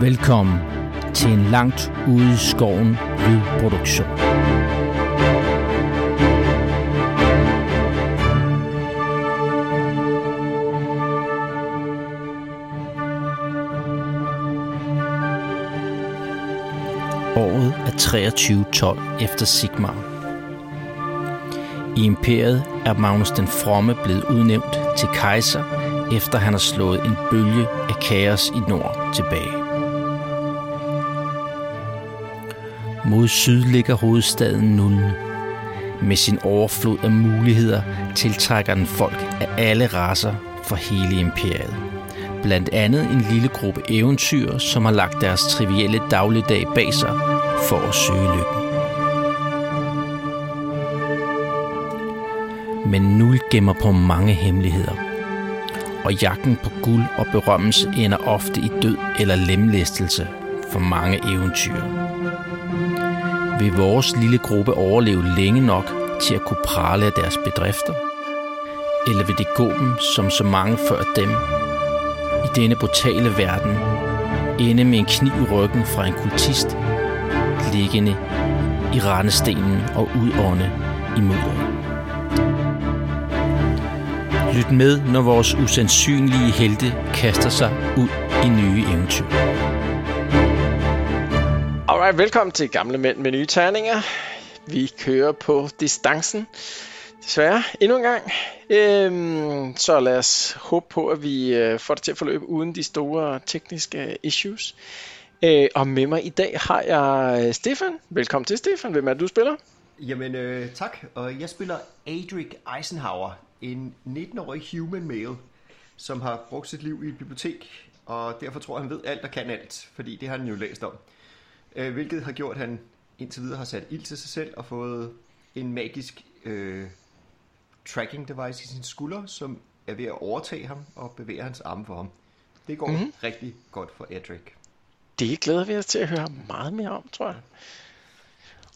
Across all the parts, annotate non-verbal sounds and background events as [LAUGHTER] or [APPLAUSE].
Velkommen til en langt ude i skoven lydproduktion. Året er 2312 efter Sigmar. I imperiet er Magnus den Fromme blevet udnævnt til kejser, efter han har slået en bølge af kaos i nord tilbage. Mod syd ligger hovedstaden Nulne. Med sin overflod af muligheder tiltrækker den folk af alle raser fra hele imperiet. Blandt andet en lille gruppe eventyr, som har lagt deres trivielle dagligdag bag sig for at søge lykken. Men Nul gemmer på mange hemmeligheder. Og jagten på guld og berømmelse ender ofte i død eller lemlæstelse for mange eventyr vil vores lille gruppe overleve længe nok til at kunne prale af deres bedrifter? Eller vil det gå dem, som så mange før dem, i denne brutale verden, ende med en kniv i ryggen fra en kultist, liggende i rendestenen og udånde i mudderet? Lyt med, når vores usandsynlige helte kaster sig ud i nye eventyr. Alright, velkommen til Gamle Mænd med Nye Terninger. Vi kører på distancen, desværre, endnu en gang. Øhm, så lad os håbe på, at vi øh, får det til at forløbe uden de store tekniske issues. Øh, og med mig i dag har jeg øh, Stefan. Velkommen til, Stefan. Hvem er det, du spiller? Jamen øh, tak, og jeg spiller Adric Eisenhower, en 19-årig human male, som har brugt sit liv i et bibliotek, og derfor tror han ved alt og kan alt, fordi det har han jo læst om. Øh, hvilket har gjort, at han indtil videre har sat ild til sig selv og fået en magisk øh, tracking device i sin skulder, som er ved at overtage ham og bevæge hans arme for ham. Det går mm-hmm. rigtig godt for Adric. Det glæder vi os til at høre meget mere om, tror jeg.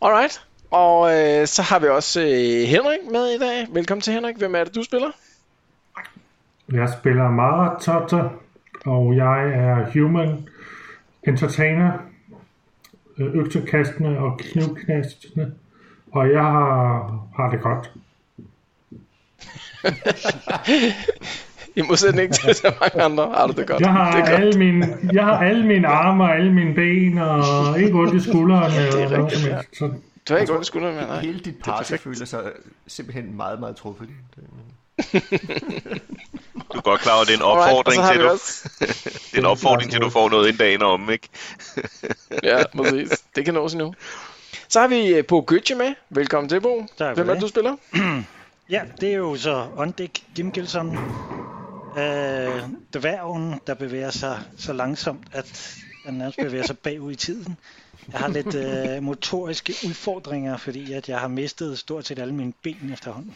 Alright, og øh, så har vi også øh, Henrik med i dag. Velkommen til Henrik. Hvem er det, du spiller? Jeg spiller Mara Totter, og jeg er human entertainer, øh, øksekastende og knivknastende, og jeg har, har det godt. I modsætning til så mange andre har du det godt. Jeg har, det er godt. alle, mine, jeg har alle mine arme og alle mine ben, og ikke ondt i skuldrene eller noget som helst. Så Du har ikke ondt i skulderen, men nej. Hele dit party perfekt. føler sig simpelthen meget, meget truffet. Det- Du er godt klar over, at det er en opfordring, og så har til, vi du, også- det er en opfordring til, at du får noget en dagen om, ikke? [LAUGHS] Ja, præcis. Det kan nås endnu. Så har vi øh, Bo Gøtje med. Velkommen til, Bo. for Hvem er det, det. du spiller? Ja, det er jo så Ondæk Gimgelsson, øh, dværgen, der bevæger sig så langsomt, at han nærmest bevæger sig bagud i tiden. Jeg har lidt øh, motoriske udfordringer, fordi at jeg har mistet stort set alle mine ben efterhånden.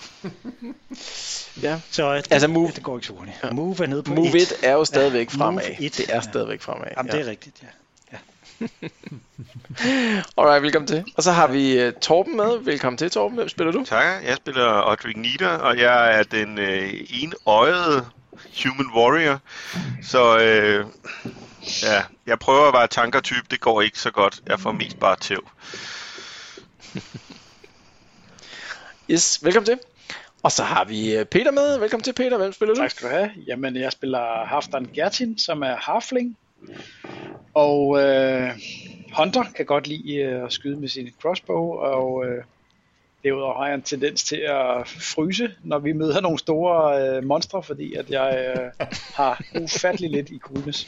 Ja. Så øh, det, Altså, move- det går ikke så hurtigt. Move er nede på Move et. it er jo stadigvæk Ja, fremad. move it. Det er Ja. stadigvæk fremad. Jamen, ja. det er rigtigt, ja. Alright, velkommen til. Og så har vi uh, Torben med. Velkommen til, Torben. Hvem spiller du? Tak, jeg spiller Audrey Nieder, og jeg er den øh, enøjede human warrior. Så øh, ja, jeg prøver at være tankertype, det går ikke så godt. Jeg får mest bare tæv. Yes, velkommen til. Og så har vi øh, Peter med. Velkommen til, Peter. Hvem spiller du? Tak skal du have. Jamen, jeg spiller Halfdan Gertin, som er harfling. Og øh, Hunter kan godt lide øh, at skyde med sin crossbow, og øh, derudover har jeg en tendens til at fryse, når vi møder nogle store øh, monstre, fordi at jeg øh, har ufattelig lidt i kuldes.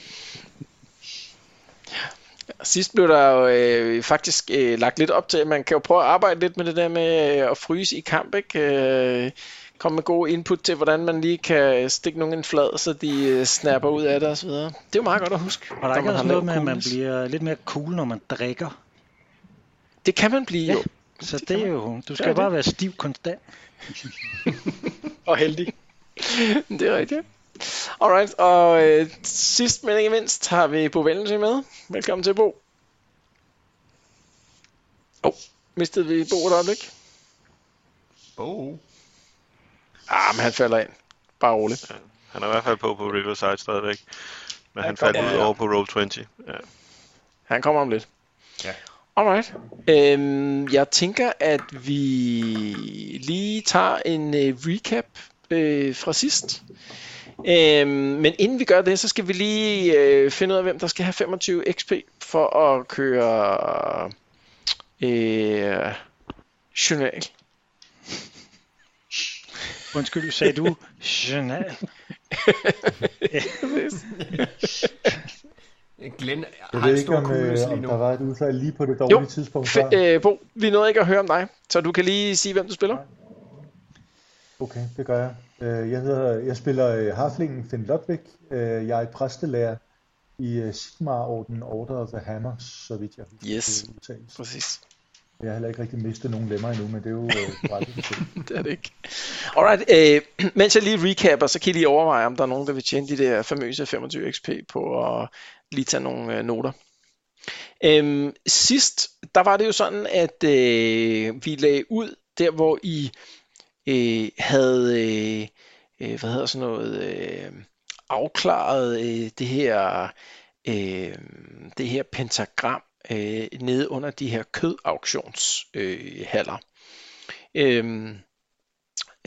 Sidst blev der jo øh, faktisk øh, lagt lidt op til, at man kan jo prøve at arbejde lidt med det der med øh, at fryse i kamp, ikke? Øh, komme med gode input til, hvordan man lige kan stikke nogen en flad, så de øh, snapper ud af det osv. Det er jo meget godt at huske. Og der er når ikke man har også lav noget med, at man coolness. bliver lidt mere cool, når man drikker. Det kan man blive Ja. jo. Så det er jo, du er skal det. bare være stiv konstant. Og heldig. [LAUGHS] Det er rigtigt. Alright, og øh, sidst men ikke mindst har vi Bo Valentin med. Velkommen til, Bo. Åh, oh, mistede vi Bo et øjeblik? Oh, Ah, men han falder ind. Bare roligt. Han er i hvert fald på på Riverside stadigvæk. Men han godt. faldt ud Ja, ja. over på Roll 20. Ja. Han kommer om lidt. Ja. Alright. Øhm, jeg tænker, at vi lige tager en øh, recap øh, fra sidst. Øhm, men inden vi gør det, så skal vi lige øh, finde ud af, hvem der skal have 25 XP for at køre øh, journal. Undskyld, sagde [LAUGHS] du journal? Glenn har Jeg en ved ikke, stor om, øh, kugle lige om nu. der var et udfald lige på det dårlige Jo, tidspunkt før. F- øh, Bo, vi nåede ikke at høre om dig, så du kan lige sige, hvem du spiller. Okay, det gør jeg. Øh, Jeg, hedder, jeg spiller øh, harflingen Finn Lodvig. Øh, Jeg er præstelærer i øh, Sigmar-orden Order of the Hammer, så vidt jeg husker. Yes. det udtales. Præcis. Jeg har heller ikke rigtig mistet nogen lemmer endnu, men det er jo øh, ret interessant. Det er det ikke. Alright, øh, [CLEARS THROAT] mens jeg lige recapper, så kan I lige overveje, om der er nogen, der vil tjene de der famøse 25 XP på at lige tage nogle øh, noter. Øhm, sidst, der var det jo sådan, at øh, vi lagde ud der, hvor I øh, havde, øh, øh, hvad hedder sådan noget, øh, afklaret øh, det her, øh, det her pentagram øh, nede under de her kødauktionshaller. Øh, haller. Øhm,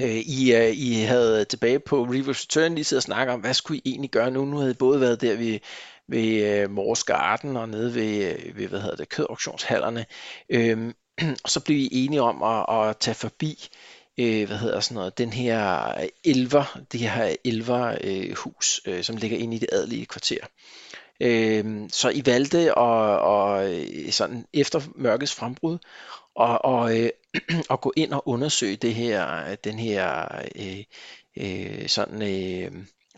øh, I, øh, I havde tilbage på Reverse Return lige siddet og snakket om, hvad skulle I egentlig gøre nu? Nu havde I både været der ved, ved øh, Mors Garden og nede ved, øh, ved hvad hedder det, kødauktionshallerne. Øhm, [CLEARS THROAT] og så blev I enige om at, at tage forbi øh, hvad hedder sådan noget, den her elver, det her elver øh, hus, øh, som ligger inde i det adelige kvarter. Øhm, så I valgte og, og øh, sådan efter mørkets frembrud og, og, øh, [CLEARS THROAT] og gå ind og undersøge det her, den her øh, øh, sådan øh,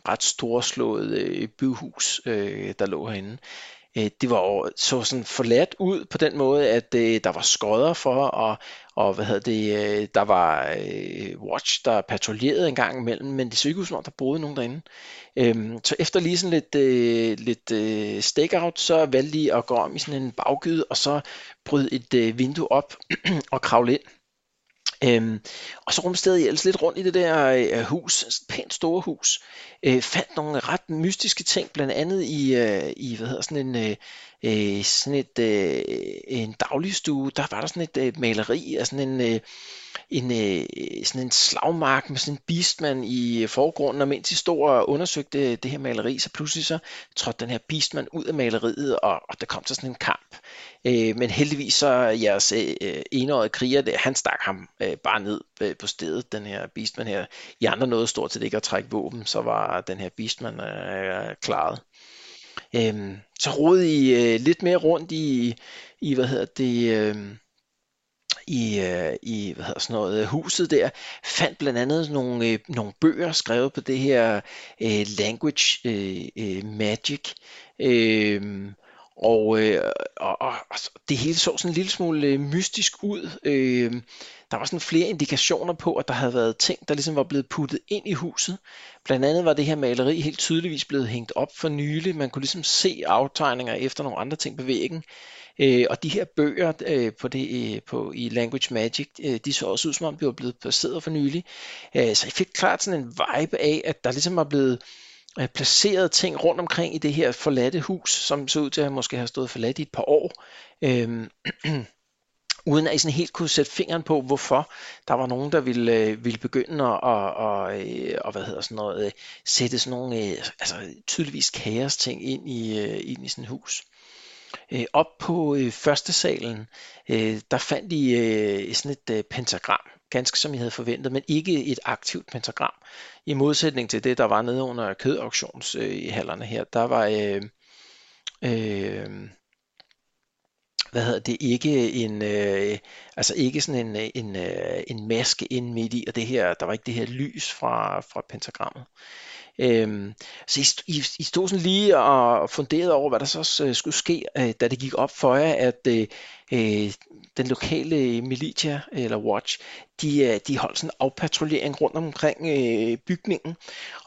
ret storslåede øh, byhus, øh, der lå herinde. Øh, det var jo- så sådan forladt ud på den måde, at øh, der var skodder for, og, og hvad hedder det, øh, der var øh, Watch, der patruljerede en gang imellem, men det så ikke ud som om, der boede nogen derinde. Øhm, så efter lige sådan lidt, øh, lidt øh, stakeout, så valgte de at gå om i sådan en baggyde, og så bryde et øh, vindue op [CLEARS THROAT] og kravle ind. Øhm, og så rumsterede I ellers lidt rundt i det der øh, hus, sådan et pænt store hus. Øh, fandt nogle ret mystiske ting, blandt andet i, øh, i hvad hedder sådan en, øh, øh, sådan et, øh, en dagligstue, der var der sådan et øh, maleri af sådan en, øh, en, øh, sådan en slagmark med sådan en beastman i øh, forgrunden, og mens de stod og undersøgte det her maleri, så pludselig så trådte den her beastman ud af maleriet, og, og der kom så sådan en kamp. Øh, men heldigvis så er jeres øh, øh, enårige kriger, der, han stak ham øh, bare ned øh, på stedet, den her beastman her. I andre nåede stort set ikke at trække våben, så var den her beastman øh, klaret. Øhm, så rodede I øh, lidt mere rundt i, i hvad hedder det, øhm, i, øh, i hvad hedder sådan noget, øh, huset der, fandt blandt andet sådan nogle, øh, nogle bøger skrevet på det her øh, language øh, øh, magic. Øh, og, øh, og, og, og så- det hele så sådan en lille smule øh, mystisk ud. Øh, der var sådan flere indikationer på, at der havde været ting, der ligesom var blevet puttet ind i huset. Blandt andet var det her maleri helt tydeligvis blevet hængt op for nylig. Man kunne ligesom se aftegninger efter nogle andre ting på væggen. Øh, og de her bøger øh, på det, øh, på, i Language Magic, øh, de så også ud som om, de var blevet placeret for nylig. Øh, så jeg fik klart sådan en vibe af, at der ligesom var blevet øh, placeret ting rundt omkring i det her forladte hus, som så ud til at måske have stået forladt i et par år. Øhm, [CLEARS THROAT] uden at I sådan helt kunne sætte fingeren på, hvorfor der var nogen, der ville, øh, ville begynde at, og, og, øh, og, hvad hedder sådan noget, øh, sætte sådan nogle øh, altså, tydeligvis kaos ting ind i, øh, ind i sådan et hus. Øh, op på øh, første salen, øh, der fandt I øh, sådan et øh, pentagram, ganske som I havde forventet, men ikke et aktivt pentagram. I modsætning til det, der var nede under kødauktionshallerne øh, i hallerne her, der var... Øh, øh, hvad hedder det, ikke en, øh, altså ikke sådan en, øh, en, øh, en maske ind midt i, og det her, der var ikke det her lys fra, fra pentagrammet. Øhm, så I, st- I, I stod sådan lige og funderede over, hvad der så øh, skulle ske, øh, da det gik op for jer, at øh, øh, den lokale militia, eller watch, de, øh, de holdt sådan en afpatruljering rundt omkring øh, bygningen,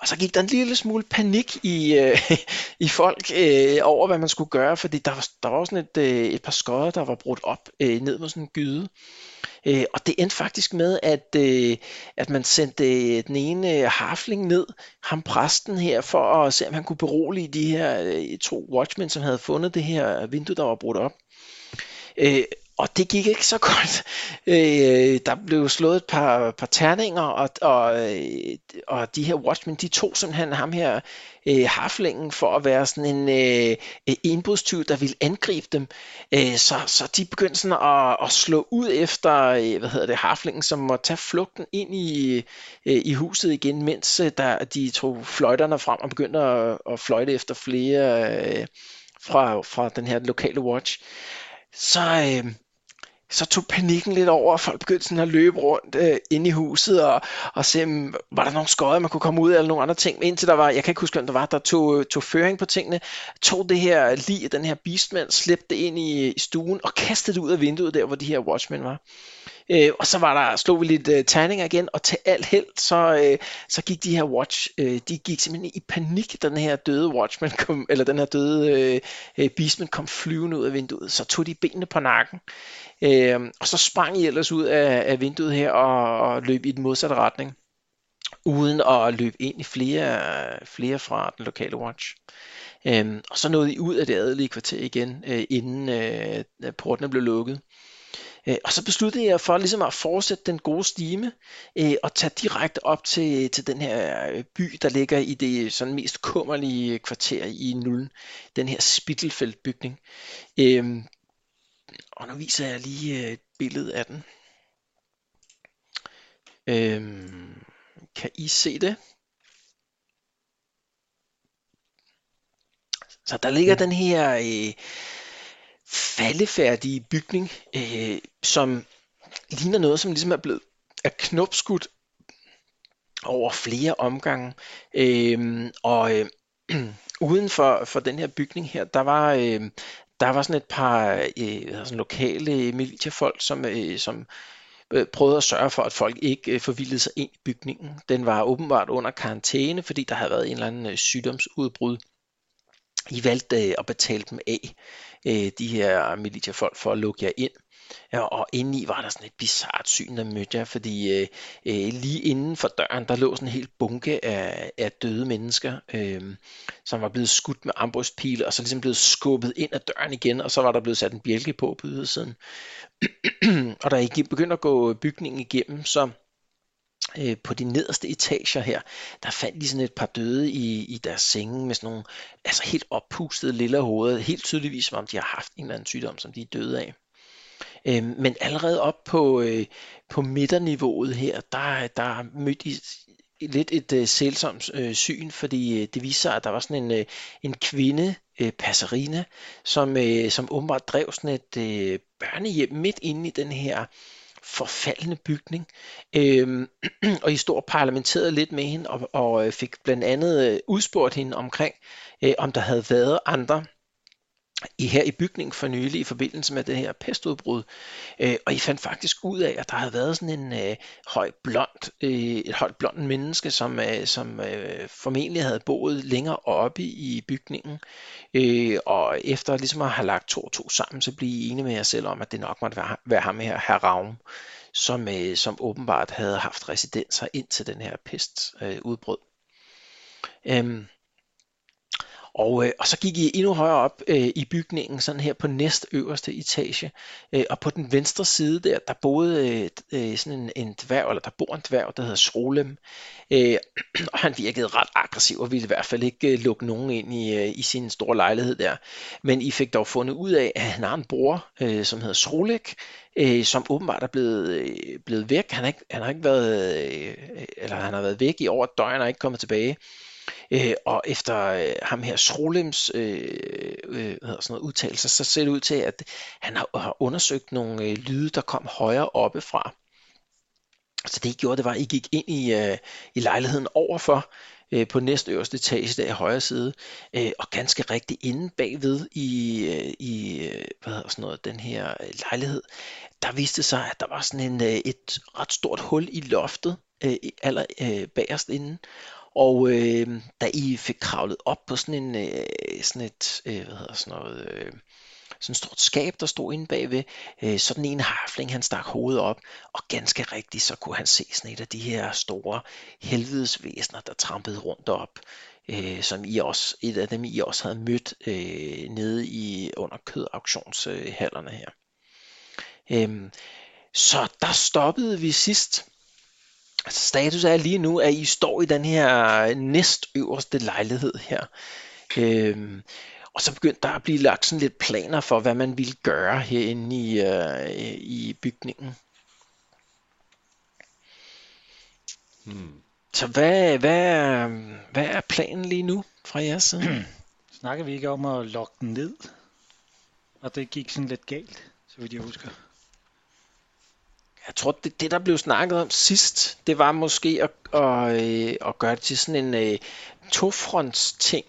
og så gik der en lille smule panik i, øh, [LAUGHS] i folk øh, over, hvad man skulle gøre, fordi der var, der var jo sådan et, øh, et par skodder, der var brudt op øh, ned mod sådan en gyde. Øh, og det endte faktisk med, at, øh, at man sendte øh, den ene øh, harfling ned, ham præsten her, for at se, om han kunne berolige de her øh, to watchmen, som havde fundet det her vindue, der var brudt op. Øh, og det gik ikke så [LAUGHS] godt. Øh, der blev slået et par, par terninger, og, og, øh, og de her Watchmen, de tog simpelthen ham her øh, harflingen for at være sådan en øh, øh, indbrudstyv, der ville angribe dem. Øh, så, så de begyndte sådan at, at slå ud efter øh, hvad hedder det, harflingen, som måtte tage flugten ind i, øh, i huset igen, mens øh, der, de tog fløjterne frem og begyndte at, at fløjte efter flere øh, fra, fra den her lokale watch. Så, øh, så tog panikken lidt over, og folk begyndte sådan at løbe rundt øh, inde i huset, og, og se, om, var der nogle skodder, man kunne komme ud af, eller nogle andre ting. Men indtil der var, jeg kan ikke huske, hvem der var, der tog, øh, tog føring på tingene, tog det her lige den her beastman, slæbte det ind i, i stuen, og kastede det ud af vinduet, der hvor de her watchmen var. Øh, og så var der, slog vi lidt øh, terninger igen, og til alt held, så, øh, så gik de her watch, øh, de gik simpelthen i panik, da den her døde watchman kom, eller den her døde øh, øh, beastman kom flyvende ud af vinduet, så tog de benene på nakken, øh, og så sprang I ellers ud af, af vinduet her, og, og løb i den modsatte retning, uden at løbe ind i flere, flere fra den lokale watch. Øhm, og så nåede I ud af det adelige kvarter igen, øh, inden øh, portene blev lukket. Øh, Og så besluttede jeg for ligesom at fortsætte den gode stime øh, og tage direkte op til, til den her øh, by, der ligger i det sådan mest kummerlige kvarter i Nullen. Den her Spittelfeldt-bygning. Øh, Og nu viser jeg lige øh, et billede af den. Øh, Kan I se det? Så der ligger den her... Øh, faldefærdige bygning, øh, som ligner noget, som ligesom er blevet er knopskudt over flere omgange. Øh, og øh, [CLEARS THROAT] uden for, for den her bygning her, der var, øh, der var sådan et par øh, hvad hedder sådan lokale militærfolk, som, øh, som øh, prøvede at sørge for, at folk ikke øh, forvildede sig ind i bygningen. Den var åbenbart under karantæne, fordi der havde været en eller anden øh, sygdomsudbrud. I valgte øh, at betale dem af, øh, de her militærfolk, for at lukke jer ind. Ja, og indeni var der sådan et bizart syn, der mødte jer, fordi øh, øh, lige inden for døren, der lå sådan en hel bunke af, af døde mennesker, øh, som var blevet skudt med ambrystpile, og så ligesom blevet skubbet ind ad døren igen, og så var der blevet sat en bjælke på på ydersiden. [CLEARS THROAT] og da I gik- begyndte at gå bygningen igennem, så øh, på de nederste etager her, der fandt de sådan et par døde i, i deres senge med sådan nogle altså helt oppustede lille hoveder, helt tydeligvis som om de har haft en eller anden sygdom, som de er døde af. Øhm, men allerede op på, øh, på midterniveauet her, der, der mødte I s- lidt et øh, sælsomt øh, syn, fordi øh, det viste sig, at der var sådan en, øh, en kvinde, øh, Passerina, som, øh, som åbenbart drev sådan et øh, børnehjem midt inde i den her forfaldende bygning. Øhm, [CLEARS THROAT] og I stod og parlamenterede lidt med hende, og, og øh, fik blandt andet øh, udspurgt hende omkring, øh, om der havde været andre i her i bygningen for nylig i forbindelse med det her pestudbrud. Øh, og I fandt faktisk ud af, at der havde været sådan en øh, høj blond, øh, et højt blond menneske, som, øh, som øh, formentlig havde boet længere oppe i bygningen. Øh, og efter ligesom at have lagt to og to sammen, så blev I enige med jer selv om, at det nok måtte være, være ham her, herr Ravn, som, øh, som åbenbart havde haft residenser indtil den her pestudbrud. Øh, udbrød. øhm, og, øh, og så gik I endnu højere op øh, i bygningen, sådan her på næst øverste etage. Øh, og på den venstre side der, der boede øh, d- øh, sådan en, en dværg, eller der bor en dværg, der hedder Srolem. Øh, [CLEARS THROAT] og han virkede ret aggressiv, og ville i hvert fald ikke øh, lukke nogen ind i, øh, i sin store lejlighed der. Men I fik dog fundet ud af, at han har en bror, øh, som hedder Srolek, øh, som åbenbart er blevet, øh, blevet væk. Han har ikke, han har ikke været, øh, eller han har været væk i over et døgn og er ikke kommet tilbage. Øh, og efter øh, ham her Srolems øh, øh, hvad hedder sådan noget, udtalelser, så ser det ud til, at han har, har undersøgt nogle øh, lyde, der kom højere oppe fra. Så det I gjorde, det var, at I gik ind i, øh, i lejligheden overfor, øh, på næstøverste etage der i højre side, øh, og ganske rigtigt inde bagved i, øh, i øh, hvad hedder sådan noget, den her øh, lejlighed, der viste det sig, at der var sådan en, øh, et ret stort hul i loftet, øh, i aller øh, bagerst inde, og øh, da I fik kravlet op på sådan en øh, sådan et, øh, hvad hedder sådan noget, øh, sådan et stort skab, der stod inde bagved. Øh, sådan en harfling, han stak hovedet op, og ganske rigtigt, så kunne han se sådan et af de her store helvedesvæsener, der trampede rundt op. Øh, som I også, et af dem I også havde mødt øh, nede i under kødauktionshallerne her. Øhm, så der stoppede vi sidst. Altså, Status er lige nu, at I står i den her næstøverste lejlighed her. Øhm, og så begyndte der at blive lagt sådan lidt planer for, hvad man ville gøre herinde i, øh, i bygningen. Hmm. Så hvad, hvad, er, hvad er planen lige nu fra jeres side? Snakker vi ikke om at lokke den ned? Og det gik sådan lidt galt, så vidt jeg husker. Jeg tror, det, det der blev snakket om sidst, det var måske at, at, øh, at gøre det til sådan en øh, tofronts-ting.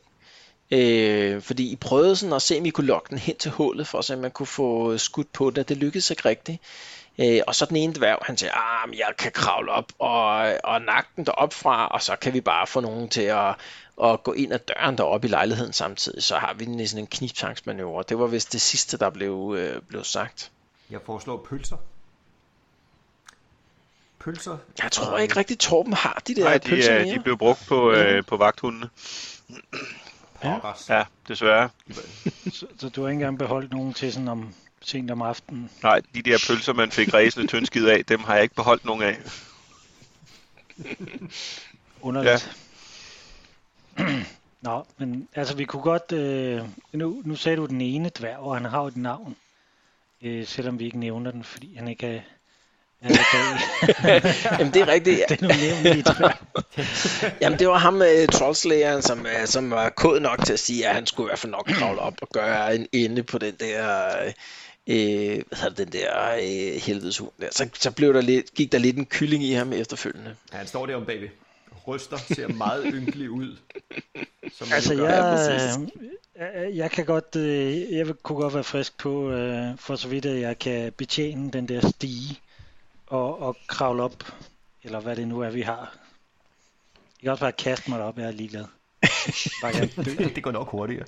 Øh, fordi I prøvede sådan at se, om I kunne lokke den hen til hullet, for at se, om man kunne få øh, skudt på det. Det lykkedes ikke rigtigt. Øh, og så den ene dværg, han siger, ah, men jeg kan kravle op og, og nakke den derop fra, og så kan vi bare få nogen til at, at gå ind ad døren deroppe i lejligheden samtidig. Så har vi den sådan en kniptangsmanøvre. Det var vist det sidste, der blev, øh, blev sagt. Jeg foreslår pølser. Pølser. Jeg tror og- ikke rigtig, Torben har de der Nej, de, pølser øh, mere. de blev brugt på, øh, på vagthundene. Pokkers. Ja, desværre. Så, så du har ikke engang beholdt nogen til sådan om sent om aftenen. Nej, de der pølser, man fik ræsende tyndskid af, dem har jeg ikke beholdt nogen af. Underligt. Ja. [CLEARS THROAT] Nå, men altså vi kunne godt... Øh, nu, nu sagde du den ene dværg, og han har jo et navn. Øh, selvom vi ikke nævner den, fordi han ikke er... er [LAUGHS] bag- Jamen, det er [LAUGHS] rigtigt. den unævnlige dværg. Jamen, det var ham, øh, trollslægeren, som, øh, som var kod nok til at sige, at han skulle i hvert fald nok kravle op og gøre en ende på den der... Øh, øh, hvad hedder det, den der øh, helvedeshund der. Så, så blev der lidt, gik der lidt en kylling i ham efterfølgende. Ja, han står der om bagved. Ryster, ser meget ynkelig ud. Som man Altså, jo gør. jeg, øh, jeg kan godt, øh, jeg vil- kunne godt være frisk på, øh, for så vidt, at jeg kan betjene den der stige og, og kravle op, eller hvad det nu er, vi har. Jeg kan også bare kaste mig op, jeg er ligeglad. Bare jeg det går nok hurtigere.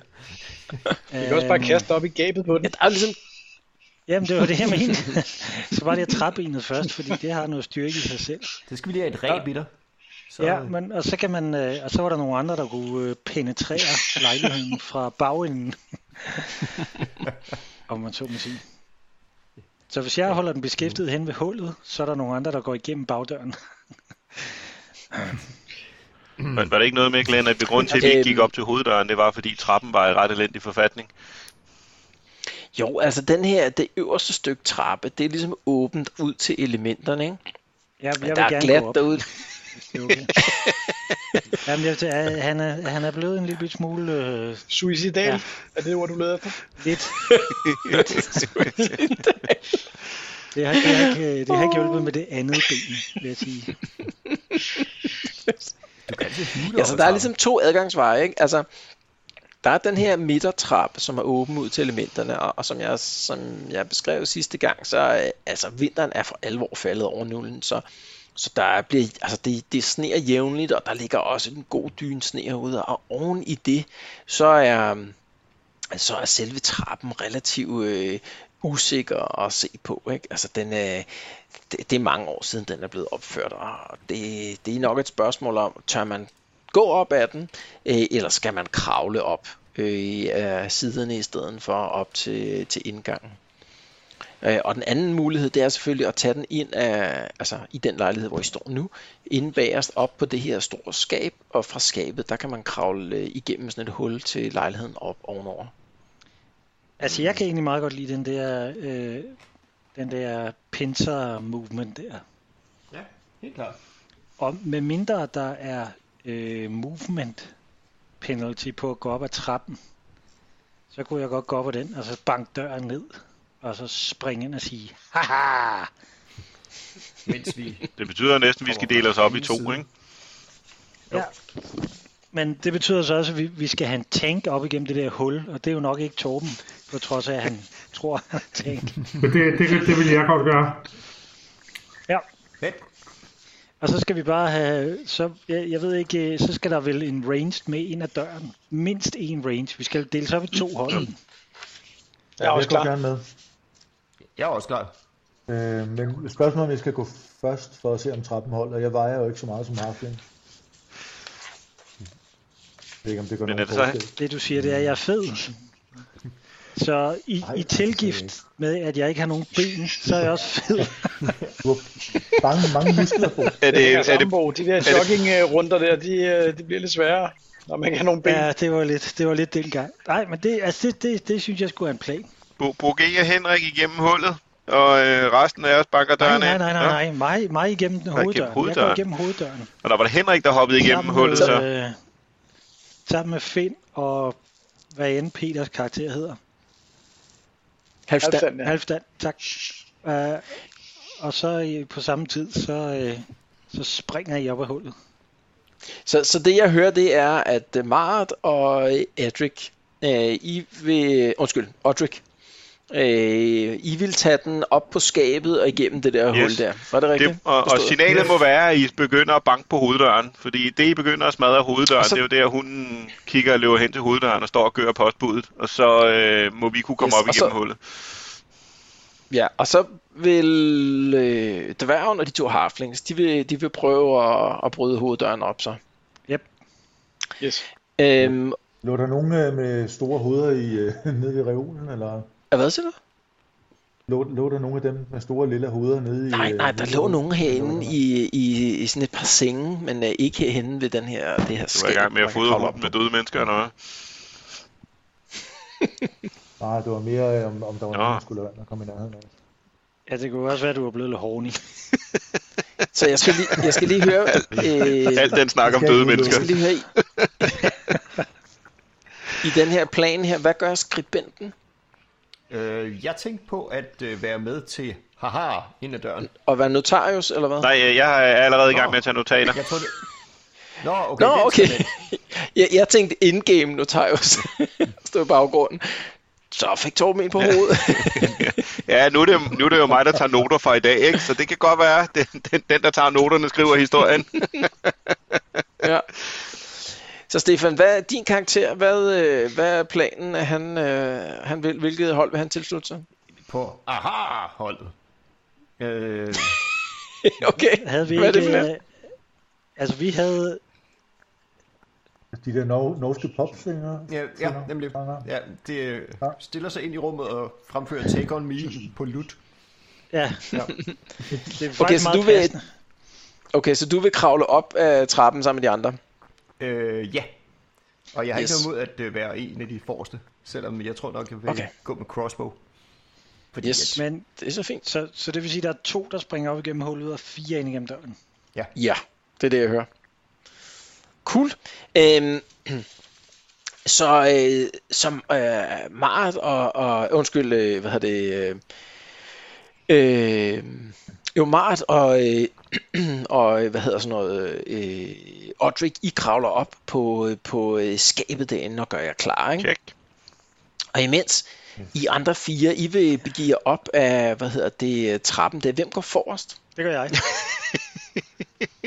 Vi kan også bare kaste op i gabet på den. Øhm. Der er ligesom, Øhm, Jamen, det var det, jeg mente. [LAUGHS] så var det at træbenet først, fordi det har noget styrke i sig selv. Det skal vi lige have et ræb i dig. Så, Ja, men, og så kan man, øh, og så var der nogle andre, der kunne øh, [LAUGHS] penetrere lejligheden fra bagenden, om man så må sige. Så hvis jeg holder den beskæftiget hen ved hullet, så er der nogle andre, der går igennem bagdøren. Men var det ikke noget med, Glenn, at vi grund til, at vi ikke gik op til hoveddøren, det var, fordi trappen var i ret elendig forfatning? jo, altså den her, det øverste stykke trappe, det er ligesom åbent ud til elementerne, ikke? Jeg, jeg Men vil der er gerne gå glat op. derude. hvis det er Okay. Jamen, jeg, jeg, han, er, han er blevet en lille bit smule øh, Suicidal, Ja. er det ord, du leder efter? [LAUGHS] lidt. Det har, det, har ikke, øh, det har ikke hjulpet med det andet ben, vil jeg sige. Ja, så der er ligesom to adgangsveje, ikke? Altså, der er den her midtertrappe, som er åben ud til elementerne, og, og som, jeg, som jeg beskrev sidste gang, så øh, altså, vinteren er for alvor faldet over nullen, så, så der bliver, altså, det, det sneer jævnligt, og der ligger også en god dyn sne herude, og oven i det, så er, øhm, så er selve trappen relativt øh, usikker at se på. Ikke? Altså, den, øh, det, det er mange år siden, den er blevet opført, og det, det er nok et spørgsmål om, tør man gå op ad den, øh, eller skal man kravle op øh, af siderne i stedet for op til, til indgangen. Øh, og den anden mulighed, det er selvfølgelig at tage den ind af, altså i den lejlighed, hvor I står nu, inde bagerst op på det her store skab, og fra skabet, der kan man kravle øh, igennem sådan et hul til lejligheden op ovenover. Altså, jeg kan egentlig meget godt lide den der, øh, den der pincer-movement der. Ja, helt klart. Og med mindre der er øh, movement penalty på at gå op ad trappen, så kunne jeg godt gå op ad den, og så banke døren ned, og så springe ind og sige, haha! Mens vi... Det betyder næsten, at [LAUGHS] vi skal dele os op i to, ikke? Ja. Men det betyder så også, at vi, vi skal have en tank op igennem det der hul, og det er jo nok ikke Torben, på trods af, at han tror, han er tank. Så det, det, det vil jeg godt gøre. Ja. Men Og så skal vi bare have, så, jeg, jeg ved ikke, øh, så skal der vel en range med ind ad døren. Mindst en range. Vi skal dele sig op i to hold. Ja, er også jeg går klar. gerne med. Jeg er også klar. Øh, men spørgsmålet er, om jeg skal gå først for at se, om trappen holder. Jeg vejer jo ikke så meget som Harfling. Jeg ved ikke, om det gør Men nogen er det så- forskel. Det du siger, det er, at jeg er fed. Så i, Ej, i altså, tilgift med, at jeg ikke har nogen ben, så er jeg også fed. Du har mange, mange muskler på. Er det, Ja, er det, Sambo, de der jogging-runder der, de, øh, de bliver lidt sværere, når man ikke har nogen ben. Ja, det var lidt, det var lidt dengang. Nej, men det, altså, det, det, det synes jeg skulle være en plan. bu- bugerer Henrik igennem hullet, og øh, resten af os banker Nej, døren nej, ind? nej, Nå? nej, nej. Mig, mig igennem den igennem hoveddøren. Jeg går hoveddøren. igennem hoveddøren. Og der var det Henrik, der hoppede igennem Sammen hullet, med, så... Øh, sammen med Finn og hvad end Peters karakter hedder. Halvstand. Halvstand, ja. Halvdan, tak. Uh, og så øh, på samme tid, så, øh, så springer jeg op af hullet. Så, så det jeg hører, det er, at øh, Maret og øh, Adric, øh, I vil, undskyld, Odric, øh, I vil tage den op på skabet og igennem det der yes. Yes. hul der. Var det rigtigt? Det, og, og Forstået. signalet må være, at I begynder at banke på hoveddøren, fordi det, I begynder at smadre hoveddøren, Og så- det er jo der, hunden kigger og løber hen til hoveddøren og står og gør postbuddet, og så øh, må vi kunne komme Yes, op og igennem så- hullet. Ja, og så vil øh, dværgen og de to harflings, de vil, de vil prøve at, at bryde hoveddøren op så. Yes. Øhm, Lå der nogen øh, med store hoveder i, øh, nede ved reolen, eller ja, hvad siger du? lå, lå der nogen af dem med store lille hoveder nede i... Nej, øh, nej, der nede lå i- nogen herinde i, i, i sådan et par senge, men øh, ikke herinde ved den her, det her Du skab. er i gang med man at kan fodre kravle op hunden med døde mennesker, eller hvad? Nej, det var mere, øh, om, om der var Nå. nogen, der skulle lade være med at komme i nærheden af. Ja, det kunne også være, at du var blevet lidt horny. på. Så jeg skal lige, jeg skal lige [LAUGHS] høre... Øh, Alt den snak om Skal døde vi- Jeg mennesker. skal lige høre i. [LAUGHS] I den her plan her, hvad gør skribenten? Øh, jeg tænkte på at øh, være med til haha ind ad døren. Og være notarius, eller hvad? Nej, øh, jeg er allerede i gang Nå. med at tage notater. Jeg tror det... Nå, okay. Nå, det er okay. sådan, at- [LAUGHS] Jeg, jeg tænkte in-game notarius. [LAUGHS] Stod i baggrunden. Så fik Torben en på hovedet. Ja, nu er, det, nu er det jo mig, der tager noter fra i dag, ikke? så det kan godt være, [LAUGHS] at den, den, den der tager noterne, skriver historien. ja. Så Stefan, hvad er din karakter? Hvad, øh, hvad er planen, at han, øh, han vil? Hvilket hold vil han tilslutte sig? På aha-holdet. Øh, okay, Havde vi hvad er det for ikke... noget? øh, altså, vi havde... Altså, De der nor- norske popsvinger. ja, ja, nemlig. Ja, det øh, stiller sig ind i rummet og fremfører Take On Me på lut. Ja, Ja. det er [LAUGHS] Okay, faktisk okay, så meget du vil- passende. Okay, så du vil kravle op af trappen sammen med de andre? Øh, ja. Og jeg har yes. Yes. ikke noget mod at øh, være en af de forreste, selvom jeg tror nok, jeg vil Okay. okay. gå med crossbow. Fordi Yes. at, Men, Det er så fint. så, så det vil sige, at der er to, der springer op igennem hullet, og fire ind igennem døren. Ja, det er det, jeg hører. Cool. Øhm, så øh, som øh, Mart og, og undskyld, øh, hvad hedder det? Øh, øh, jo, Mart og, øh, [CLEARS THROAT] og øh, hvad hedder sådan noget? Øh, Odrik, I kravler op på, på øh, skabet derinde og gør jer klar, ikke? Tjek. Og imens I andre fire, I vil begive jer op af, hvad hedder det, trappen der. Hvem går forrest? Det gør jeg.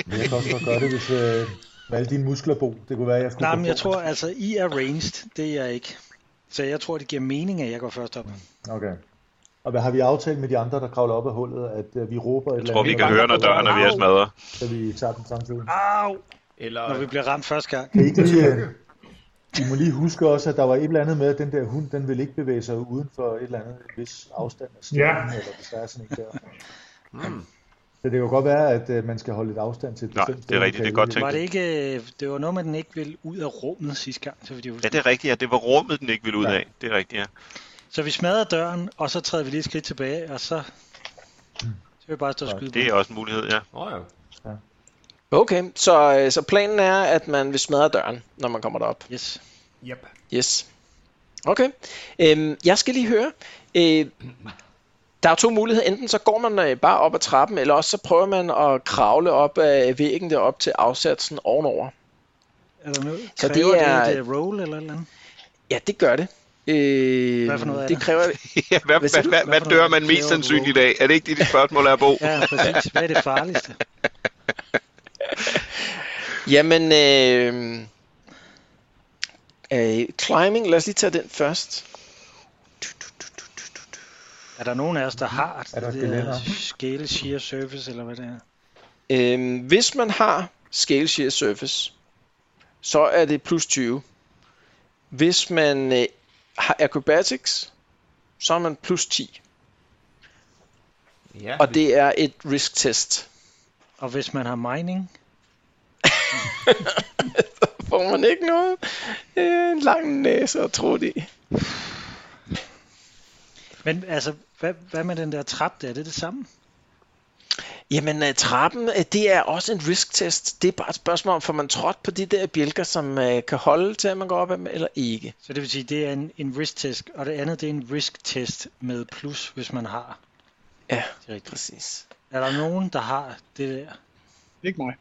Jeg kan også godt gøre det, hvis øh, med alle dine muskler på. Det kunne være, at jeg skulle Nej, gå men jeg for. tror, altså, I er ranged. Det er jeg ikke. Så jeg tror, det giver mening, at jeg går først op. Okay. Og hvad har vi aftalt med de andre, der kravler op af hullet, at øh, vi råber et Jeg eller tror, vi kan høre, når døren er ved at smadre. Så vi tager den samtidig. Au! eller, Når vi bliver ramt første gang. Kan I, ikke lige, øh, I må lige huske også, at der var et eller andet med, at den der hund, den vil ikke bevæge sig uden for et eller andet vis afstand af stenen, Ja. eller hvis der er sådan en der. Så det kan jo godt være, at øh, man skal holde lidt afstand til et Mm. Nej, bestemt det er sted, rigtigt, man det er kan godt lide. tænkt. Var det ikke... øh, Det var noget med, at den ikke ville ud af rummet sidste gang. Så, fordi, Ja, det er rigtigt, ja. Det var rummet, den ikke ville ud Ja. af. Det er rigtigt, ja. så vi smadrer døren, og så træder vi lige et skridt tilbage, og så... Så vil vi bare stå og skyde. Det er også en mulighed, ja. Nå, ja. Okay, så, øh, så planen er, at man vil smadre døren, når man kommer derop. Yes. Yep. Yes. Okay. Øhm, jeg skal lige høre. Øh, der er to muligheder. Enten så går man øh, bare op ad trappen, eller også så prøver man at kravle op ad væggen derop til afsatsen ovenover. Er der noget? Så Så det det er... er- Det et øh, roll eller et eller andet? Ja, det gør det. Øh, Hvad for noget er det det? kræver [LAUGHS] ja hvad, Hvad hvad, siger hvad, du? hvad, Hvad hvad for dør noget? man mest Kræver sandsynligt i du- dag? Er det ikke det, dit spørgsmål er, Bo? Ja, præcis. Hvad er det farligste? Jamen, øh, øh, climbing, lad os lige tage den først. Er der nogen af os, der har Er der det et gelænder? der scale shear surface, eller hvad det er? Øhm, hvis man har scale shear surface, så er det plus 20. Hvis man øh, har acrobatics, så er man plus 10. Ja, Og det er et risk test. Og hvis man har mining, Får man ikke noget? Øh, en lang næse og tro i. men altså, hvad, hvad med den der trap der, er det det samme? Jamen, øh, trappen, øh, det er også en risk test. Det er bare et spørgsmål om, får man trådt på de der bjælker, som øh, kan holde til, at man går op ad dem, eller ikke. Så det vil sige, det er en, en risk test, og det andet det er en risk test med plus, hvis man har. Ja, Det er rigtigt. præcis. Er der nogen, der har det der? Det er ikke mig.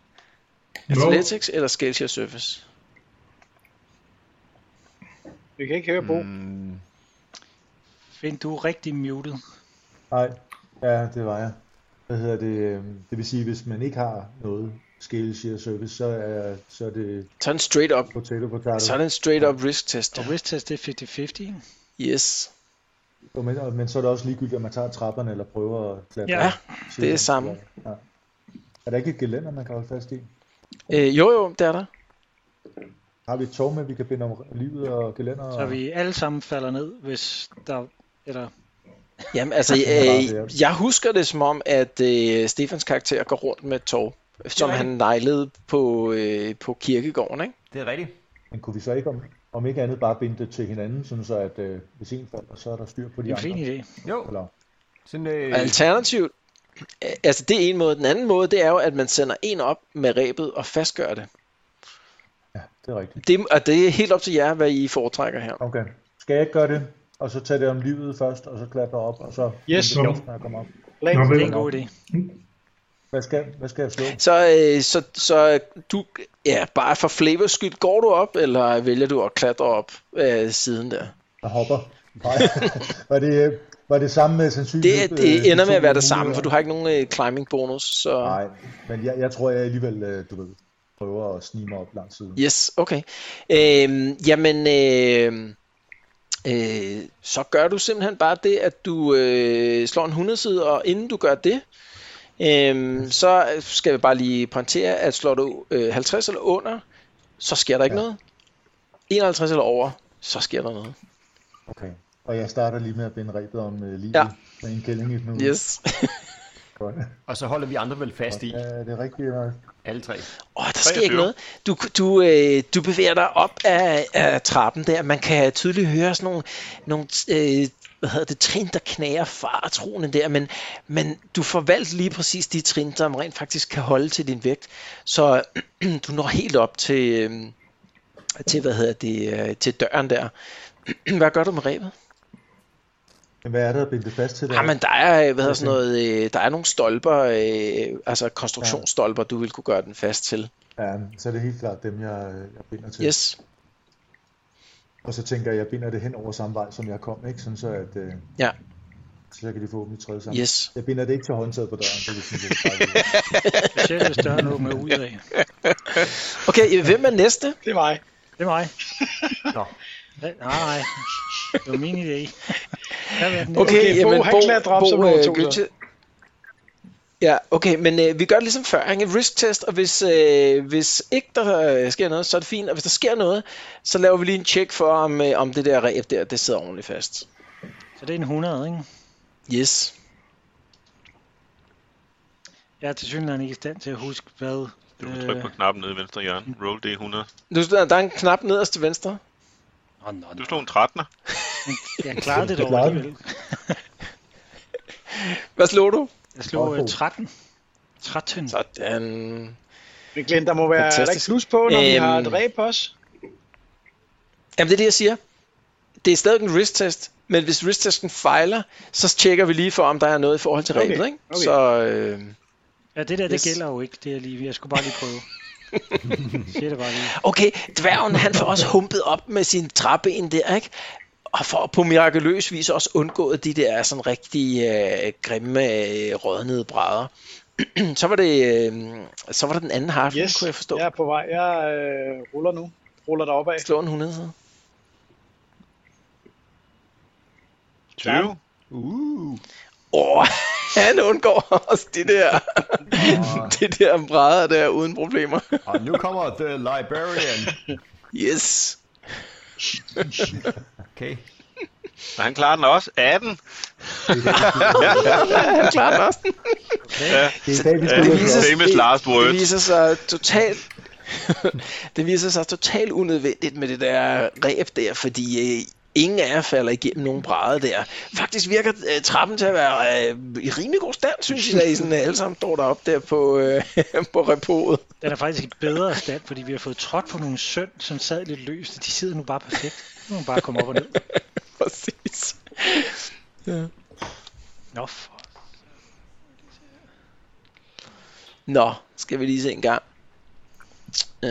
Nå, Athletics eller scale shear surface? Vi kan ikke høre Bo. Mm. Mm, Find, du er rigtig muted. Nej, ja, det var jeg. Hvad hedder det? øhm, Det vil sige, hvis man ikke har noget scale share service, så er, så er det Så er det straight up. potato potato. Så er det en straight up risk test. Og risk test, det er 50-50, ikke? Yes, Og Men, og- men så er det også ligegyldigt, om man tager trapperne eller prøver at klatre. Ja, til- det er samme. Ja. Er der ikke et gelænder, man kan holde fast i? Øh, jo, jo, det er der. Har vi et tog med, vi kan binde om livet og gelænder? Så vi alle sammen falder ned, hvis der... Eller, Jamen, altså, bare det, øh, jeg husker det som om, at øh, Stefans karakter går rundt med et tog, som rigtigt. han nejlede på, øh, på kirkegården, ikke? det er rigtigt. Men kunne vi så ikke om, om ikke andet bare binde det til hinanden, sådan så at øh, hvis en falder, så er der styr på de det er en andre? fin idé. Jo, Eller, sådan, øh, Alternativt, øh, altså det er en måde. Den anden måde, det er jo, at man sender en op med rebet og fastgør det. ja, det er rigtigt. det og det er helt op til jer, hvad I foretrækker her. Okay. Skal jeg ikke gøre det? Og så tage det om livet først, og så klatre op, og så... Yes. Jo. Når jeg kommer op. Nå, Det er en vel. god idé. Hvad skal, hvad skal jeg slå? Så, øh, så, så du, ja, bare for flavors skyld, går du op, eller vælger du at klatre op øh, siden der? Jeg hopper. Nej. [LAUGHS] var, det, øh, var det samme med sandsynlighed? Det, det øh, ender med de to at være det muligheder? samme, for du har ikke nogen øh, climbing bonus, så... Nej, men jeg, jeg tror, jeg alligevel, øh, du ved, prøver at snige mig op langs siden. Yes, okay. Øhm, jamen, øh, øh, så gør du simpelthen bare det, at du øh, slår en 100 side, og inden du gør det, øh, så skal vi bare lige pointere, at slår du øh, 50 eller under, så sker der ikke Ja. noget. 51 eller over, så sker der noget. Okay. Og jeg starter lige med at binde rebet om øh, livet Ja. med en kælling i den uge. Yes. Godt. og så holder vi andre vel fast i, Ja, det er rigtigt. nok. alle tre. Åh, der sker 23. ikke noget. Du, du, øh, du bevæger dig op af, af trappen der. Man kan tydeligt høre sådan nogle, nogle øh, hvad hedder det, trin, der knager faretronen der. Men, men du får valgt lige præcis de trin, som rent faktisk kan holde til din vægt. Så [CLEARS THROAT] du når helt op til, øh, til, hvad hedder det, øh, til døren der. [CLEARS THROAT] hvad gør du med rebet? Men hvad er der at binde det fast til? Der? Ja, men der er, øh, hvad hedder sådan noget, øh, der er nogle stolper, øh, altså konstruktionsstolper, du vil kunne gøre den fast til. ja, så er det helt klart dem, jeg, øh, jeg binder til. Yes. Og så tænker jeg, jeg binder det hen over samme vej, som jeg kom, ikke? Sådan så, at, øh, Ja. så kan de få dem i træde sammen. Yes. Jeg binder det ikke til håndtaget på døren, så det er sådan, [LAUGHS] det er bare- Specielt hvis døren åbner ud af. Okay, øh, hvem er næste? Det er mig. Det er mig. Nå. Nej, nej. Det var min idé. Hvad var den Okay, Okay, okay Bo, jamen, han klatrer op, så Bo, nummer øh, to, så. Gøtje- Ja, okay, men øh, vi gør det ligesom før, ikke? Risk test, og hvis, øh, hvis ikke der øh, sker noget, så er det fint, og hvis der sker noget, så laver vi lige en tjek for, om, øh, om det der ræb der, det sidder ordentligt fast. Så det er en 100, ikke? Yes. Jeg er til synligheden ikke i stand til at huske, hvad... Du kan trykke på knappen nede i venstre hjørne. Roll D100. Nu der, der er en knap nederst til venstre. Nå, nå, Du nå. slog en 13'er. øh, Jeg klarede det Du dog klarede alligevel. Hvad slår du? Jeg slog øh, Åh, 13. 13. Sådan. Men Glenn, der må være er der Fantastisk. ikke plus på, når øhm... vi Øhm. har et ræb på os. Jamen, det er det, jeg siger. Det er stadig en risk test, men hvis risk testen fejler, så tjekker vi lige for, om der er noget i forhold til Okay, ræbet, ikke? okay. Så, øh... Ja, det der, det Yes. gælder jo ikke. Det er lige, jeg skulle bare lige [LAUGHS] prøve. Jeg siger det bare lige. Okay, dværgen han får også humpet op med sin trappen der, ikke? Og får på mirakuløs vis også undgået de der sådan rigtig øh, grimme, øh, rådnede brædder. [CLEARS THROAT] så, var det, øh, så var det den anden harf, yes. Yes, kunne jeg forstå. jeg er på vej. Jeg øh, ruller nu. Ruller dig opad. Slå en 100 side. 20. Uh. Åh, [LAUGHS] oh, han undgår også de der, det der brædder der uden problemer. [LAUGHS] Og nu kommer The Librarian. Yes. Okay. Og han klarer den også. 18. Han klarer den også. Det er i dag, vi Ja, spiller det viser- famous last Det words. viser sig totalt [LAUGHS] det viser sig totalt unødvendigt med det der ræb der, fordi øh, ingen af jer falder igennem nogen brædder der. Faktisk virker øh, trappen til at være øh, i rimelig god stand, synes jeg, da I sådan, øh, alle sammen står deroppe der på, øh, [LAUGHS] på repoet. [LAUGHS] Den er faktisk i bedre stand, fordi vi har fået trådt på nogle søn, som sad lidt løst, og de sidder nu bare perfekt. Nu må man bare komme op og ned. Præcis. Nå, for... Nå, skal vi lige se en gang. Øh,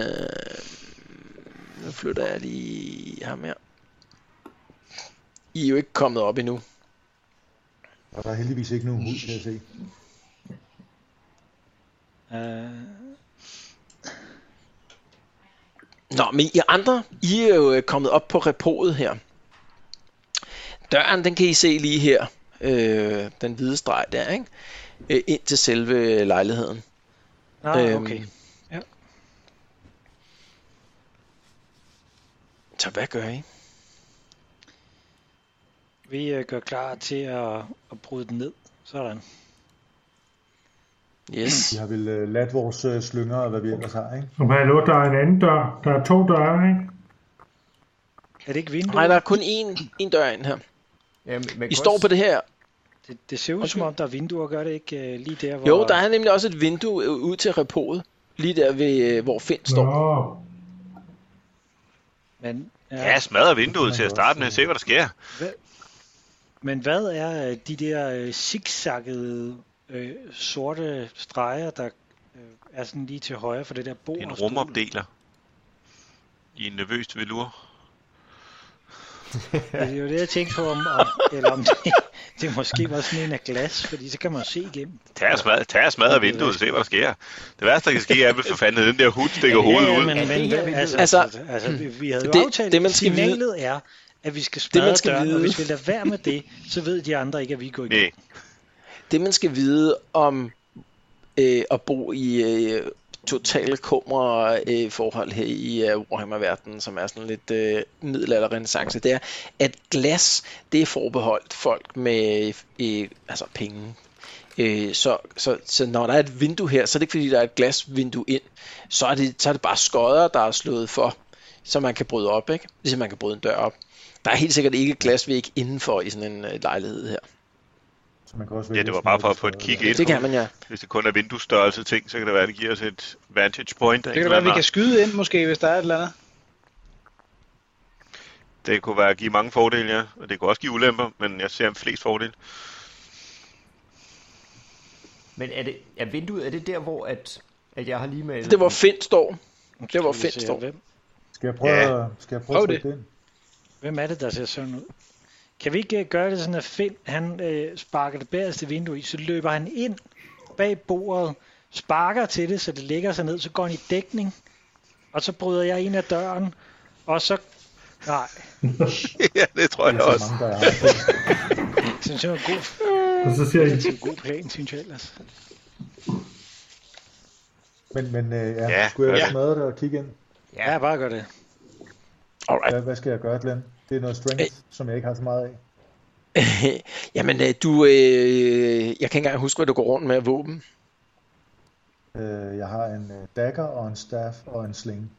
nu flytter jeg lige ham her. I er jo ikke kommet op endnu. Og der er heldigvis ikke nogen hud, kan jeg se. øh, Nå, men I andre, I er jo øh, kommet op på repoet her. Døren, den kan I se lige her. Øh, den hvide streg der, ikke? Øh, ind til selve lejligheden. Nå, Øhm. okay. Så hvad gør I? Vi øh, gør klar til at, at bryde den ned. Sådan. Yes. Vi har vel øh, ladt vores øh, slynger og hvad vi ellers har, ikke? Som hallo, der er en anden dør. Der er to døre, ikke? Er det ikke vinduet? Nej, der er kun én, én dør ind her. Jamen, men I står på det her. Det, det ser ud som om, der er vinduer, gør det ikke øh, lige der, hvor... Jo, der er nemlig også et vindue øh, ud til repoet. Lige der, ved, øh, hvor Finn står. Nå, Men, ja, Ja, smadrer vinduet til at starte med og se, hvad der sker. men hvad er øh, de der øh, zigzaggede øh, sorte streger, der øh, er sådan lige til højre for det der bord? En og stol? rumopdeler. I en nervøst velur. Det er jo det, jeg tænkte på, om, om, eller om det, [LAUGHS] det måske var sådan en af glas, fordi så kan man jo se igennem. Tag og smadre, tag og smadre vinduet og se, hvad der sker. Det værste, der kan ske, er, at for fanden den der hund stikker hovedet Ja, ud. men, det men, her altså, altså, Altså, altså, altså, vi, vi havde jo det- aftalt, det, man skal vide- signalet er, at vi skal smadre man skal døren, og vide- hvis vi lader være med det, så ved de andre ikke, at vi går igennem. Nej, Det man skal vide om øh, at bo i øh, totale kumre øh, forhold her i øh, Warhammer-verdenen, som er sådan lidt øh, middelalderrenæssance, det er, at glas, det er forbeholdt folk med øh, altså penge. Øh, så, så, så når der er et vindue her, så er det ikke fordi, der er et glasvindue ind, så er det, så er det bare skodder, der er slået for, så man kan bryde op, ikke? ligesom man kan bryde en dør op. Der er helt sikkert ikke glasvæg indenfor i sådan en øh, lejlighed her. Så man kan også Ja, det var bare for at få et kig ind. Det kan man ja. Hvis det kun er vinduesstørrelse ting, så kan det være, at det giver os et vantage point. Det kan da være, at vi kan skyde ind måske, hvis der er et eller andet. det kunne være at give mange fordele, ja. Og det kunne også give ulemper, men jeg ser flest fordele. Men er, det, er vinduet, er det der, hvor at, at jeg har lige med... Det var Finn står. Det var Skal vi Finn se, står. Hvem, Skal jeg prøve, Ja. at- skal jeg prøve at Prøv det. trykke det ind? hvem er det, der ser sådan ud? Kan vi ikke øh, gøre det sådan, at Finn han, øh, sparker det bagerste vindue i, så løber han ind bag bordet, sparker til det, så det ligger sig ned, så går han i dækning, og så bryder jeg ind af døren, og så... Nej, ja, det tror jeg Der er så også. mange, der har det. det synes jeg var en god, og så siger jeg, det er en god plan, synes jeg ellers. Men, men øh, ja, Ja, skulle jeg ja. smadre det og kigge ind? Ja, bare gør det. Alright. Hvad, hvad skal jeg gøre, Glenn? Det er noget strength, som jeg ikke har så meget af. [LAUGHS] Jamen, øh, du, øh, jeg kan ikke engang huske, hvad du går rundt med af våben. Øh, jeg har en øh, dagger og en staff og en sling.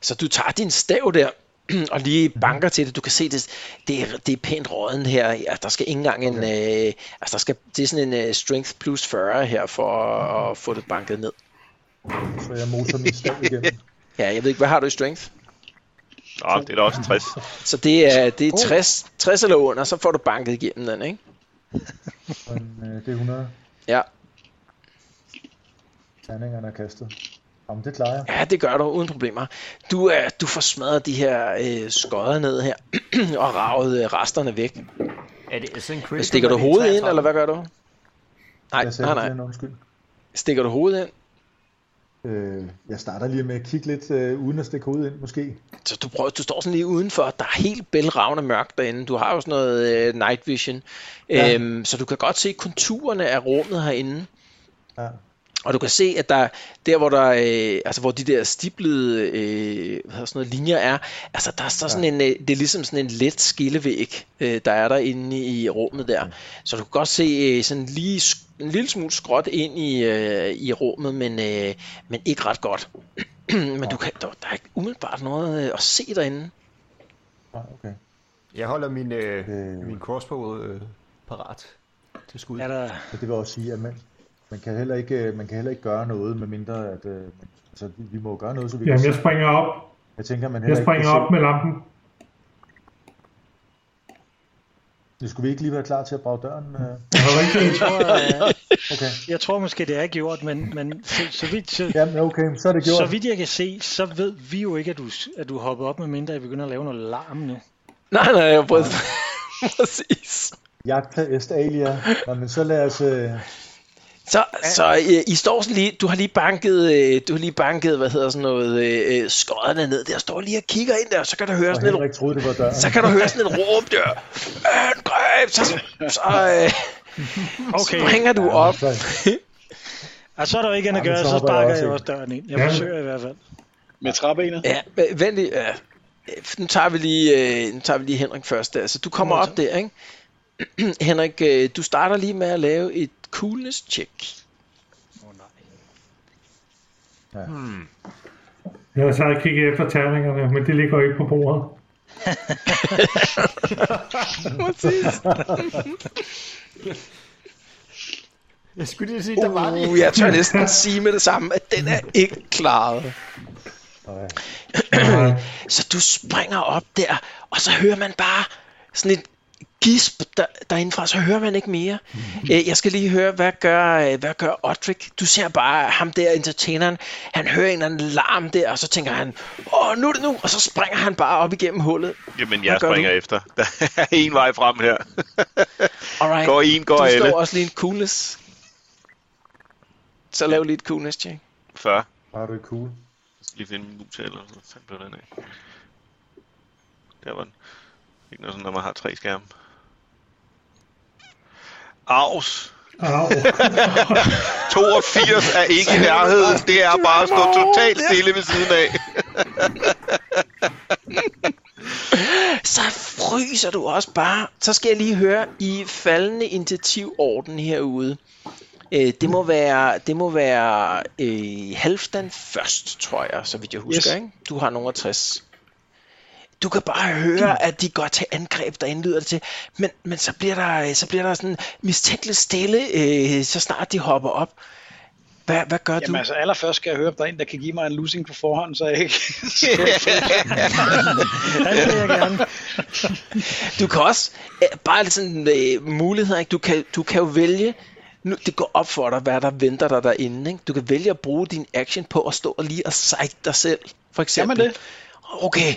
Så du tager din stav der, [CLEARS THROAT] og lige banker til det. Du kan se, det, det, er, det er pænt råden her. Ja, der skal ikke engang en... Okay. Øh, altså, der skal, det er sådan en øh, strength plus 40 her, for at, at få det banket ned. Så jeg moser [LAUGHS] min stav igen. Ja, jeg ved ikke, hvad har du i strength? Nå, det er da også 60. Så det er, det er 60, 60 eller under, så får du banket igennem den, ikke? Men, øh, det er 100 Ja. terningerne er kastet. Om det klarer jeg. Ja, det gør du uden problemer. Du, er, du får smadret de her øh, skodder ned her, [CLEARS THROAT] og ravet øh, resterne væk. Er det er sådan en critical, Altså, Stikker når du det er hovedet ind, 33? eller hvad gør du? Nej, jeg nej, nej. Glenn, undskyld. Stikker du hovedet ind? Øh, jeg starter lige med at kigge lidt, øh, uden at stikke hovedet ind måske. Så du, prøver, du står sådan lige udenfor, der er helt bælragende mørkt derinde. Du har jo sådan noget øh, night vision, Ja. øhm, så du kan godt se konturerne af rummet herinde. Ja. Og du kan se, at der, der hvor der, øh, altså hvor de der stiplede øh, hvad hedder sådan noget, linjer er, altså der er så sådan en, øh, det er ligesom sådan en let skillevæg, øh, der er der inde i rummet Mm. der. Så du kan godt se øh, sådan lige sk- en lille smule skråt ind i, øh, i rummet, men, øh, men ikke ret godt. [CLEARS THROAT] men du kan, der, der er ikke umiddelbart noget øh, at se derinde. Ah, okay. Jeg holder min, øh, Øh. min crossbow øh, parat til skud. Er der, Så det vil også sige, at man, man, kan heller ikke, øh, man kan heller ikke gøre noget, medmindre at... Øh, altså, vi, vi må jo gøre noget, så vi Jamen, kan jeg se. springer op. Jeg tænker, man Jeg heller springer ikke op med lampen. Det skulle vi ikke lige være klar til at brage døren? Øh? Det var rigtigt. jeg, tror, øh, Okay. jeg tror måske, det er gjort, men, men så, så, vidt, så, Jamen, okay, så er det gjort. så vidt jeg kan se, så ved vi jo ikke, at du, at du hopper op, med mindre I begynder at lave noget larm nu. Nej, nej, jeg prøvede... [LAUGHS] Præcis. Jagter Estalia. Nå, men så lad os... Øh, Så, så øh, I står sådan lige, du har lige banket, øh, du har lige banket, hvad hedder sådan noget, øh, øh, skodderne ned der, står lige og kigger ind der, og så kan du høre og sådan et, Henrik troede, det var døren. så kan du høre sådan et råb der, angreb, så, så, øh, Okay, springer du op. Så, og så er der jo ikke andet at Jamen, gøre, så så hopper jeg sparker også jeg ind. også døren ind. Jeg Ja. forsøger i hvert fald. med træbenet. Ja, øh, vent lige, ja. Øh, nu tager vi lige, øh, nu tager vi lige Henrik først der, så du kommer op der, ikke? [CLEARS THROAT] Henrik, øh, du starter lige med at lave et coolness check. Jeg har så kigget efter terningerne, men det ligger jo ikke på bordet. [LAUGHS] [LAUGHS] Jeg skulle lige sige, der var det. Uh, jeg tør næsten sige med det samme, at den er ikke klaret. øh, [CLEARS THROAT] Så du springer op der, og så hører man bare sådan et gisp der, derindefra, så hører man ikke mere. Mhm. Øh, Jeg skal lige høre, hvad gør, øh, hvad gør Odrik? Du ser bare ham der, entertaineren, han hører en eller anden larm der, og så tænker han, åh, nu er det nu, og så springer han bare op igennem hullet. Jamen, Hvad jeg gør springer du? efter. [LAUGHS] Der er en vej frem her. Alright. Går en, går du alle. slår også lige en coolness. Så lav lige et coolness check. 40. var du ikke cool? Jeg skal lige finde min mus her, eller sådan noget. Fandt blev den af. Der var den. Ikke noget sådan, når man har tre skærme. Aus. Au. [LAUGHS] 82 er ikke i nærheden. Det er bare at stå totalt stille ved siden af. Så fryser du også bare. Så skal jeg lige høre i faldende initiativorden herude. Øh, det må være, det må være øh, halvdan først, tror jeg, så vidt jeg husker. Yes. Ikke? Du har nogen af 60. Du kan bare høre, at de går til angreb, der indlyder det til. Men, men så, bliver der, så bliver der sådan mistænkeligt stille, øh, så snart de hopper op. Hvad, hvad gør Jamen du? altså, allerførst skal jeg høre, om der er en, der kan give mig en losing på forhånd, så jeg ikke... [LAUGHS] Alt det, jeg gerne. Du kan også, øh, bare lidt sådan øh, muligheder, ikke? Du, kan, du kan jo vælge, nu, det går op for dig, hvad der venter dig derinde. Ikke? Du kan vælge at bruge din action på at stå og lige og psyche dig selv, for Jamen eksempel. det. Okay,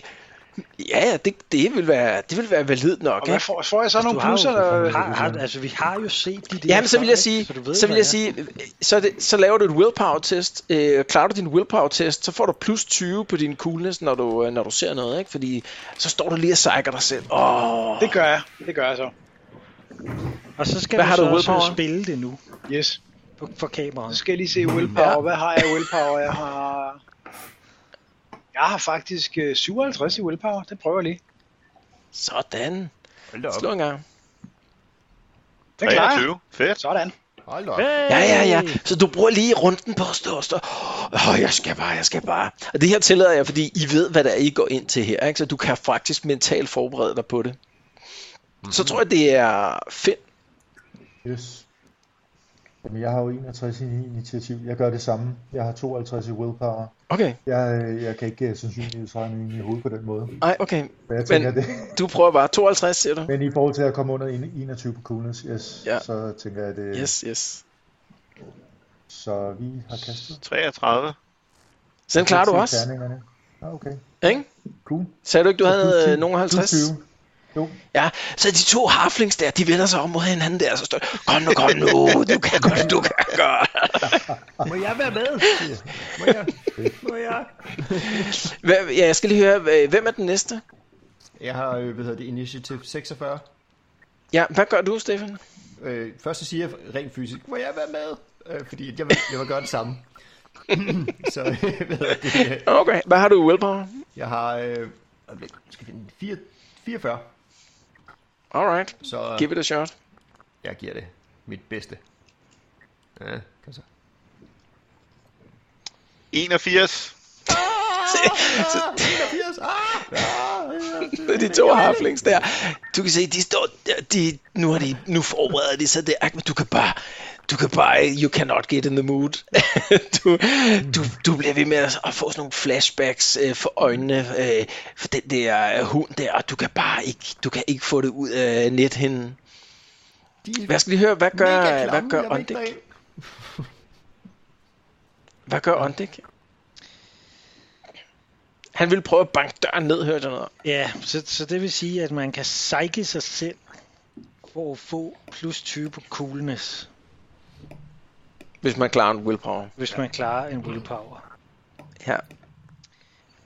ja, ja, det, det, vil være, det vil være validt nok. Og ikke? hvad får, får jeg så nogle Altså, har jo- plusser? Eller... Har, har, altså, vi har jo set de der... Ja, men så vil jeg før, sige, så, ikke? du ved, så, vil hvad jeg sige øh, så, er det, så laver du et willpower-test. Øh, klarer du din willpower-test, så får du plus 20 på din coolness, når du, øh, når du ser noget. Ikke? Fordi så står du lige og psyker dig selv. Åh, Det gør jeg. Det gør jeg så. Og så skal Hvad du har så du også willpower? spille det nu Yes. på, for kameraet. Så skal jeg lige se willpower. Hvad har jeg i willpower? Jeg har... Jeg har faktisk øh, 57 i willpower. Det prøver jeg lige. sådan. Hold da op. Slå en gang. Det klarer jeg. 23. Fedt. Sådan. Hold da op. Ja, ja, ja. Så du bruger lige runden på at stå og stå. Åh, jeg skal bare, jeg skal bare. Og det her tillader jeg, fordi I ved, hvad der er, I går ind til her. Ikke? Så du kan faktisk mentalt forberede dig på det. Så tror jeg, det er Finn. Yes. Jamen, jeg har jo 61 i initiativ. Jeg gør det samme. Jeg har 52 i willpower. Okay, Jeg, øh, jeg kan ikke øh, sandsynlighedsregne ind i hovedet på den måde. nej, okay. Men jeg tænker, Men- det, Du prøver bare 52, siger du? men i forhold til at komme under en- 21 på coolness, yes, Ja. så tænker jeg, det Yes, yes. så vi har kastet. 33. Så den klarer du Til også, terningerne. Ah, okay. ikke? Cool. Sagde du ikke, du Plus havde 10, øh, nogen af plus 50? 20. Jo, Ja, så de to harflings der, de vender sig om mod hinanden der, og så står de, kom nu, kom nu, du kan godt, du kan godt. Må jeg være med? Må jeg? Må jeg? Hvad, ja, jeg skal lige høre, hva- hvem er den næste? Jeg har, øh, hvad hedder det, initiativ 46. Ja, hvad gør du, Stefan? Øh, først så siger jeg rent fysisk, må jeg være med? Øh, fordi at jeg vil, jeg vil gøre det samme. [LAUGHS] så [LAUGHS] øh, hvad hedder det, øh, Okay, hvad har du i willpower? jeg har, øh, øjeblik, skal jeg finde, 4, 44. Alright, Så give it a shot. jeg giver det mit bedste. Ja, kom så. 81. Ah, Det er de to halflings der. Du kan se, de står, de, nu har de, nu forbereder de sig der, men du kan bare, du kan bare, you cannot get in the mood. [LAUGHS] du, du, du bliver ved med at at få sådan nogle flashbacks øh, for øjnene øh, for den der øh, hund der, og du kan bare ikke, du kan ikke få det ud af nethinden. De er Hvad skal vi høre, hvad gør, mega klamme, hvad gør jeg vil ikke Ondik? derind. Hvad gør Ondik? Han ville prøve at banke døren ned, hørte jeg noget. om. Ja, så, så det vil sige, at man kan psyche sig selv for at få plus 20 på coolness, Hvis man klarer en willpower. hvis man klarer en willpower. Ja.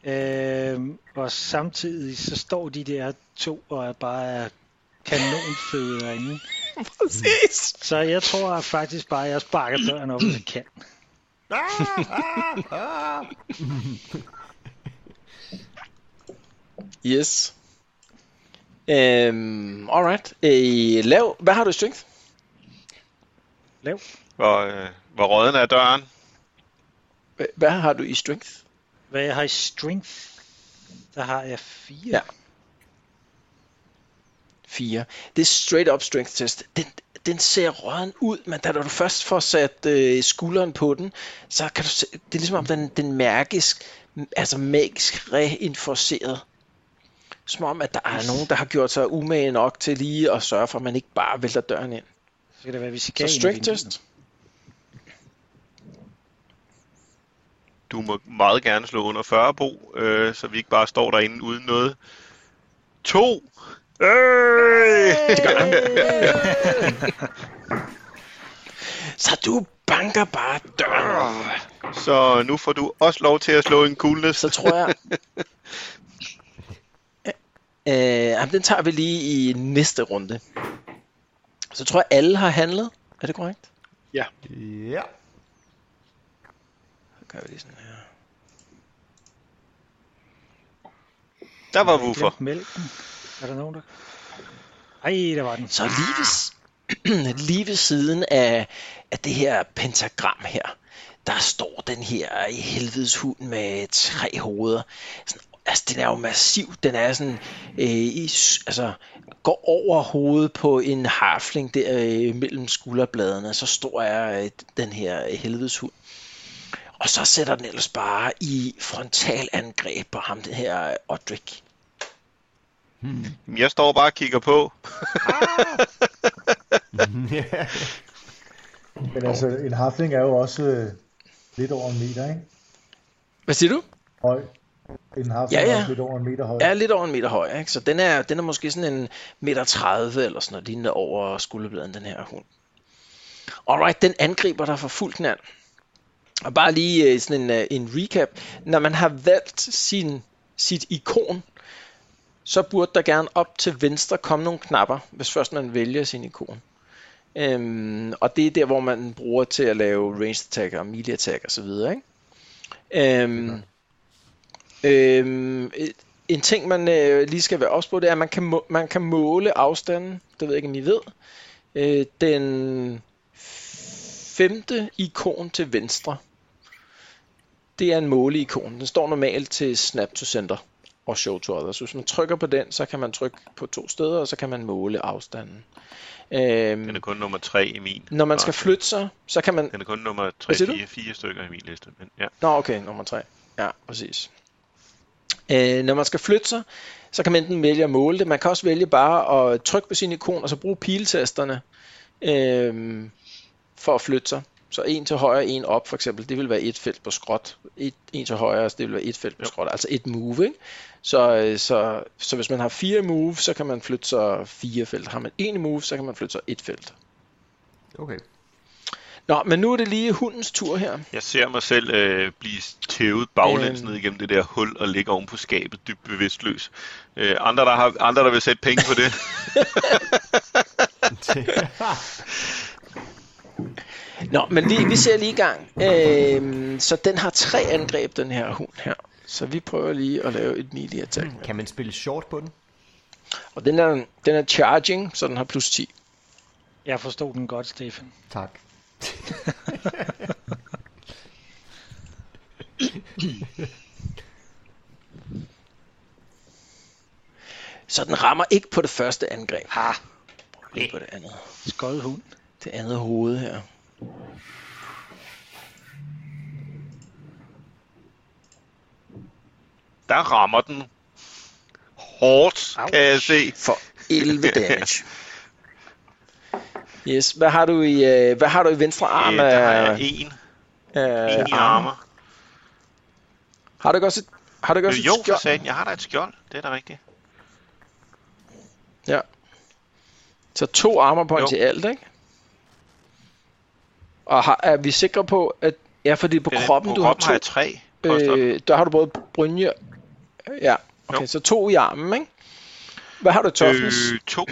Øhm, og samtidig så står de der to og er bare kanonfede derinde. Præcis. Så jeg tror faktisk bare, at jeg sparker døren op, hvis jeg kan. Yes. Øhm, alright. Øh, lav. Hvad har du i strength? Hvor, øh, hvor råden er døren. Hva- Hvad har du i strength? Hvad jeg har i strength, der har jeg fire. Ja. 4. Det er straight up strength test. Den, den ser røden ud, men da du først får sat øh, skulderen på den, så kan du se, det er ligesom om den, den mærkes, altså magisk reinforceret. Som om, at der er nogen, der har gjort sig umage nok til lige at sørge for, at man ikke bare vælter døren ind. Så skal det være, hvis jeg kan Så strength test. Du må meget gerne slå under 40, Bo, øh, så vi ikke bare står derinde uden noget. To! Øh! Så du banker bare døren. op. Så nu får du også lov til at slå en coolness. Så tror [LAUGHS] jeg... øh, jamen, den tager vi lige i næste runde. Så tror jeg, alle har handlet. Er det korrekt? Ja. Så gør vi lige sådan her. Der var woofer. Glem mælken. Er der nogen, der... Ej, der var den. Så lige ved, [CLEARS THROAT] lige ved siden af, af det her pentagram her, der står den her i helvedes hund med tre hoveder. Sådan, altså, den er jo massiv. Den er sådan, øh, i, s- altså, går over hovedet på en harfling der øh, mellem skulderbladene. Så stor er øh, den her helvedes hund. Og så sætter den ellers bare i frontalangreb på ham, det her øh, Odrik. Jamen, Jeg står bare og kigger på. Men altså, en hafling er jo også øh, lidt over en meter, ikke? Hvad siger du? Høj. En hafling Ja, ja. ja, ja. er også lidt over en meter høj. er lidt over en meter høj, ikke? så den er, den er måske sådan en meter 30 eller sådan noget, lignende over skulderbladen, den her hund. Alright, den angriber dig for fuld knald. Og bare lige øh, sådan en, øh, en recap. Når man har valgt sin, sit ikon, så burde der gerne op til venstre komme nogle knapper, hvis først man vælger sin ikon. Øhm, og det er der, hvor man bruger til at lave ranged attack og melee attack osv. Ikke? Øhm, øhm, øh, en ting, man øh, lige skal være ops på, det er, at man kan, må- man kan måle afstanden. Det ved jeg ikke, om I ved. Øh, den femte ikon til venstre, det er en måleikon. Den står normalt til Snap to Center og Show to Others. Hvis man trykker på den, så kan man trykke på to steder, og så kan man måle afstanden. Øhm, Den er kun nummer 3 i min. når man Og skal flytte sig, så kan man... Den er kun nummer 3, Hvad siger du? 4, 4 stykker i min liste. Men ja. Nå, okay, nummer tre. Ja, præcis. Øh, når man skal flytte sig, så kan man enten vælge at måle det. Man kan også vælge bare at trykke på sin ikon, og så bruge piletasterne øh, for at flytte sig. Så en til højre, en op for eksempel, det vil være et felt på skråt. Et, en til højre, det vil være et felt på skråt, altså et move. Ikke? Så, øh, så, så hvis man har fire move, så kan man flytte sig fire felt. Har man en move, så kan man flytte sig et felt. Okay. Nå, men nu er det lige hundens tur her. Jeg ser mig selv øh, blive tævet baglæns ned igennem det der hul og ligge oven på skabet, dybt bevidstløs. Øh, andre, der har, andre, der vil sætte penge på [LAUGHS] det. Nå, men vi, vi ser lige i gang. Øhm, så den har tre angreb, den her hund her. Så vi prøver lige at lave et melee attack. Mm. Kan man spille short på den? Og den er, den er charging, så den har plus 10. Jeg forstod den godt, Stefan. Tak. Så den rammer ikke på det første angreb. Ha! Prøv lige på det andet. Skød hund. Det andet hoved her. Der rammer den hårdt, kan jeg se. For 11 [LAUGHS] damage. Yes, hvad har du i, øh, hvad har du i venstre arm? Øh, der har jeg øh, en, øh, en i armer. Har du ikke også et, har du ikke også Øh, Jo, et for skjold? satan, jeg har da et skjold. Det er da rigtigt. Ja. Så to armor points Jo. i alt, ikke? Og har, er vi sikre på, at... Ja, fordi på Det er- kroppen, Øh, på du kroppen har har to... jeg tre. Øh, øh, der har du både brynje... Ja, okay, Jo. så to i armen, ikke? Hvad har du i toughness? Øh, to.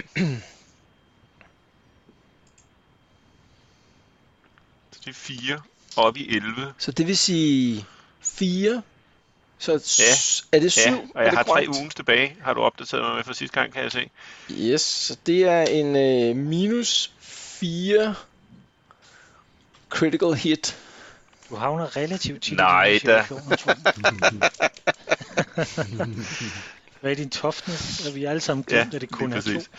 Så det er fire. Op i 11. Så det vil sige 4. Så Ja. ja. er det 7? Ja, og er jeg det har tre grønt? ugen tilbage. Har du opdateret mig med fra sidste gang, kan jeg se. Yes, så det er en øh, minus 4 critical hit. Du havner relativt tit Nej, i da. de her situationer, tror jeg. [LAUGHS] Hvad er din toughness? Og vi er alle sammen glemt, ja, at det kun lige er to. præcis.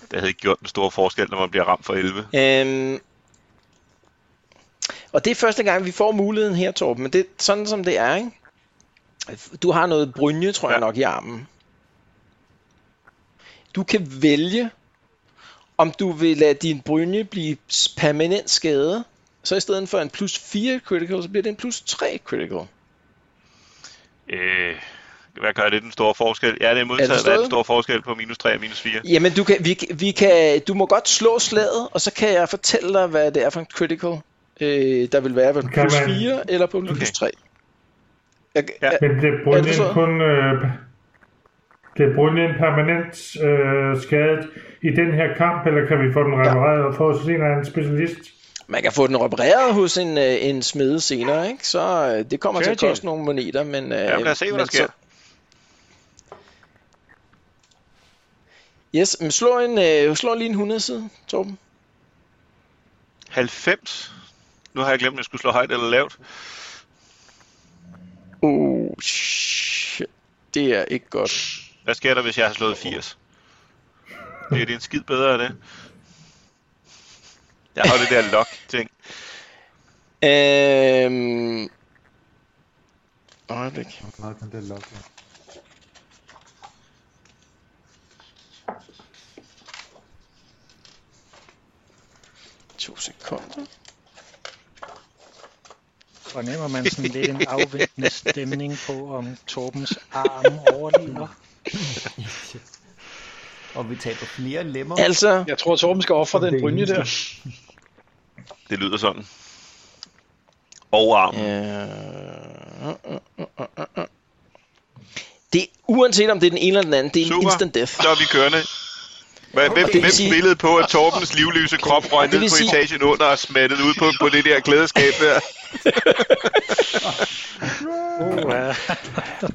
Det havde ikke gjort den store forskel, når man bliver ramt for 11. Øhm, og det er første gang, vi får muligheden her, Torben, men det er sådan, som det er, ikke? Du har noget brynje, tror ja. jeg Ja. nok, i armen. Du kan vælge, om du vil lade din brynje blive permanent skadet, så i stedet for en plus 4 critical, så bliver det en plus 3 critical. Øh, hvad gør det den store forskel? Ja, det er Er det modsat. Hvad er den forstået? store forskel på minus 3 og minus 4? Jamen, du, kan, vi, kan- vi kan, du må godt slå slaget, og så kan jeg fortælle dig, hvad det er for en critical, øh, der vil være på en Kan plus man- 4 eller på en plus Okay. 3. Jeg, øh, Ja. jeg, Men det er Er det så? brunjen kun... Øh, det er brunjen permanent øh, skadet i den her kamp, eller kan vi få den repareret og få os en eller anden specialist? man kan få den repareret hos en, øh, en smede senere, ikke? så øh, det kommer til at Churchill. koste nogle moneter. Men, øh, Jamen, lad os se, hvad men der sker. så- Yes, men slå, en, øh, slå lige en 100 side, Torben. 90. Nu har jeg glemt, om jeg skulle slå højt eller lavt. Oh, shit. Det er ikke godt. Hvad sker der, hvis jeg har slået 80? Bliver det en skid bedre af det? Jeg har jo det der lock-ting. Øhm... Øjeblik. Du har den der log. ja. To sekunder. Fornemmer man sådan lidt en afventende stemning på, om Torbens arm overlever? Og vi taber flere lemmer. Altså, Jeg tror, Torben skal ofre Det den er brynje der. Det lyder sådan. Og armen. Øh, øh, øh, øh, øh. Det uanset om det er den ene eller den anden, det er en Super. instant death. Så er vi kørende. Hvad- Hvem, det vil hvem sige- spillede på, at Torbens livløse krop røg Det ned vil på sige- etagen under og smattede ud på, på det der klædeskab der? Uh,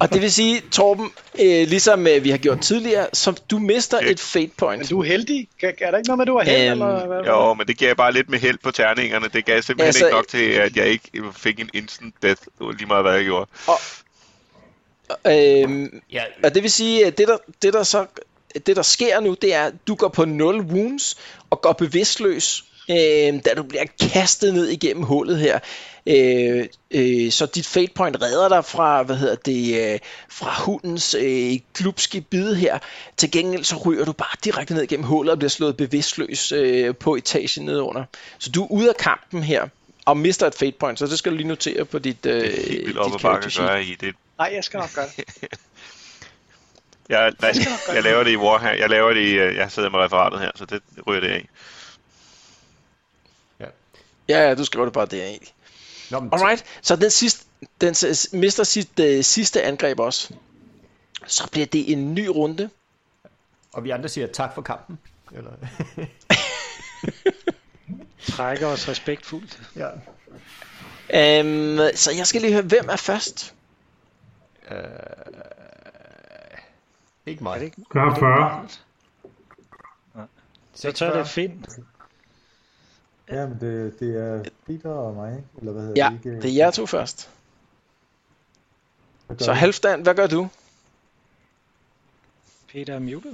Og det vil sige, Torben, øh, ligesom øh, vi har gjort tidligere, så du mister Ja. et fate Men point. du er heldig. Kan- Er der ikke noget med, at du er heldig? Øhm, eller hvad? Jo, men det gav jeg bare lidt med held på terningerne. Det gav simpelthen Altså- altså, ikke nok til, at jeg ikke fik en instant death. Det var lige meget, hvad jeg gjorde. Øhm, Ja, og det vil sige, at det der, det der så det der sker nu, det er, at du går på 0 wounds og går bevidstløs, øh, da du bliver kastet ned igennem hullet her. Øh, øh, så dit fate point redder dig fra, hvad hedder det, øh, fra hundens øh, klubske bid her. Til gengæld så ryger du bare direkte ned igennem hullet og bliver slået bevidstløs øh, på etagen nedenunder. Så du er ude af kampen her og mister et fate point, så det skal du lige notere på dit, øh, Det er helt vildt dit op og character bakke sheet. gør jeg i det. Nej, jeg skal nok gøre det. Jeg, nej, jeg laver det i Warhammer. Jeg laver det i, øh, jeg sidder med referatet her, så det ryger det af. Ja. Ja, ja, du skriver det bare der egentlig. Nå, men Alright, så den, sidste, den s- mister sit øh, sidste angreb også. Så bliver det en ny runde. Og vi andre siger tak for kampen. Eller, [LAUGHS] Trækker os respektfuldt. ja. Um, så jeg skal lige høre, hvem er først? Ikke mig. Er det Ikke? ikke? Gør 40. Så tør det Finn. Ja, men det, det er Peter og mig, ikke? eller hvad hedder Ja, det? det er jer to først. Hvad gør Så vi? Halfdan, hvad gør du? Peter er muted.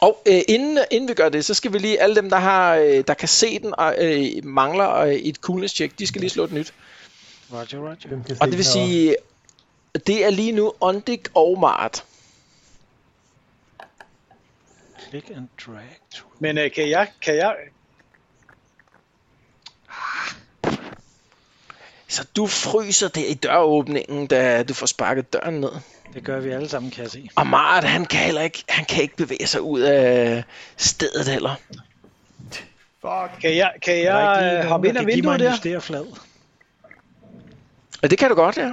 Og øh, inden, inden vi gør det, så skal vi lige, alle dem, der, har, øh, der kan se den og øh, mangler øh, et coolness check, de skal lige slå et nyt. Roger, roger. Hvem kan Og stikke det vil heroppe? sige, det er lige nu Ondik og Mart. Click and drag to. Men øh, kan jeg, kan jeg, Så du fryser der i døråbningen, da du får sparket døren ned. Det gør vi alle sammen, kan jeg se. Og Mart, han kan heller ikke, han kan ikke bevæge sig ud af stedet heller. kan Der er jeg, kan ikke jeg lige øh, nogen, hoppe ind der af kan give mig vinduet en der? justerflad. Og det kan du godt, ja.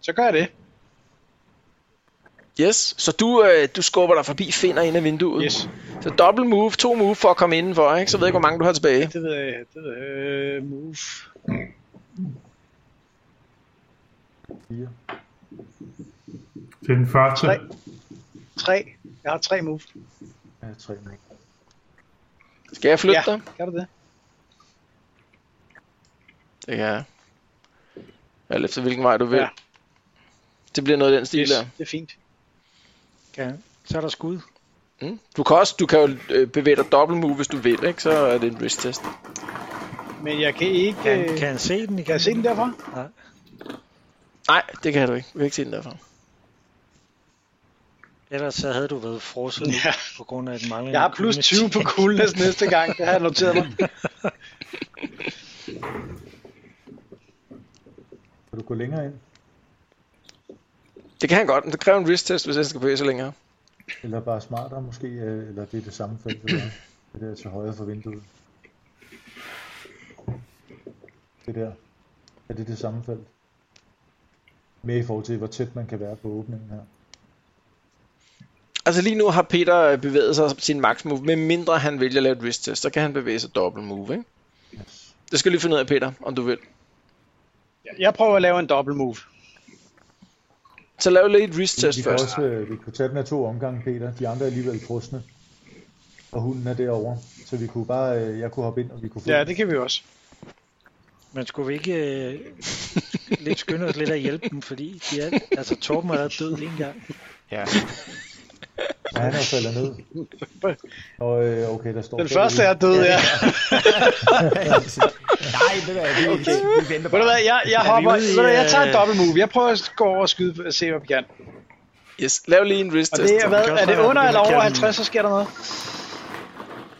Så gør jeg det. Yes. Så du, øh, du skubber dig forbi, finder ind af vinduet. Yes. Så dobbelt move, to move for at komme indenfor, ikke? Så ved jeg ikke, hvor mange du har tilbage. Det ved jeg, det ved jeg. Øh, move. Fire. Det er den første. Tre. Tre. Jeg har tre move. Ja, tre nu. Skal jeg flytte dig? kan du det? Det kan jeg. Alt efter hvilken vej du vil. Ja. Ja. Det bliver noget af den stil Yes, der. det er fint. Kan. Så er der skud. Øh, Mm. Du kan også, du kan jo øh, bevæge dig dobbelt move, hvis du vil, ikke? Så er det en risk test. Men jeg kan ikke... Kan, øh, kan han se den? Kan jeg se den derfra? Nej, det kan du ikke. Du kan ikke se den derfra. Ellers så havde du været frosset Ja. ja. på grund af et manglende Jeg har plus 20 på coolness næste gang. Det har jeg noteret mig. Kan du gå længere ind? Det kan han godt, men det kræver en risk test, hvis jeg skal bevæge sig længere. Eller bare smartere måske? øh, Eller det er det samme felt, det der. Det der til højre for vinduet. Det der. Er det det samme felt? Mere i forhold til, hvor tæt man kan være på åbningen her. Altså lige nu har Peter øh, bevæget sig sin max move, med mindre han vælger at lave et risk test, så kan han bevæge sig dobbelt move, ikke? Yes. Det skal jeg lige finde ud af, Peter, om du vil. Jeg prøver at lave en dobbelt move. Så lav lige et risk test vi kan først. også øh, vi kunne tage den af to omgange, Peter. De andre er alligevel frosne. Og hunden er derovre. Så vi kunne bare, øh, jeg kunne hoppe ind, og vi kunne få Ja, den. det kan vi også. [LAUGHS] Men skulle vi ikke øh, lidt skynde os lidt at hjælpe dem, fordi de er, altså Torben er allerede død lige en gang. Ja. Ja, han er faldet [LAUGHS] ned. Og øh, okay, der står... Den første er død, ja. Nej, det er det. Okay. Vi venter Ved du bare. hvad, jeg, jeg vi hopper... ude i, Ved du, hvad, jeg tager en øh, dobbelt move. Jeg prøver at gå over og skyde og se, hvad vi kan. Yes, lav lige en risk Og test. det er hvad? kan også Er det være, under at vi eller kan- over 50, så sker der noget?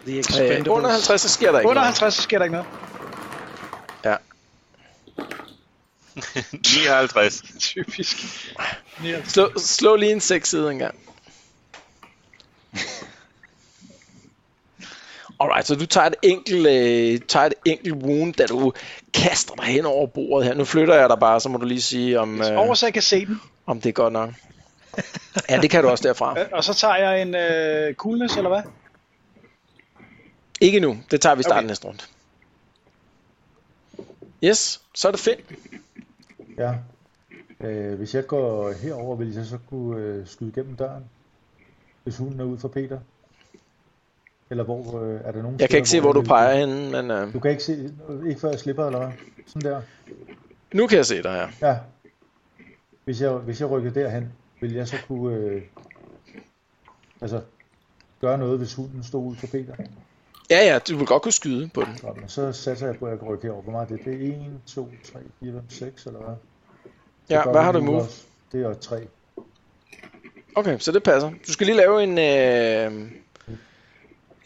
The Øh, Expendables. under 50, så sker der ikke Under noget. 50, så sker der ikke noget. [LAUGHS] 59. Typisk. Slå, slå lige en seks side engang. Alright, så du tager et enkelt, øh, tager et enkelt wound, da du kaster dig hen over bordet her. Nu flytter jeg dig bare, så må du lige sige, om, øh, Over, så jeg kan se den. om det er godt nok. Ja, det kan du også derfra. Øh, Og så tager jeg en øh, coolness, eller hvad? Ikke nu. Det tager vi i starten Okay. okay. næste runde. Yes, så er det fedt. [LAUGHS] Ja. Øh, hvis jeg går herover, vil jeg så kunne øh, skyde gennem døren? Hvis hunden er ude for Peter? Eller hvor øh, er der nogen Jeg kan steder, ikke se, hvor du vil- peger henne, men øh, Du kan ikke se, ikke før jeg slipper, eller hvad? Sådan der. nu kan jeg se dig her. Ja. Hvis jeg, hvis jeg rykker derhen, vil jeg så kunne øh, altså, gøre noget, hvis hunden stod ud for Peter? Ja, ja, du vil godt kunne skyde på den. Godt, men så satser jeg på, at jeg kan rykke herover. Hvor meget er det? Det er 1, 2, 3, 4, 5, 6, eller hvad? Det Ja, gør hvad vi har du i nu move? også. Det er 3. Okay, så det passer. Du skal lige lave en, øh,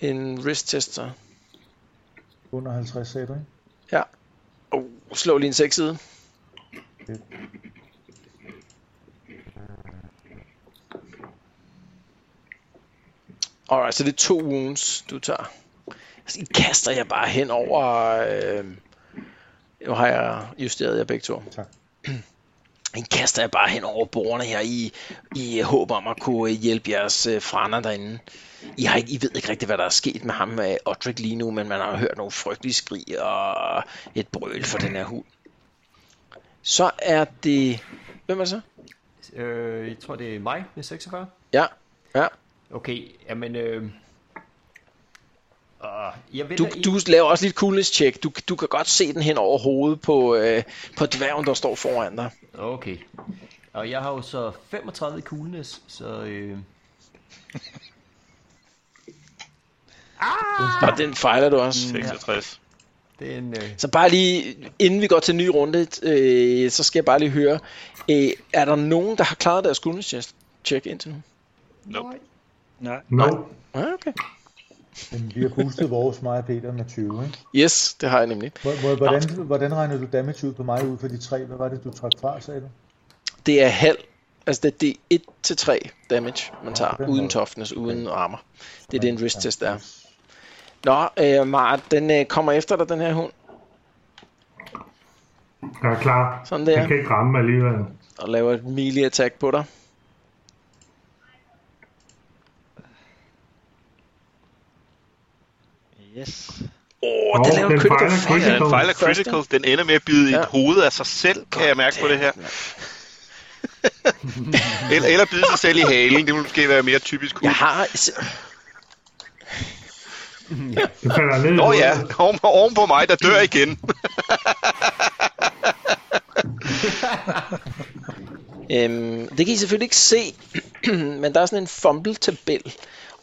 en wrist test, så. Under 50 sagde du, ikke? Oh, slå lige en seksside. Alright, så det er to wounds, du tager. Så kaster jeg bare hen over... Øh, nu har jeg justeret jer begge to. Tak. Den kaster jeg bare hen over bordene her i, i håb om at kunne øh, hjælpe jeres øh, franer derinde. I, har ikke, I ved ikke rigtigt, hvad der er sket med ham, øh, Odrik, lige nu, men man har hørt nogle frygtelige skrig og et brøl fra den her hund. Så er det... Hvem er det så? Øh, jeg tror, det er mig med 46. Ja, ja. Okay, jamen... Øh, øh, jeg Du, venter du laver også lidt coolness check. Du, du kan godt se den hen over hovedet på, øh, på dværgen, der står foran dig. Okay. Og jeg har jo så 35 i coolness, så... Øh, Og den fejler du også. 66. det er en... Øh, Så bare lige, inden vi går til en ny runde, øh, så skal jeg bare lige høre, øh, er der nogen, der har klaret deres coolness check- check indtil nu? Nej, No. Ah, okay. Men vi har boostet vores, mig og Peter, med 20, ikke? Yes, det har jeg nemlig. Hvor- hvor- Hvordan, hvordan regner du damage ud på mig ud for de tre? Hvad var det, du trak fra, sagde du? Det er halv, altså det, det er 1-3 damage, man tager, den uden måde. toughness, uden armor. Det er det, en wrist test Ja. er. Nå, øh, Mart, den øh, kommer efter dig, den her hund, Jeg er klar. Sådan Det der. kan ikke ramme alligevel. og laver et melee attack på dig. yes. Åh, Nå, den laver den en critical fejler fail. Ja, den fejler Første. critical. Den ender med at bide i Ja. et hoved af sig selv, kan jeg mærke på det her. [LAUGHS] eller, eller bide sig selv i halen. Det ville måske være mere typisk hund. Jeg har... se- Det falder ned. i Nå ja, hovedet. oven, oven på mig, der dør igen. Øhm, det kan I selvfølgelig ikke se, [CLEARS THROAT] men der er sådan en fumble-tabel.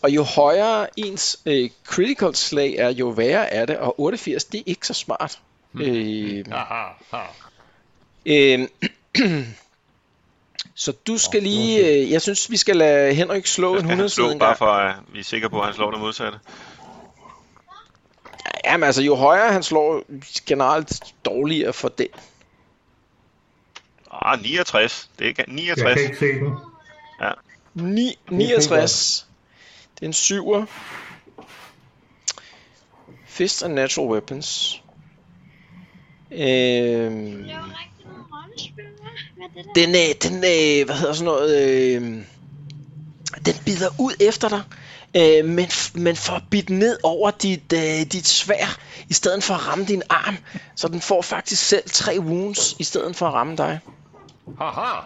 Og jo højere ens øh, critical slag er, jo værre er det. Og 88, det er ikke så smart. Øh, øh, [CLEARS THROAT] så du skal lige... Øh, jeg synes, vi skal lade Henrik slå en Skal han 100 side slå, en bare gang. for at vi er sikre på, at han slår det modsatte. Jamen altså, jo højere han slår, generelt dårligere for det. Ah, 69. Det er ikke- Jeg 69. kan ikke se den. 9, fint 69. Det er en 7'er. Fist and Natural Weapons. Øhm, Det er jo rigtig nogle rollespil, hva'? Hvad er det der? den, øh, den øh, hvad hedder sådan noget, øh, den bider ud efter dig, øh, men, f- men for at bide ned over dit, øh, dit svær, i stedet for at ramme din arm, så den får faktisk selv tre wounds, i stedet for at ramme dig. haha!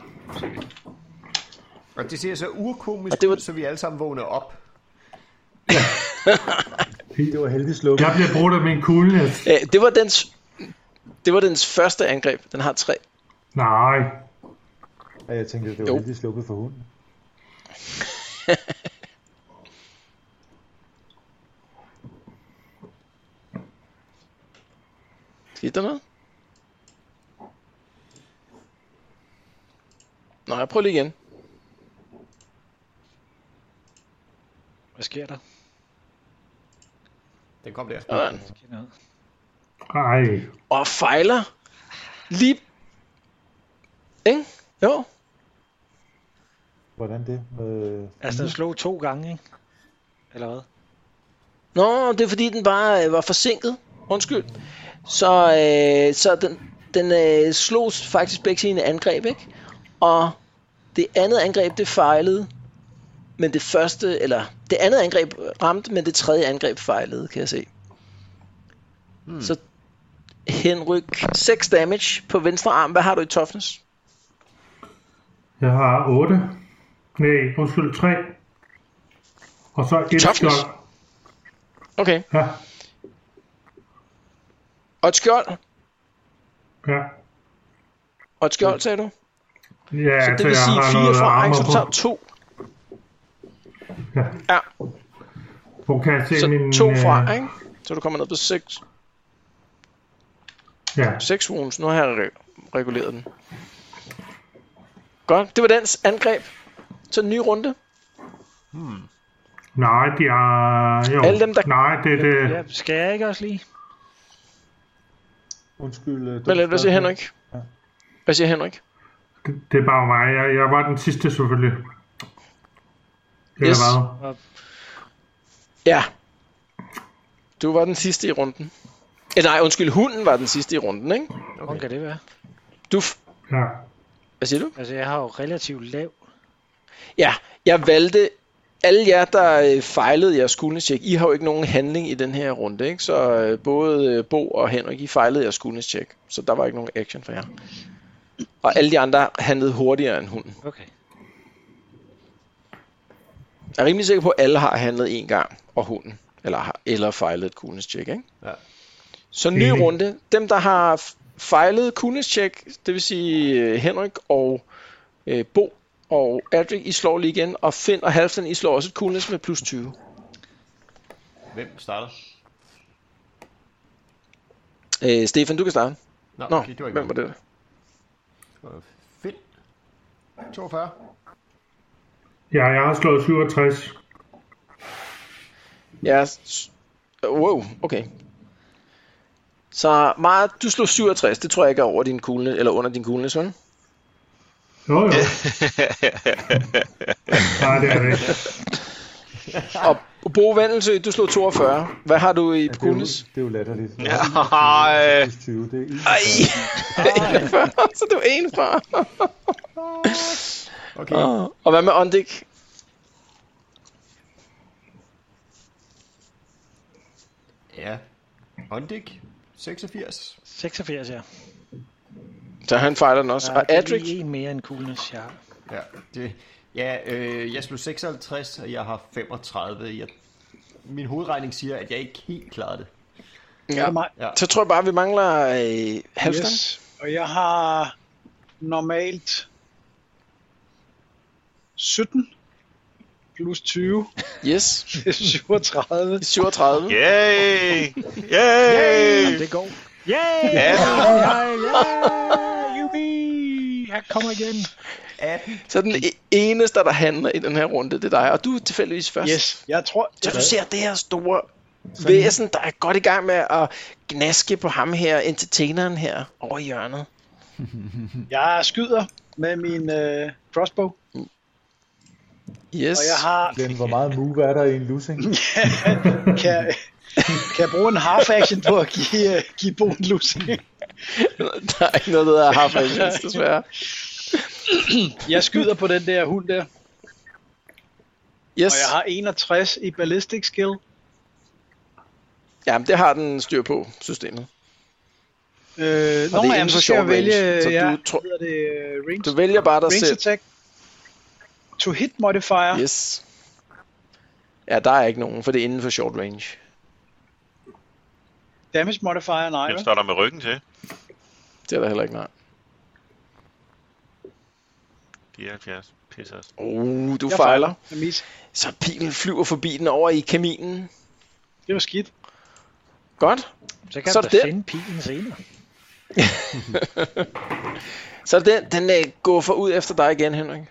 Og det ser så urkomisk Og det var- ud, så vi alle sammen vågner op. Det var heldigt slukket. Jeg bliver brudt af min coolness. Øh, det, var dens, det var dens første angreb, den har tre. Nej. Ja, jeg tænkte, det var Jo. heldigt slukket for hunden. Skete der noget? Nå, jeg prøver lige igen. Hvad sker der? Den kom der. Sådan. Sker der noget? Ej. Og fejler. Lige... Ikke? Jo. Hvordan det? Øh, Altså, den slog to gange, ikke? Eller hvad? Nå, det er fordi, den bare øh, var forsinket. Undskyld. Så, øh, så den, den øh, slog faktisk begge sine angreb, ikke? Og det andet angreb, det fejlede. Men det første, eller det andet angreb ramte, men det tredje angreb fejlede, kan jeg se. Hmm. Så Henryk, 6 damage på venstre arm. Hvad har du i toughness? Jeg har 8. Nej, undskyld, 3. Og så et Toughness. skjold. Okay. Ja, Og et skjold. ja. Og et skjold, sagde du? Så Ja, så det vil sige 4 fra så du tager 2. Ja. Ja, Hun kan jeg se min... så 2 fra, øh, ikke? Så du kommer ned på 6. Ja, 6 wounds. Nu har jeg re- reguleret den. Godt. Det var dens angreb. Så en ny runde. nej, de er... Jo. Alle dem, der- Nej, det er Ja, det... skal jeg ikke også lige? undskyld. øh, Hvad, dumt hvad siger spørgsmål. Henrik? Hvad siger Henrik? Det er bare mig. Jeg, jeg var den sidste, selvfølgelig. Eller Yes. hvad? Ja. Du var den sidste i runden. Eh, nej, undskyld, hunden var den sidste i runden, ikke? Hvordan kan det være? Du, f- Ja. hvad siger du? Altså, jeg har jo relativt lav. Ja, jeg valgte alle jer, der øh, fejlede jeres skuldnedstjek. I har jo ikke nogen handling i den her runde, ikke? Så øh, både øh, Bo og Henrik, I fejlede jeres skuldnedstjek. Så der var ikke nogen action for jer. Og alle de andre handlede hurtigere end hunden. Okay. Jeg er rimelig sikker på, at alle har handlet en gang, og hunden. Eller, har- eller fejlet et coolness-check, ikke? Ja. Så ny Enig. runde. Dem, der har f- fejlet coolness-check, det vil sige øh, Henrik og øh, Bo og Adric, I slår lige igen. Og Finn og Halfdan, I slår også et coolness med plus 20. Hvem starter? Øh, Stefan, du kan starte. Nå, Nå, okay, det var ikke Øh, hvem var det? mig. Fedt. 42. ja, jeg har slået 67. Ja, s- øh, wow, okay. Så meget, du slog 67, det tror jeg ikke er over din kugle, eller under din kugle, sådan. Jo, [LAUGHS] jo. Nej, det er det ikke. Og Bo Vendelse, du slog 42. Hvad har du i Ja, det, er jo, kules? det er jo latterligt. Ja, øh, 20, det er Ej, 41. så du er en fra. Okay. Oh. Og hvad med Ondik? Ja. Ondik. 86. 86, ja. Så han fejler den også. Der Og er Adric, lige en mere end coolness, jeg har. Ja, det, ja øh, jeg slog 56, og jeg har 35. Jeg, min hovedregning siger, at jeg ikke helt klarede det. ja. mig. Ja. så tror jeg bare, vi mangler øh, Halvdan. Yes. Og jeg har normalt 17 plus 20, yes. [LAUGHS] det er 37. 37. Yeah. yay! Yay! Det går. Yay! Ja, Yeah, Yubi! Jeg kommer igen. Så den e- eneste, der handler i den her runde, det er dig. Og du er tilfældigvis først. Yes, jeg tror, Så du ser det her store væsen, der er godt i gang med at gnaske på ham her, entertaineren her, over i hjørnet. jeg skyder med min øh, crossbow, Yes. og jeg har Glenn, hvor meget move er der i en [LAUGHS] losing? kan, kan jeg bruge en half action på at give, øh, give Bo en lussing. [LAUGHS] Der er ikke noget, der hedder half [LAUGHS] actions, desværre. Jeg skyder på den der hund der, Yes. og jeg har 61 i ballistic skill. Øh, Jamen, det har den styr på, systemet. Og det Øh, Nå, er jamen, inden for så skal short jeg vælge, øh, range, så ja, du hvad tror- hedder det, øh, range, Du vælger bare dig range selv. attack. To hit modifier. Yes. Ja, der er ikke nogen, for det er inden for short range. Damage modifier, nej. hvem vel? står der med ryggen til? Det er der heller ikke, nej. 74. Pisser. os. Oh, du Jeg fejler. Jeg mis. Så pilen flyver forbi den over i kaminen. Det var skidt. Godt. Så kan Så så er det da der. finde pilen senere. Så den, den øh, går for ud efter dig igen, Henrik.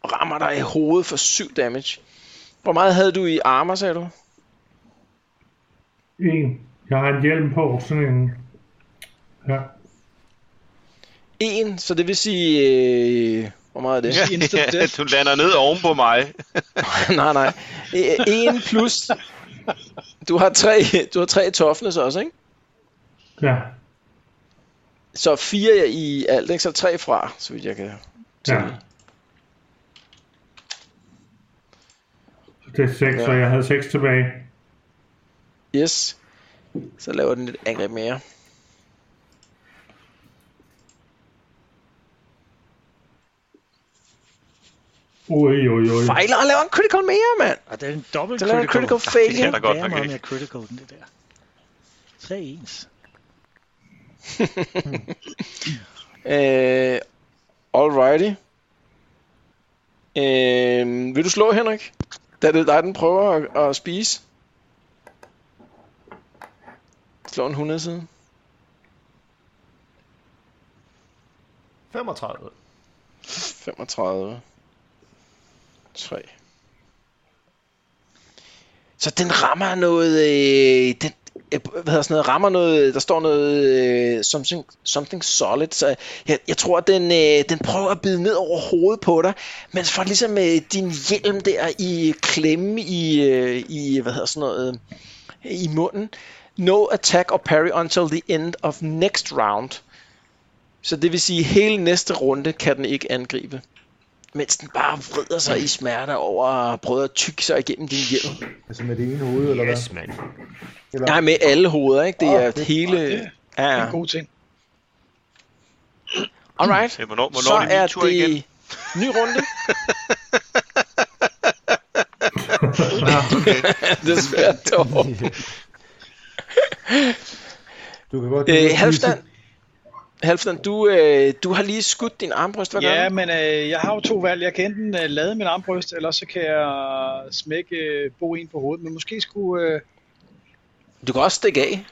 Og Rammer dig i hovedet for 7 damage. Hvor meget havde du i armor, sagde du? En. Jeg har en hjelm på, sådan en... Ja. 1, så det vil sige... Øh, hvor meget er det? Ja, [LAUGHS] instant ja, death. du lander ned oven på mig. [LAUGHS] nej, nej. 1 plus... Du har tre, du har tre toughness også, ikke? Ja. Så fire i alt, ikke? Så tre fra, så vidt jeg kan. Ja. Så det er 6, og jeg havde 6 tilbage. Yes. Så laver den et angreb mere. Ui, ui, ui. Fejler og laver en critical mere, mand. Og det er en dobbelt Så laver en critical Det kan failure. der godt Det er nok meget ikke. mere critical end det der. Tre ens. Øh, alrighty. Øh, vil du slå, Henrik? Da det er dig, den prøver at, at spise. Slå en 100 side. 35. 35. 3. Så den rammer noget... Øh, den, øh, hvad hedder sådan noget, rammer noget, der står noget øh, something, something solid, så jeg, jeg tror, den, øh, den prøver at bide ned over hovedet på dig, men så får den ligesom øh, din hjelm der i klemme i, øh, i hvad hedder sådan noget, øh, i munden. No attack or parry until the end of next round. Så det vil sige, at hele næste runde kan den ikke angribe. Mens den bare vrider sig i smerte over at prøve at tykke sig igennem din hjelm. Altså med det ene hoved, eller Yes, hvad? mand. Eller, Nej, med alle hoveder, ikke? Det Åh, er Ah, fedt. hele... Ja, Det er ja. en god ting. Alright. Ja, hvornår, hvornår Så er det min er tur igen? det ny runde. [LAUGHS] Okay. [LAUGHS] det er svært dog. [LAUGHS] Øh, du kan godt... Øh, Halvstand, Halvstand du, øh, du har lige skudt din armbryst, hvad gør Ja, du? men øh, jeg har jo to valg. Jeg kan enten øh, lade min armbryst, eller så kan jeg smække øh, bo en på hovedet. Men måske skulle... Øh, Du kan også stikke af.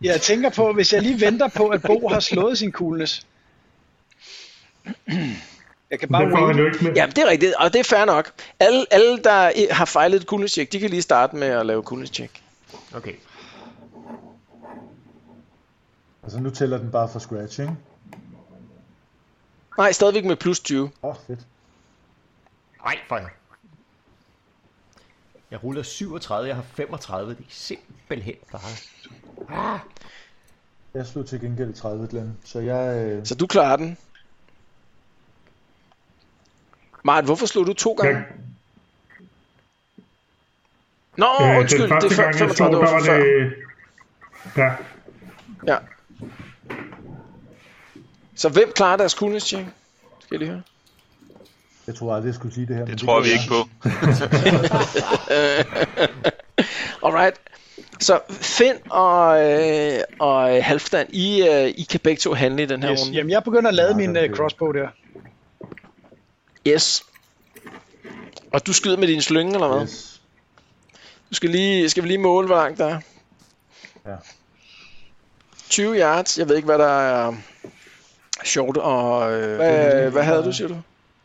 jeg tænker på, hvis jeg lige venter på, at Bo har slået sin coolness. Jeg kan bare Det får han jo wait. ikke med. Jamen, det er rigtigt, og det er fair nok. Alle, alle der i- har fejlet et coolness check, de kan lige starte med at lave coolness check. Okay. Altså nu tæller den bare fra scratch, ikke? Nej, stadigvæk med plus 20. Åh, oh, fedt. Nej, for jeg. Jeg ruller 37, jeg har 35. Det er simpelthen bare... Jeg slog til gengæld 30, Glenn. Så jeg... Øh, Så du klarer den. Mart, hvorfor slog du to gange? Jeg, Nå, øh, undskyld, den første det er gang, jeg stod, 35 der år var før. det... Ja, Ja. Så hvem klarer deres coolness check? Skal jeg lige høre. jeg tror aldrig, jeg skulle sige det her. men Det tror vi gør ikke jeg. på. Alright. Så Finn og, øh, og øh, Halfdan, I, øh, I kan begge to handle i den her yes, Yes. runde. Jamen, jeg begynder at lade Ja, min det er øh, det. crossbow der. Yes. Og du skyder med din slynge, eller hvad? Yes. Yes. Du skal, lige, skal vi lige måle, hvor langt der er? Ja. 20 yards. Jeg ved ikke, hvad der er short og... Øh, hvad, hvad havde du, siger du?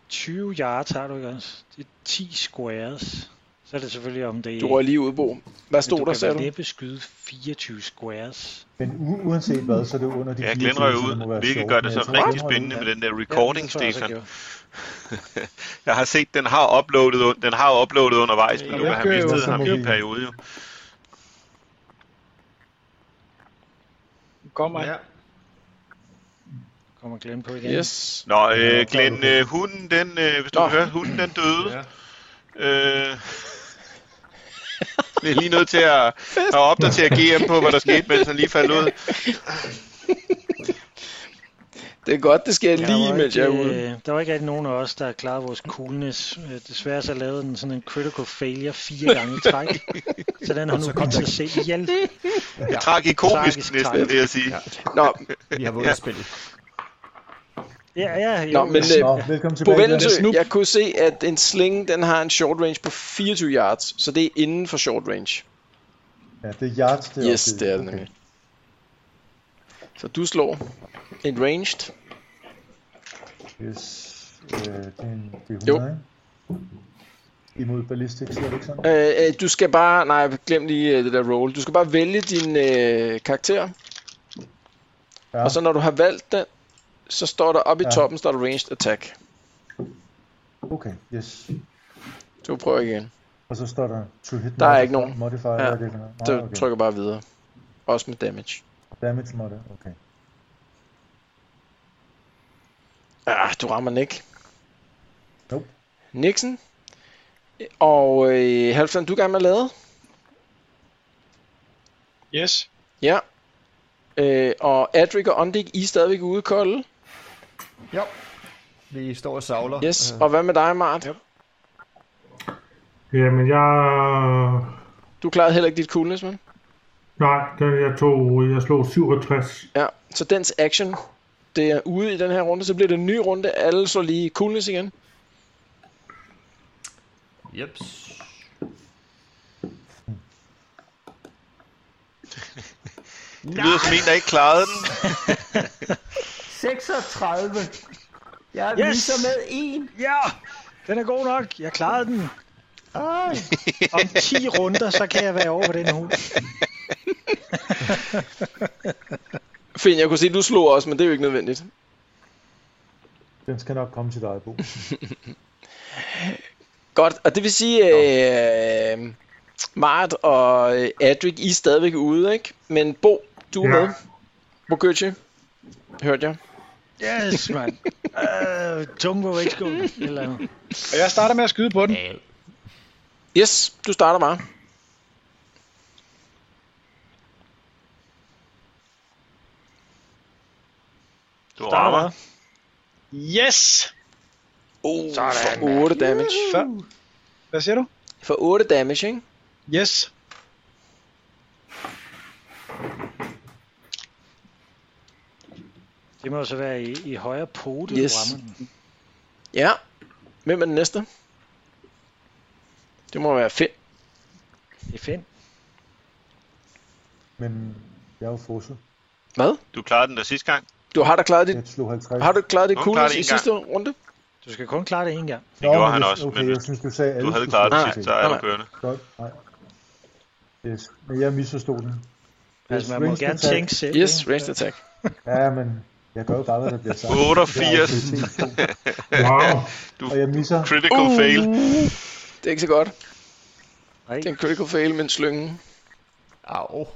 20 yards har du ikke også? Det er 10 squares. Så er det selvfølgelig om det Du røg lige ud, Bo. Hvad stod der, sagde du? du? kan vel næppe skyde 24 squares. Men u- uanset hvad, så er det under de Ja, 24, Glenn røg så det må ud, være hvilket sjovt, gør men det jeg sådan tror, rigtig Glenn røg spændende ud. med den der Ja, recording, det tror jeg også, Stefan. jeg gjorde. Jeg har set, den har uploadet, un- den har uploadet undervejs, men Ja, nu kan jeg han kører jo, mistede så ham må i vi- en periode. Jo. Nu Kommer Ja. ja. Kommer Glenn på igen. Yes. Nå, Ja, øh, Glenn, klar, du øh, hunden, den, øh, hvis du Nå. kan høre, hunden, den døde. Ja. Øh, vi er lige nødt til at, at opdatere GM på, hvad der skete, mens han lige faldt ud. Det er godt, det sker Der lige, var mens jeg er ikke, ude. øh, Der var ikke rigtig nogen af os, der klarede vores coolness. Øh, Desværre så lavede den sådan en critical failure fire gange i [LAUGHS] træk. så den har nu bidt sig selv ihjel. Tragikomisk Tragisk næsten, tegn. vil jeg sige. Nå, Vi har vundet spillet. Ja, ja, jo, Nå, men, jeg- øh, Nå, velkommen På tilbage. Glenn. Vendelsø, jeg kunne se, at en sling, den har en short range på 24 yards, så det er inden for short range. Ja, det er yards, det er Yes, også det er den Okay. nemlig. Så du slår en ranged. Yes. Øh, det er, en, det er 100, Jo. ikke? Imod ballistik, siger det ikke sådan? Øh, øh, du skal bare, nej, glem lige øh, det der roll. Du skal bare vælge din øh, karakter, Ja, Øh, og så når du har valgt den, så står der oppe i Ja. toppen, står der ranged attack. okay, yes. Du prøver igen. Og så står der to hit Der er modifier- ikke nogen. Modifier, Ja, ja. det for noget? Nej, Så Ah, okay. trykker bare videre. Også med damage. Damage modifier, okay. Ah, du rammer den ikke. Nope. Nixon. Og øh, Halfdan, du er i gang med at lade? Yes. Ja. Øh, og Adric og Ondik, I er stadigvæk ude kolde. Jo. Vi står og savler. Yes. Øh, Og hvad med dig, Mart? Ja. jamen jeg... Du klarede heller ikke dit coolness, men? Nej, den jeg tog, jeg slog 67. Ja. Så dens action, det er ude i den her runde. Så bliver det en ny runde. Alle slår lige coolness igen. Jeps. Det lyder som en, der ikke klarede den. 36. Jeg er Yes! viser med en. Ja, den er god nok. Jeg klarede den. Ej. Om 10 runder, så kan jeg være over på den hund. Finn, jeg kunne se, at du slog også, men det er jo ikke nødvendigt. Den skal nok komme til dig, Bo. Godt, og det vil sige, at øh, Mart og øh, Adric, I er stadigvæk ude, ikke? Men Bo, du er Ja. ja. med. Boguchi, hørte jeg. Yes, man. Øh, Tungo vægtskål. Eller... Og jeg starter med at skyde på den. Yes, du starter bare. Du rammer. Yes! Oh, Uh, Sådan. for 8 damage. Før. Hvad siger du? For 8 damage, ikke? Yes. Det må jo så være i, i højre pote, Yes. yes. rammer den. Ja. Hvem er den næste? Det må være Finn. Det er fint. Men jeg er jo fosse. Du klarede den der sidste gang. Du har da klaret dit, Jeg slog 50. har du klaret dit Hun coolness klarede i det en sidste runde? Du skal kun klare det en gang. Det gjorde han jeg- også, Okay, men jeg synes, du sagde alle Du havde skulle klaret slå den Nej, sidste, så er nej. du kørende. Godt, nej. Yes. Men jeg misforstod den. Det er Altså, man må ranged gerne attack. tænke selv. Yes, ikke? ranged attack. Ja, men jeg gør jo bare, hvad der bliver sagt. 88. Jeg er autoritet to, [LAUGHS] Wow. og jeg misser. Critical fail. Det er ikke så godt. Nej. Det er en critical fail med en slynge. Au.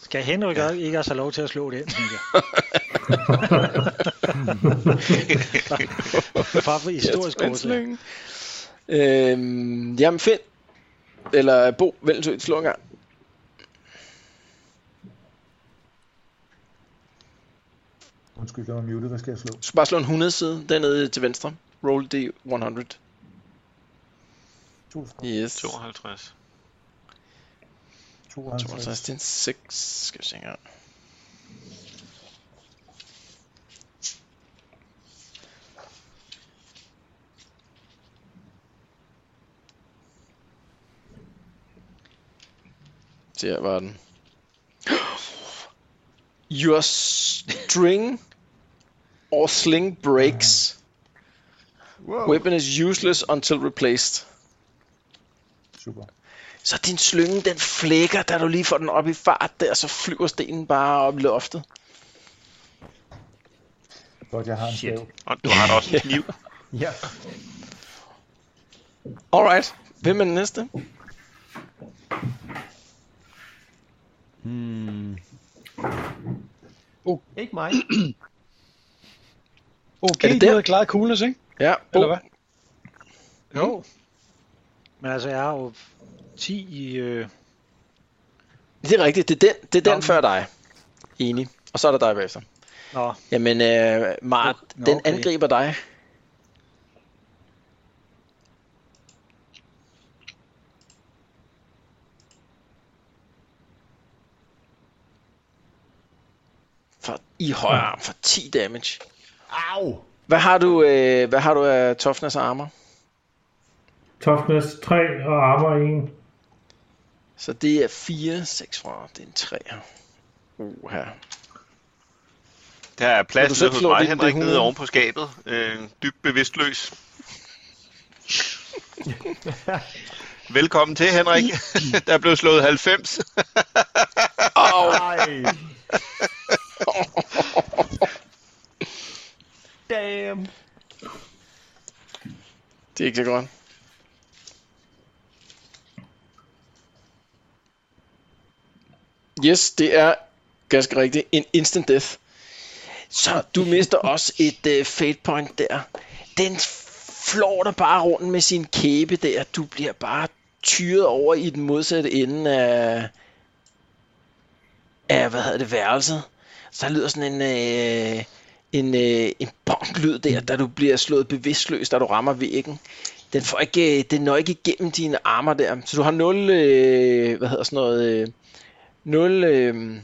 Skal Henrik ja. ikke også have lov til at slå det ind, tænker jeg. Bare for historisk Yes, med en slynge. grundlag. Øhm, jamen Finn, eller Bo, vælg til et slå en gang. Undskyld, jeg var muted. Hvad skal jeg slå? Du skal bare slå en 100 side dernede til venstre. Roll D100. To, Yes. 52. to, 52, det er en 6. Skal vi se engang. Der var den. Your string or sling breaks. Wow. Weapon is useless until replaced. Super. Så din slynge, den flækker, da du lige får den op i fart der, så flyver stenen bare op i loftet. Godt, jeg har en stav. Og du har da også en kniv. Ja. Alright, hvem er den næste? Ikke mig. Okay, Er det du der? havde klaret coolness, ikke? Ja, Bo. Eller hvad? Jo. Men altså, jeg har jo 10 i... Øh... Det er rigtigt, det er den, det er den Nå. før dig. Enig. Og så er der dig bagefter. Nå, Jamen, øh, Mart, Nå, den okay. angriber dig. For, I højre arm for 10 damage. Au. Hvad har du, øh, hvad har du af toughness og armor? Toughness 3 og armor 1. Så det er 4, 6 fra, det er en 3 her. Uh, her. Der er Vil du plads selv nede hos slå mig, din Henrik, D100? nede oven på skabet. Øh, dybt bevidstløs. Velkommen til, Henrik. [LAUGHS] Der blev slået 90. Ej. Damn. Det er ikke så godt. Yes, det er ganske rigtigt. En instant death. Så du mister også et øh, fate point der. Den flår dig bare rundt med sin kæbe der. Du bliver bare tyret over i den modsatte ende af, af hvad hedder det, værelset. Så lyder sådan en, øh, en, øh, en bonklyd der, da du bliver slået bevidstløs, da du rammer væggen. Den, får ikke, øh, den når ikke igennem dine armer der. Så du har 0, øh, hvad hedder sådan noget, øh, 0 øh,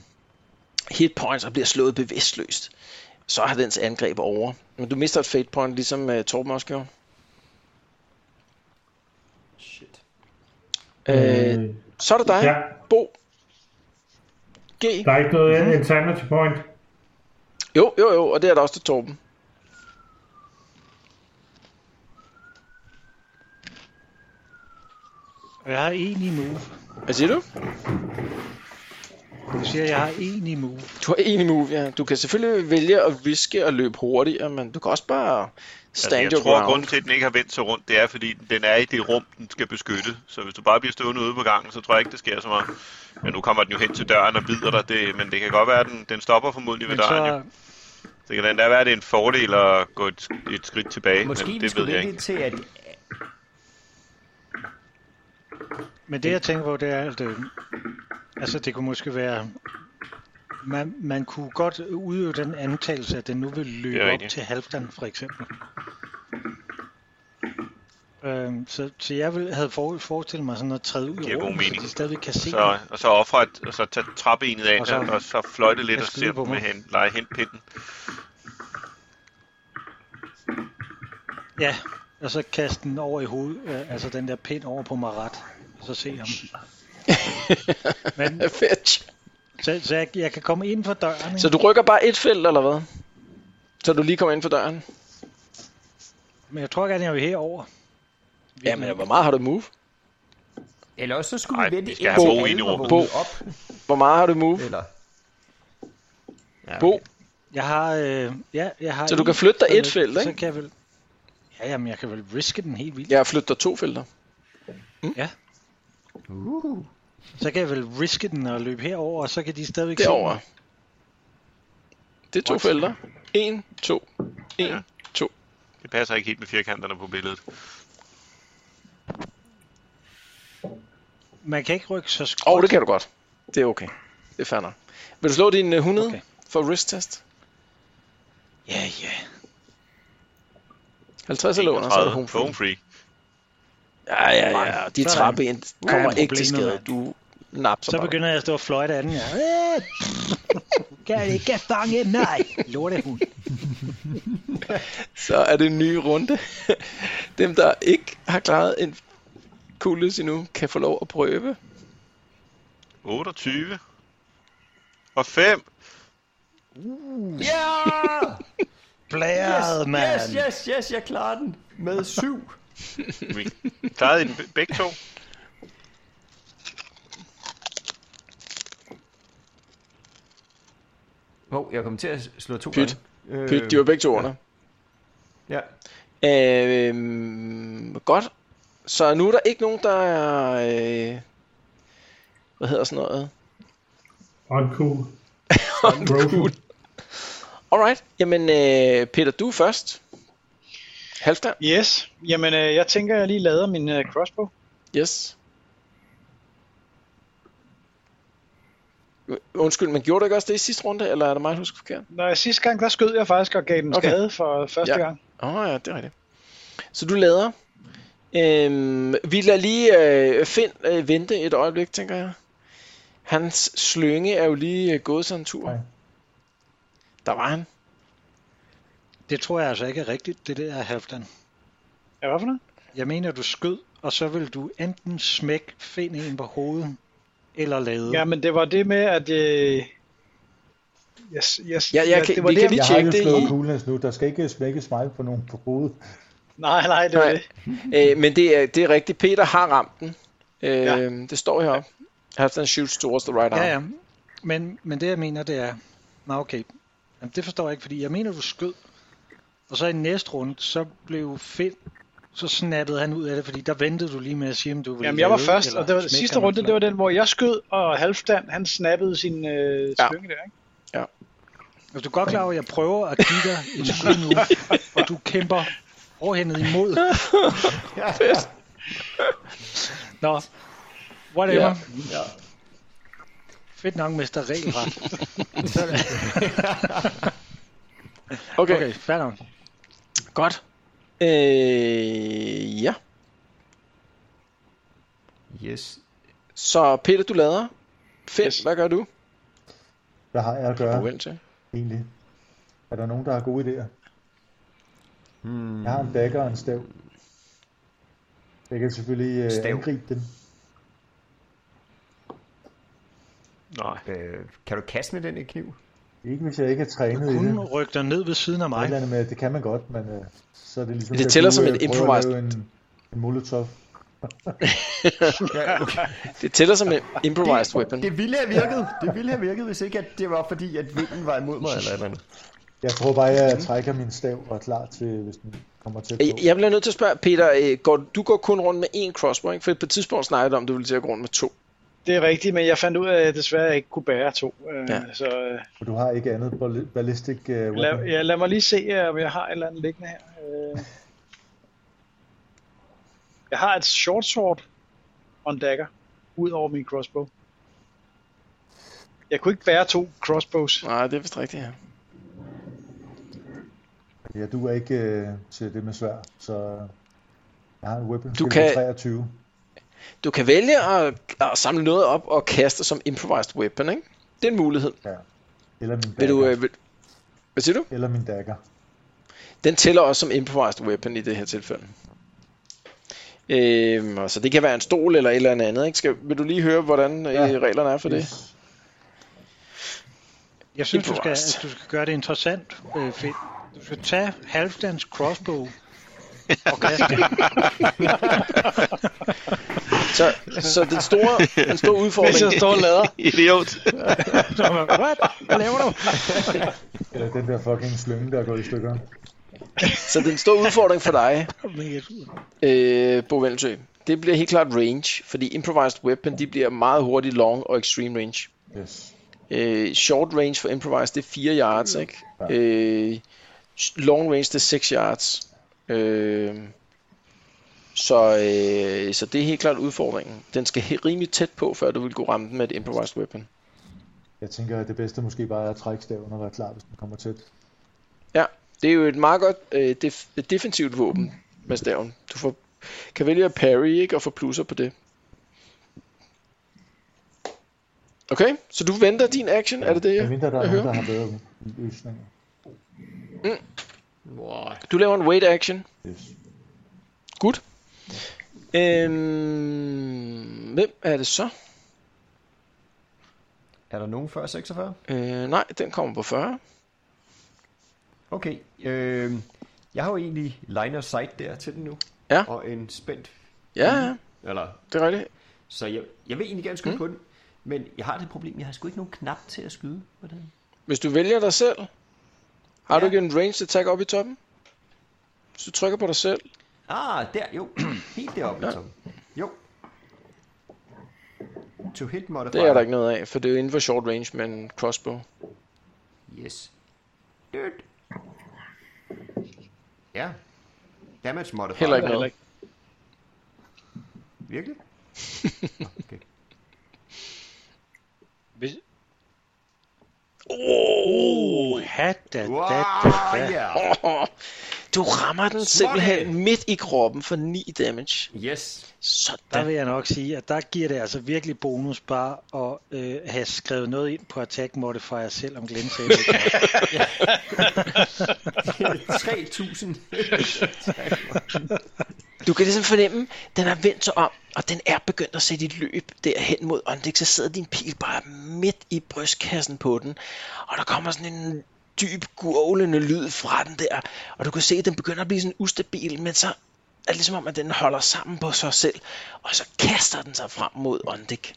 hit points og bliver slået bevidstløst. Så har dens angreb over. Men du mister et fate point, ligesom øh, Torben også gjorde. Shit. Øh, så er det dig, ja, ja. Bo. G. der er ikke noget mm-hmm. alternative point. Jo, jo, jo, og det er der også til Torben. og jeg har en i move. Hvad siger du? Du siger, at jeg har en i move. Du har en i move, ja. Du kan selvfølgelig vælge at viske og løbe hurtigere, men du kan også bare stand jeg your tror, at ground. grunden til, at den ikke har vendt sig rundt, det er, fordi den er i det rum, den skal beskytte. Så hvis du bare bliver stående ude på gangen, så tror jeg ikke, det sker så meget. Men nu kommer den jo hen til døren og bider dig, det, men det kan godt være, at den, den stopper formodentlig ved Men døren. Så... Jo. så, Det kan den der være, at det er en fordel at gå et, et skridt tilbage, Måske men vi det ved skulle jeg vente ikke. indtil, at... men det jeg tænker på, det er, at øh, altså, det kunne måske være, man, man kunne godt udøve den antagelse, at den nu vil Det er løbe op rigtigt. til Halvdan, for eksempel. Øhm, så, så jeg ville, havde for, forestillet mig sådan at træde ud Giver over, god mening. så de stadigvæk kan se Så, og så ofre et, og så tage træbenet af, og Og så, så- og så fløjte lidt Jeg og skyder se på om med mig. hen, lege hentpinden. Ja, og så kaste den over i hovedet, øh, altså den der pind over på Marat, og så se ham. Men, Fetch. så, så jeg, jeg kan komme ind for døren, Så du ikke? rykker bare et felt, eller hvad? Så du lige kommer ind for døren? men jeg tror gerne, jeg vil herover. Jamen, hvor meget har du move? Eller også så skulle Ej, vi vente vi skal have indtil Bo ind i alle var rummet. vågnet Bo. op. Hvor meget har du move? Eller... Ja, Bo, Jeg har, øh, ja, jeg har Så du en, kan flytte dig så- et felt, Så ikke? kan jeg vel, ja, jamen, jeg kan vel riske den helt vildt. jeg flytter to felter. Uh, Så kan jeg vel riske den og løbe herover, og så kan de stadigvæk se Derovre. mig. Det er to felter. En, to. En, to. Det passer ikke helt med firkanterne på billedet. Man kan ikke rykke så skråt. Åh, oh, det kan du godt. Det er okay. Det er fair nok. Vil du slå din øh, 100 okay. Okay. for wrist test? Ja, ja. 50 eller under, så er det home free. home free. Ja, ja, ja. De Sådan. træben kommer Ja, ikke til problemet, skade. mand. Du napser Så bare. begynder jeg at stå og fløjte af den. [LAUGHS] Ja. Øh, kan ikke fange mig, lortehund. Så er det en ny runde. [LAUGHS] Dem, der ikke har klaret en coolness endnu, kan få lov at prøve. 28. Og 5. Blæret, mand. yes, yes, yes, jeg klarer den. Med syv. Vi klarede I den be- begge to. Hov, jeg kommer til at slå to Øh, Pyt. gange. Pyt, de var begge to under. [LAUGHS] Ja. Øhm, godt. Så nu er der ikke nogen, der er... Øh, hvad hedder sådan noget? Uncool. Uncool. Alright. Jamen, øh, Peter, du er først. Halvdan. Yes, jamen øh, jeg tænker, jeg lige lader min øh, crossbow. Yes. Undskyld, men gjorde du ikke også det i sidste runde, eller er det mig, der husker forkert? Når sidste gang, der skød jeg faktisk og gav den Okay. okay. skade for første Ja. ja. gang. Åh oh, ja, det er rigtigt. Så du lader. Øhm, vi lader lige øh, Finn øh, vente et øjeblik, tænker jeg. Hans slynge er jo lige øh, gået sådan en tur. Nej. Der var han. Det tror jeg altså ikke er rigtigt, det der Halfdan. Ja, hvad for noget? Jeg mener, du skød, og så vil du enten smække find en på hovedet, eller Mm. lade. Ja, men det var det med, at... Øh, yes, yes, Ja, jeg kan- det var vi det, kan jeg- lige- Jeg har tjekke jo det slået i- coolness nu. Der skal ikke smækkes mig på nogen på hovedet. Nej, nej, det var Nej. det. Øh, men det er, det er rigtigt. Peter har ramt den. Øh, Ja. Det står heroppe. Halfdan shoots towards the right arm. Ja, ja. Men, men det jeg mener, det er... Nå, okay. Jamen, det forstår jeg ikke, fordi jeg mener, du skød. Og så i næste runde, så blev Finn... Så snappede han ud af det, fordi der ventede du lige med at sige, om du ville Jamen, jeg var lade, først, eller og det var smække sidste ham, runde, eller- det var den, hvor jeg skød, og Halfdan, han snappede sin øh, Ja. slynge der, ikke? Altså, du er godt klar over, at jeg prøver at give dig [LAUGHS] en skud nu, og du kæmper hårdhændet [LAUGHS] imod. Nå, whatever. Ja. Ja. Fedt nok, Mester Regelret. [LAUGHS] Okay. okay, Okay, fair nok. godt. Øh, ja. Yes. Så Peter, du lader. Finn, yes. Yes. hvad gør du? Hvad har jeg at Ja. gøre Du til. egentlig? Er der nogen, der har gode idéer? Hmm. Jeg har en dagger og en stav. Jeg kan selvfølgelig øh, Stav. angribe den. Nej. Øh, kan du kaste med den i kniv? Ikke hvis jeg ikke er trænet i det. Hun rykker dig ned ved siden af Nej. Et eller mig. andet med, at det kan man godt, men øh, så er det ligesom... Det jeg tæller kunne, som øh, et prøve at improvised- lave En, en molotov. Ja, okay. Det tæller som en improvised weapon. Det ville have virket. Det ville have virket, hvis ikke at det var fordi, at vinden var imod mig eller et eller andet. Jeg tror bare, jeg trækker min stav og er klar til, hvis den kommer til på. Jeg- Jeg bliver nødt til at spørge, Peter, øh, går, du går kun rundt med én crossbow, ikke? For på et tidspunkt snakkede du om, at du ville til at gå rundt med to. Det er rigtigt, men jeg fandt ud af, at jeg desværre ikke kunne bære to. Øh, Ja. Så øh, For du har ikke andet ball- ballistic uh, lad, weapon. ja, lad mig lige se, øh, om jeg har et eller andet liggende her. Øh, jeg har et short sword og en dagger, ud over min crossbow. Jeg kunne ikke bære to crossbows. Nej, det er vist rigtigt, ja. ja, du er ikke uh, til det med svær, så øh, jeg har en weapon Du skill på kan- 23. Du kan vælge at, at samle noget op og kaste som improvised weapon, ikke? Det er en mulighed. Eller min dagger. Vil du, øh, vil, hvad siger du? Eller min dagger. Den tæller også som improvised weapon i det her tilfælde. Øhm, og så det kan være en stol eller et eller andet. Ikke? Skal, vil du lige høre, hvordan ja. Ja. reglerne er for det? Yes. Jeg synes, du skal, Improvised. at du skal gøre det interessant, øh, Finn. Du skal tage Halfdans [LAUGHS] crossbow og kaste den. Så, så den, store, den store udfordring... Mens jeg står og lader. Idiot. Så er man, What? Hvad laver du? [LAUGHS] Eller den der fucking slynge, der er gået i stykker. Så den store udfordring for dig, Men jeg tror- øh, Bo Velsø, det bliver helt klart range, fordi improvised weapon, de bliver meget hurtigt long og extreme range. Yes. Øh, short range for improvised, det er 4 yards, ikke? Ja. Øh, s- long range, det er 6 yards. Øh, så, øh, så det er helt klart udfordringen. Den skal he- rimelig tæt på, før du vil kunne ramme den med et improvised weapon. Jeg tænker, at det bedste måske bare er at trække staven og være klar, hvis den kommer tæt. Ja, det er jo et meget godt øh, def- defensivt våben med staven. Du får, kan vælge at parry, ikke? Og få plusser på det. Okay, så du venter din action, er det det, Jeg jeg, mindre, der er jeg nogen, der hører? har bedre løsninger. Du laver en wait action. Yes. Godt. Øhm, hvem er det så? Er der nogen før 46? Øh, nej, den kommer på 40. Okay. Øh, jeg har jo egentlig line of sight der til den nu. Ja. Og en spændt. Ja, ja, Eller, det er rigtigt. så jeg, jeg vil egentlig gerne skyde mm. på den. Men jeg har det problem, jeg har sgu ikke nogen knap til at skyde på den. Hvis du vælger dig selv, har ja. du Ja. ikke en range attack op i toppen? Hvis du trykker på dig selv. Ah, der, jo. [CLEARS THROAT] Helt deroppe, ja. Jo. To hit modifier. Det er der ikke noget af, for det er jo inden for short range med en crossbow. Yes. Dyt. Ja. Damage modifier. Heller ikke Heller noget. ikke. Virkelig? Okay. Hvis... Oh, hat da, Wow, da, da, da. yeah. Oh, du rammer den simpelthen midt i kroppen for 9 damage. Yes. [LAUGHS] Der Sådan. vil jeg nok sige, at der giver det altså virkelig bonus bare at øh, have skrevet noget ind på Attack Modifier, selvom Glenn sagde det. [LAUGHS] ikke var. 3000. Du kan ligesom fornemme, den har vendt sig om, og den er begyndt at sætte et løb derhen mod Ondix, så sidder din pil bare midt i brystkassen på den, og der kommer sådan en dyb gurglende lyd fra den der, og du kan se, at den begynder at blive sådan ustabil, men så er det ligesom om, at den holder sammen på sig selv, og så kaster den sig frem mod Ondik.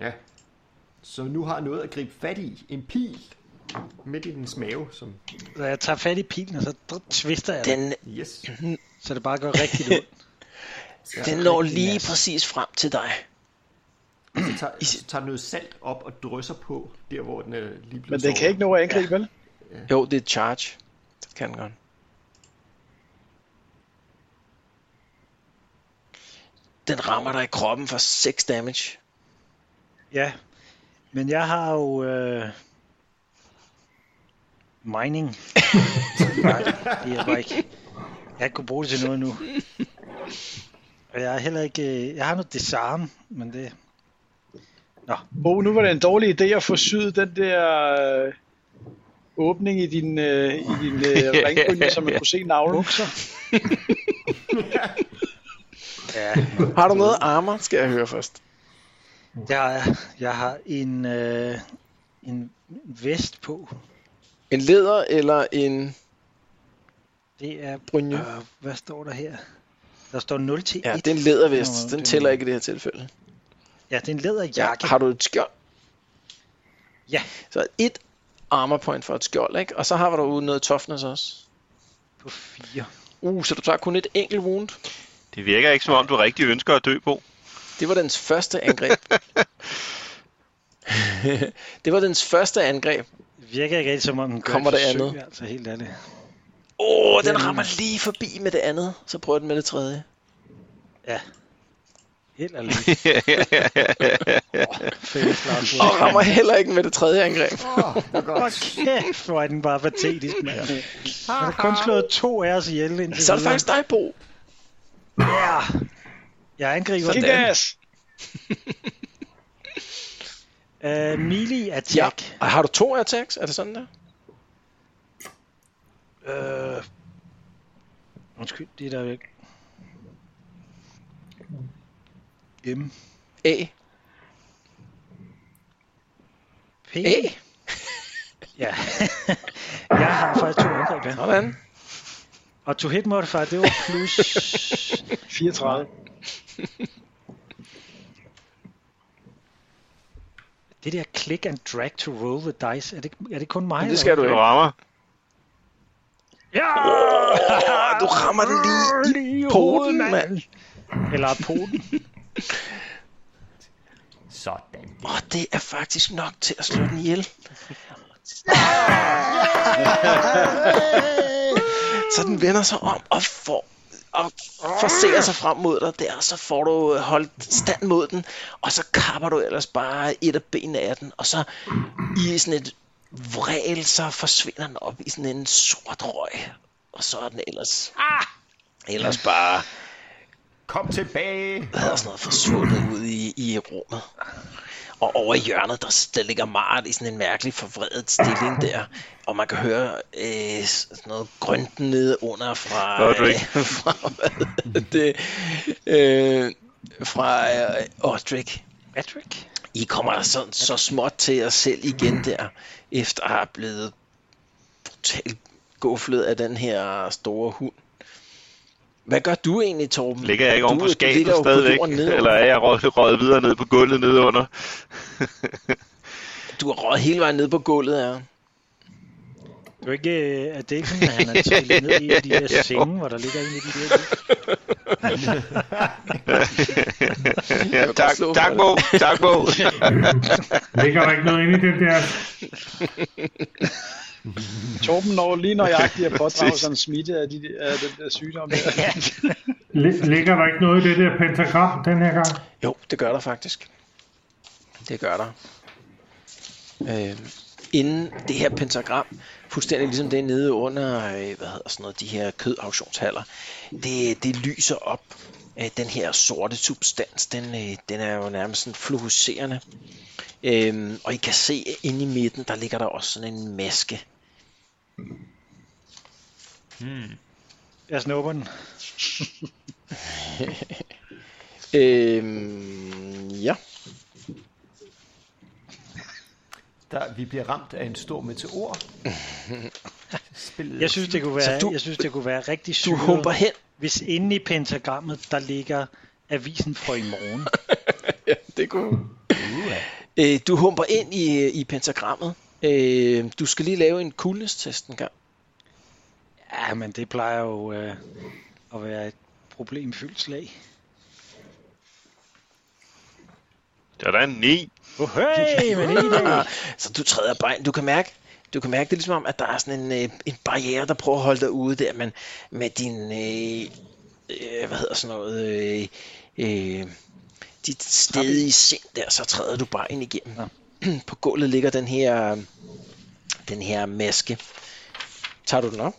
ja. Så nu har jeg noget at gribe fat i. En pil. Midt i dens mave, som... Så jeg tager fat i pilen, og så dr- twister jeg den, Den, Yes. så det bare går rigtig ondt. den når lige præcis frem til dig. [CLEARS THROAT] Så tager, så tager den noget salt op og drysser på, der hvor den er lige blevet Men det kan ikke nå at angribe, vel? Jo, det er et charge. Det kan den godt. Den rammer dig i kroppen for 6 damage. Ja, men jeg har jo øh, [LAUGHS] mining. Nej, det er bare ikke. Jeg kunne bruge det til noget nu. Og jeg har heller ikke, øh, jeg har noget disarm, men det, Bo, nu var det en dårlig idé at få syet den der øh, åbning i din, øh, i din øh, ringbrynje, så man kunne se navlen. Bukser. ja, Har du noget armor, skal jeg høre først. Jeg har, jeg har en, øh, en vest på. En leder eller en Det er, brynje? øh, hvad står der her? Der står 0 til 1. Ja, det er en lædervest. Den tæller ikke i det her tilfælde. Ja, det er en Ja, læderjakke. har du et skjold? Ja. Så et armor point for et skjold, ikke? Og så har du noget toughness også. på 4. Uh, så du tager kun et enkelt wound. Det virker ikke, som om du rigtig ønsker at dø, Bo. Det var dens første [LAUGHS] angreb. det var dens første angreb. Det virker ikke rigtig som om den gør Kommer et det forsøg, andet? Altså helt ærligt. Åh, oh, den rammer lige forbi med det andet. Så prøver den med det [LAUGHS] tredje. Helt ærligt. Fælles Lars. [LAUGHS] Og rammer heller ikke med det tredje angreb. Åh, det er godt. Kæft, hvor er den bare patetisk, mand. Ja. Han har kun slået to af os ihjel indtil Så er det videre. faktisk dig, Bo. Ja. Jeg angriber Kick den. ass! Uh, melee Ja. attack. Og har du to attacks? Er det sådan der? Ja. Øh. Uh, undskyld, det er der jo ikke. M. A. P. A. Ja. [LAUGHS] jeg har faktisk to angreb, ja. Sådan. Og to hit modifier, det var plus... 34. det der click and drag to roll the dice, er det, er det kun mig? Men eller det skal hvad? du Du ikke. rammer. Ja! Du rammer den lige i Lige poten, hovedet, mand. Eller poten. Sådan. Og det er faktisk nok til at slå den ihjel. så den vender sig om og får og forser sig frem mod dig der, så får du øh, holdt stand mod den, og så kapper du ellers bare et af benene af den, og så i sådan et vræl, så forsvinder den op i sådan en sort røg, og så er den ellers, ellers bare Kom tilbage. hvad hedder sådan noget, forsvundet ud i, i rummet. Og over i hjørnet, der, der ligger Mart i sådan en mærkelig forvredet stilling der. Og man kan høre øh, sådan noget grønten nede under fra... øh, Nå, du ikke. [LAUGHS] fra hvad hedder det, øh, fra øh, Audric. Patrick? I kommer sådan, så småt til jer selv igen der, efter at have blevet brutalt gufflet af den her store hund. Hvad gør du egentlig, Torben? Ligger jeg ikke Du- oven på du skabet ligger jo på stadigvæk? jorden nedenunder. Eller er jeg røget, røget videre ned på gulvet nedenunder? Du har røget hele vejen ned på gulvet, ja. Det er jo ikke, øh, at det er ikke sådan, at han er trillet ned i en [LAUGHS] af de der senge, hvor der ligger en af de der... ja, godt tak, slå for tak, det. Bo. Tak, Bo. Ligger der ikke noget inde i den der? Torben når lige nøjagtigt at pådrage sig en smitte af, de, af den der sygdom. Der. li- Ligger der ikke noget i det der pentagram den her gang? Jo, det gør der faktisk. Det gør der. Øh, inden det her pentagram, fuldstændig ligesom det nede under, øh, hvad hedder sådan noget, de her kødauktionshaller, det, det lyser op. Øh, den her sorte substans, den, øh, den er jo nærmest sådan fluorescerende. Øh, og I kan se, at inde i midten, der ligger der også sådan en maske. Jeg snupper den. Øh, ja. Der, vi bliver ramt af en stor meteor. Spillet. Jeg synes, det kunne Så være, du- jeg synes, det kunne være rigtig Du syret, humper hen. hvis inde i pentagrammet, der ligger avisen for i morgen. ja, det kunne. Øh, du humper ind i, i pentagrammet. Øh, du skal lige lave en coolness-test en gang. Ja, men det plejer jo øh, at være et problemfyldt slag. [LAUGHS] Der er der en 9. Oh, [LAUGHS] hey, men i dag. [LAUGHS] Så du træder bare ind. Du kan mærke, du kan mærke det er ligesom om, at der er sådan en, øh, en barriere, der prøver at holde dig ude der, men med din, øh, øh, hvad hedder sådan noget, øh, øh, dit stedige sind der, så træder du bare ind igennem. Nå. [CLEARS THROAT] På gulvet ligger den her, den her maske. Tager du den op?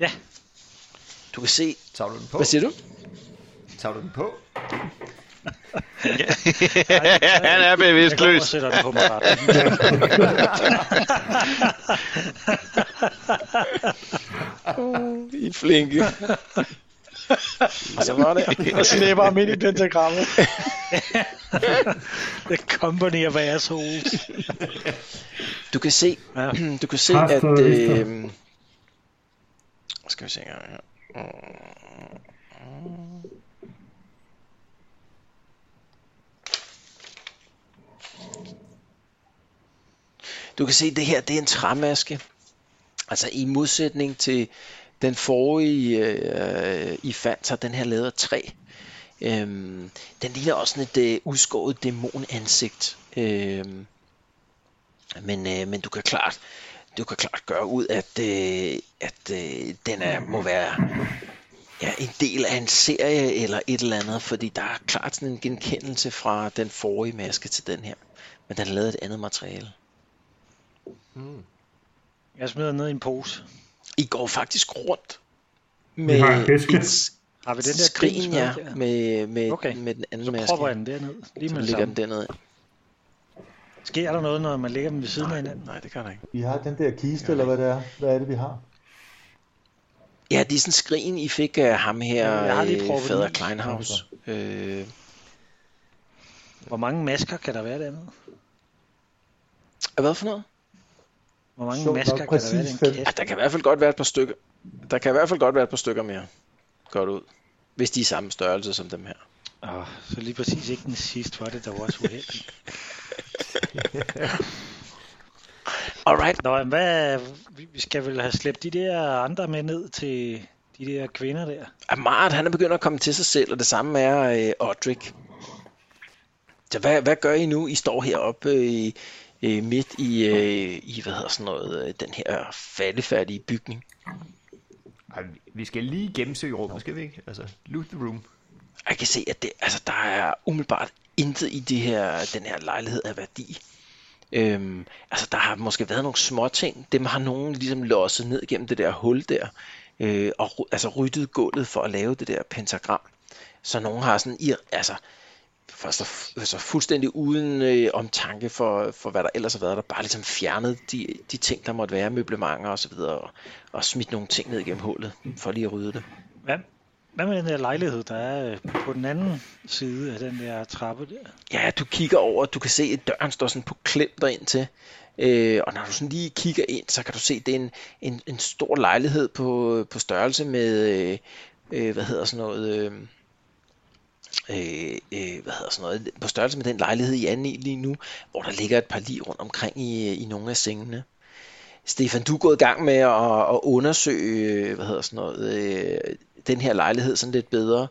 Ja. Du kan se, Tager du den på? hvad siger du? Tager du den på? Han er Jeg kommer og bevidstløs. sætter den på mig ret. [LAUGHS] Uh, I er flinke. og så var det. Og snæpper ham ind i pentagrammet. The company of assholes. Du kan se, Ja. [CLEARS THROAT] du kan se Kræfter at... og Øh, skal vi se en gang her. Du kan se, det her det er en træmaske. Altså i modsætning til den forrige, øh, I fandt, så er den her lavet af træ. Øhm, den ligner også sådan et øh, udskåret dæmonansigt. Øhm, men, øh, men du kan klart du kan klart gøre ud, at, øh, at øh, den er, må være ja, en del af en serie eller et eller andet, fordi der er klart sådan en genkendelse fra den forrige maske til den her. Men den er lavet af et andet materiale. Jeg smider ned i en pose. I går faktisk rundt Vi har en med æske. et Har vi den der skrin, gris ja, med der? med, med, okay. Okay. med den anden Så maske. propper jeg den derned. Lige Så med det ligger samme. den dernede. Sker der noget, når man lægger dem ved siden af hinanden? Nej, det gør der ikke. Vi har den der kiste, eller hvad det er. Hvad er det, vi har? Ja, det er sådan skrin, I fik af ham her, Ja, jeg har lige øh, proppet fader den i. Kleinhaus. Øh, Hvor mange masker kan der være dernede? Øh, hvad for noget? Hvor mange Sjovt masker nok, kan der være i præcis den fem. Ja, kasse? der kan i hvert fald godt være et par stykker. Der kan i hvert fald godt være et par stykker mere. Godt ud. Hvis de er samme størrelse som dem her. Oh, så lige præcis ikke den sidste var det, der var også uheldig. Alright. Nå, men hvad, vi- vi skal vel have slæbt de der andre med ned til de der kvinder der. Amart, han er begyndt at komme til sig selv, og det samme er øh, Odrik. Så hvad, hvad gør I nu? I står heroppe øh, i- øh, midt i, øh, i hvad hedder sådan noget, øh, den her faldefærdige bygning. Ej, vi skal lige gennemsøge rummet, skal vi ikke? Altså, loot the room. Jeg kan se, at det, altså, der er umiddelbart intet i det her, den her lejlighed af værdi. Øhm, altså, der har måske været nogle små ting. Dem har nogen ligesom losset ned gennem det der hul der, øh, og ru- altså ryddet gulvet for at lave det der pentagram. Så nogen har sådan, i, altså, først og, f- altså fuldstændig uden øh, omtanke for, for, hvad der ellers har været, der bare ligesom fjernet de, de ting, der måtte være, møblementer og så videre, og, og smidt nogle ting ned gennem hullet, for lige at rydde det. Hvad, hvad med den der lejlighed, der er øh, på den anden side af den der trappe der? Ja, du kigger over, du kan se, at døren står sådan på klem derind til. Øh, og når du sådan lige kigger ind, så kan du se, at det er en, en, en stor lejlighed på, på størrelse med, øh, øh, hvad hedder sådan noget, øh, øh, øh, hvad hedder sådan noget, på størrelse med den lejlighed, I er inde i lige nu, hvor der ligger et par lig rundt omkring i, i nogle af sengene. Stefan, du er gået i gang med at, at undersøge, øh, hvad hedder sådan noget, øh, den her lejlighed sådan lidt bedre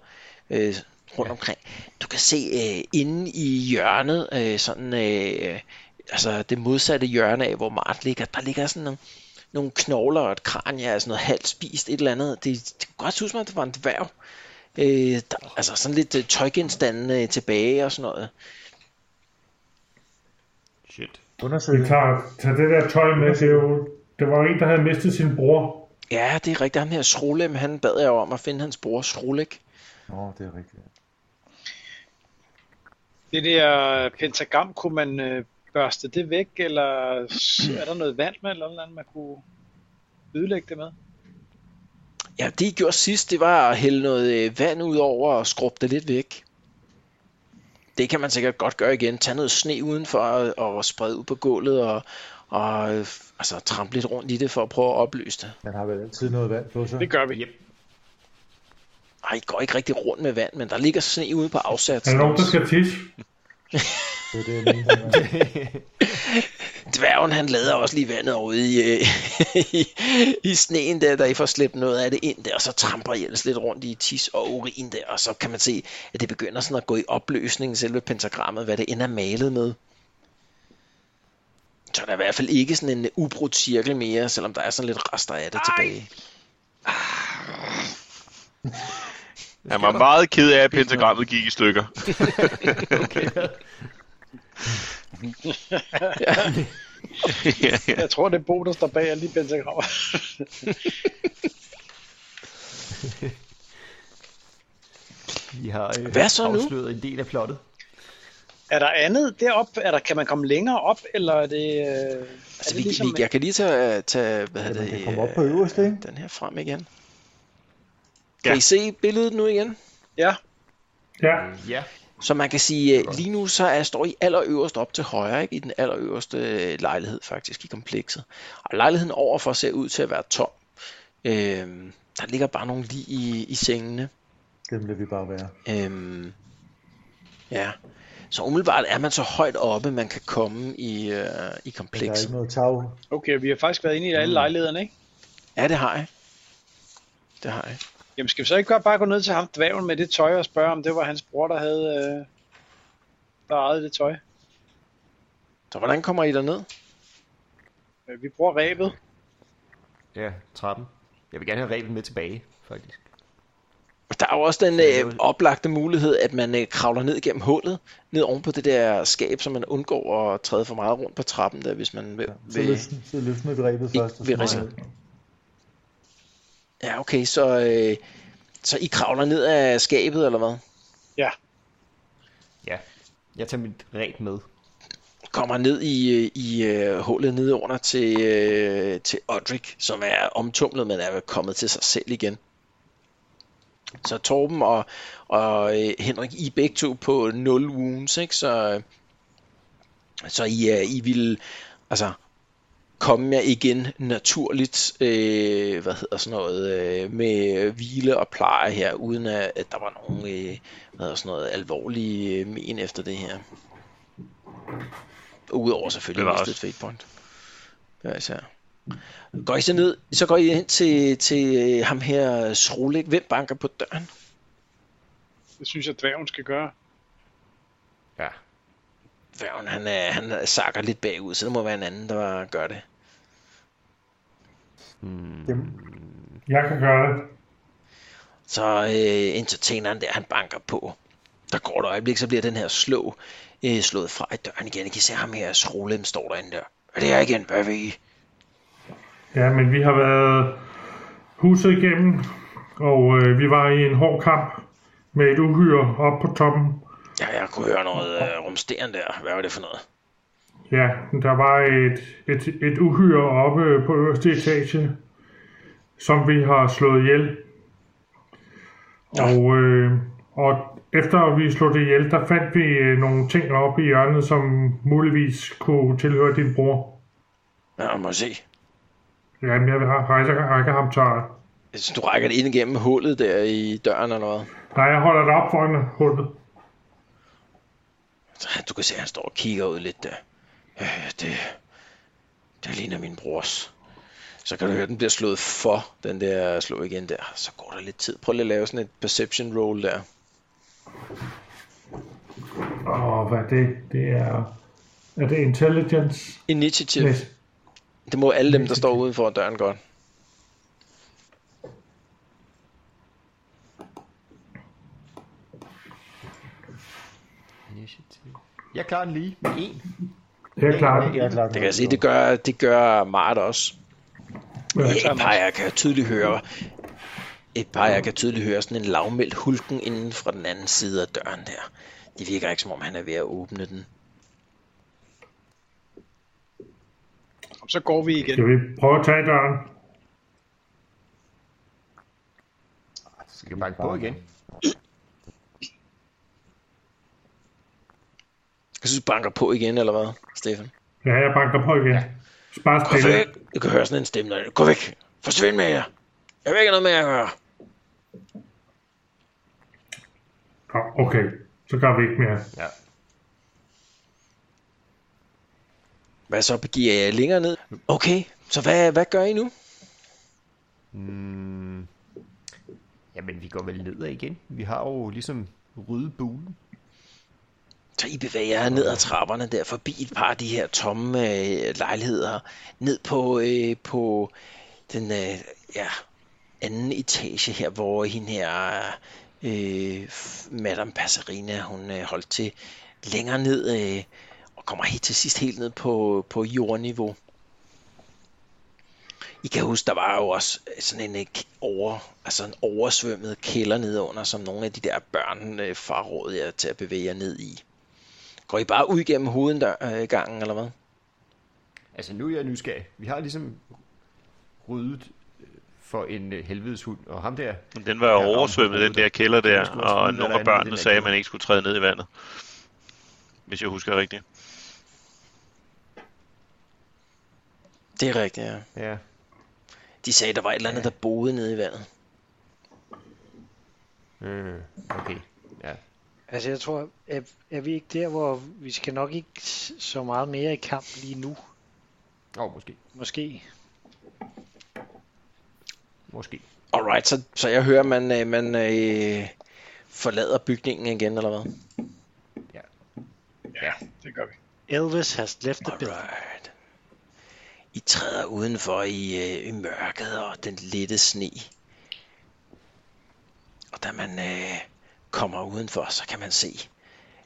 øh, rundt omkring. Du kan se øh, inde i hjørnet, øh, sådan øh, altså det modsatte hjørne af, hvor Mart ligger, der ligger sådan nogle, nogle knogler og et kranje, altså noget halvt spist, et eller andet. Det, det kunne godt se ud som om, det var en dværg. Øh, der, altså sådan lidt øh, tøjgenstande øh, tilbage og sådan noget. Shit. Undersøg Vi det. tager, tager det der tøj med. Det, er jo, det var jo en, der havde mistet sin bror. Ja, det er rigtigt. Ham her Srolem, han bad jeg om at finde hans bror Srolek. Nå, det er rigtigt. [LAUGHS] Det der pentagram, kunne man øh, børste det væk, eller s- er der noget vand med, eller noget andet, man kunne ødelægge det med? Ja, det I gjorde sidst, det var at hælde noget øh, vand ud over og skrubbe det lidt væk. Det kan man sikkert godt gøre igen. Tag noget sne udenfor og, og sprede ud på gulvet og, og øh, altså, trampe lidt rundt i det for at prøve at opløse det. Den har vel altid noget vand på sig. Det gør vi. Yep. Ej, I går ikke rigtig rundt med vand, men der ligger sne ude på Er der afsatsen. nogen, der skal tisse? Det er det, jeg mener. Dværgen, han lader også lige vandet over i, øh, [LAUGHS] i, i sneen der, der I får slæbt noget af det ind der, og så tramper I ellers lidt rundt i tis og urin der, og så kan man se, at det begynder sådan at gå i opløsning, selve pentagrammet, hvad det end er malet med. Så der er i hvert fald ikke sådan en ubrudt cirkel mere, selvom der er sådan lidt rester af det Ej. tilbage. Altså, Han var meget ked af, at pentagrammet gik i stykker. ja, ja. Jeg tror, det er Bo, der står bag alle de pentagrammer. [LAUGHS] Vi har øh, Hvad så nu? afsløret en del af plottet. er der andet deroppe? Er der, kan man komme længere op, eller er det... Øh, er Altså, det vi, ligesom, vi, jeg kan lige tage, tage hvad hedder Man det, kan komme op øh, på øverste, ikke? den her frem igen. Ja. Kan I se billedet nu igen? Ja, Ja, Ja. Så man kan sige, øh, lige nu så er, står I allerøverst op til højre, ikke? i den allerøverste øh, lejlighed faktisk i komplekset. Og lejligheden overfor ser ud til at være tom. Øhm, Der ligger bare nogle lige i, i sengene. Dem vil vi bare være. Øhm, ja. Så umiddelbart er man så højt oppe, man kan komme i, øh, i Der er komplekset. ikke noget tag. Okay, vi har faktisk været inde i Mm. alle lejlighederne, ikke? Ja, det har jeg. Det har jeg. Jamen skal vi så ikke godt bare gå ned til ham dvæven med det tøj og spørge, om det var hans bror, der havde... Øh, der ejede det tøj. Så hvordan kommer I derned? Øh, Vi bruger rebet. Ja, trappen. Jeg vil gerne have rebet med tilbage, faktisk. Der er jo også den Ja, øh, nu- oplagte mulighed, at man øh, kravler ned gennem hullet, ned oven på det der skab, så man undgår at træde for meget rundt på trappen der, hvis man vil. Så vil- løsner, så løsner vi rebet I- først. og så vi går riser. ned. Ja, okay, så, øh, så I kravler ned af skabet, eller hvad? Ja. Jeg tager mit reb med. Kommer ned i, øh, i øh, hullet nede under til, øh, til Odrik, som er omtumlet, men er kommet til sig selv igen. Så Torben og, og øh, Henrik, I er begge to på 0 wounds, ikke? Så, så I, øh, I vil altså, komme jer igen naturligt, øh, hvad hedder sådan noget, øh, med hvile og pleje her, uden at, at der var nogen, øh, hvad hedder sådan noget, alvorlige øh, men efter det her. Udover selvfølgelig Bevares. mistet fate point. Ja, især. Går I så ned, så går I ind til, til øh, ham her Srolik. Hvem banker på døren? Det synes jeg, dvæven skal gøre. Ja. Dværgen, han, er, han sakker lidt bagud, så det må være en anden, der gør det. Dem- Jeg kan gøre det. Så øh, entertaineren der, han banker på. Der går et øjeblik, så bliver den her slå øh, slået fra i døren igen. I kan se ham her, Srolem står derinde der. Er det her igen, hvad ved I? Ja, men vi har været huset igennem, og øh, vi var i en hård kamp med et uhyre op på toppen. Ja, jeg kunne høre noget øh, rumsteren der. Hvad var det for noget? Ja, der var et, et, et uhyre oppe øh, på øverste etage, som vi har slået ihjel. Og, øh, og efter vi slog det ihjel, der fandt vi øh, nogle ting oppe i hjørnet, som muligvis kunne tilhøre din bror. Ja, må se. Jamen, jeg rejser rækker ham tøjet. Så du rækker det ind igennem hullet der i døren eller hvad? Nej, jeg holder det op foran hullet. Så han- du kan se, at han står og kigger ud lidt der. Øh, det, det ligner min brors. Så kan du høre, at den bliver slået for, den der slå igen der. Så går der lidt tid. Prøv lige at lave sådan et perception roll der. Åh, hvad er det? Det er... Er det intelligence? Initiative. Yes. Det må alle dem, der står uden for døren godt. Initiativ. Jeg klarer den lige med en. Det er klart. Jeg er klar. Det kan jeg sige, det gør, det gør Mart også. Ja, et par af jer kan tydeligt høre, et par af jer kan tydeligt høre sådan en lavmældt hulken inden fra den anden side af døren der. Det virker ikke, som om han er ved at åbne den. Og så går vi igen. Skal vi prøve at tage døren? Skal jeg banke på igen? Jeg synes, du banker på igen, eller hvad, Stefan? Ja, jeg banker på igen. Bare Gå stille. væk! Du kan høre sådan en stemme derinde. Gå væk! Forsvind med jer! Jeg vil ikke have noget med jer at gøre. Nå, Okay, så gør vi ikke mere. Ja. Hvad så begiver jeg jer længere ned? Okay, så hvad, hvad gør I nu? Mm. Jamen, vi går vel nedad igen. Vi har jo ligesom ryddet bulen. Så I bevæger jer ned ad trapperne der, forbi et par af de her tomme øh, lejligheder, ned på, øh, på den øh, ja, anden etage her, hvor hende her, øh, f- Madame Passerina, hun øh, holdt til længere ned, øh, og kommer helt til sidst helt ned på, på jordniveau. I kan huske, der var jo også sådan en, øh, k- over, altså en oversvømmet kælder nedenunder, som nogle af de der børn øh, frarådede jer til at bevæge jer ned i. Går I bare ud gennem hovedgangen, eller hvad? Altså, nu er jeg nysgerrig. Vi har ligesom ryddet øh, for en øh, helvedes hund, og ham der... Men Den var jo Ja, oversvømmet, der- den der kælder der der, skulle også og lige være nogle af andet i den børnene der sagde, at kælder. man ikke skulle træde ned i vandet. Hvis jeg husker rigtigt. Det er rigtigt, ja. Ja. De sagde, der var et eller andet, der boede nede i vandet. Øh, okay. Ja. Altså, jeg tror, er, er vi ikke der, hvor vi skal nok ikke s- så meget mere i kamp lige nu? Åh, oh, måske. Måske. Måske. Alright, så, så jeg hører, man, øh, man øh, forlader bygningen igen, eller hvad? det gør vi. Elvis has left the building. Alright. I træder udenfor i, øh, i mørket og den lette sne. Og da man øh, kommer udenfor, så kan man se,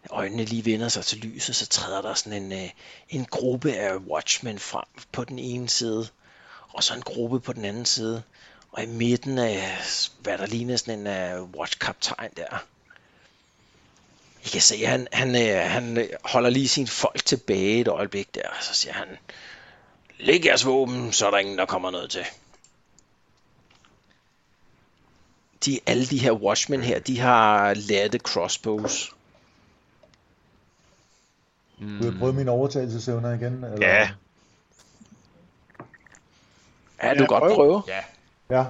at øjnene lige vender sig til lyset, så træder der sådan en, øh, en gruppe af watchmen frem på den ene side, og så en gruppe på den anden side. Og i midten af, hvad der ligner sådan en øh, watchkaptajn der. I kan se, at han, han, øh, han øh, holder lige sine folk tilbage et øjeblik der, og så siger han, Læg jeres våben, så er der ingen, der kommer noget til. De, alle de her watchmen her, de har latte crossbows. Du har prøvet mine overtagelsesevner igen? Eller? Ja, Ja, du kan godt prøv. prøve. Ja,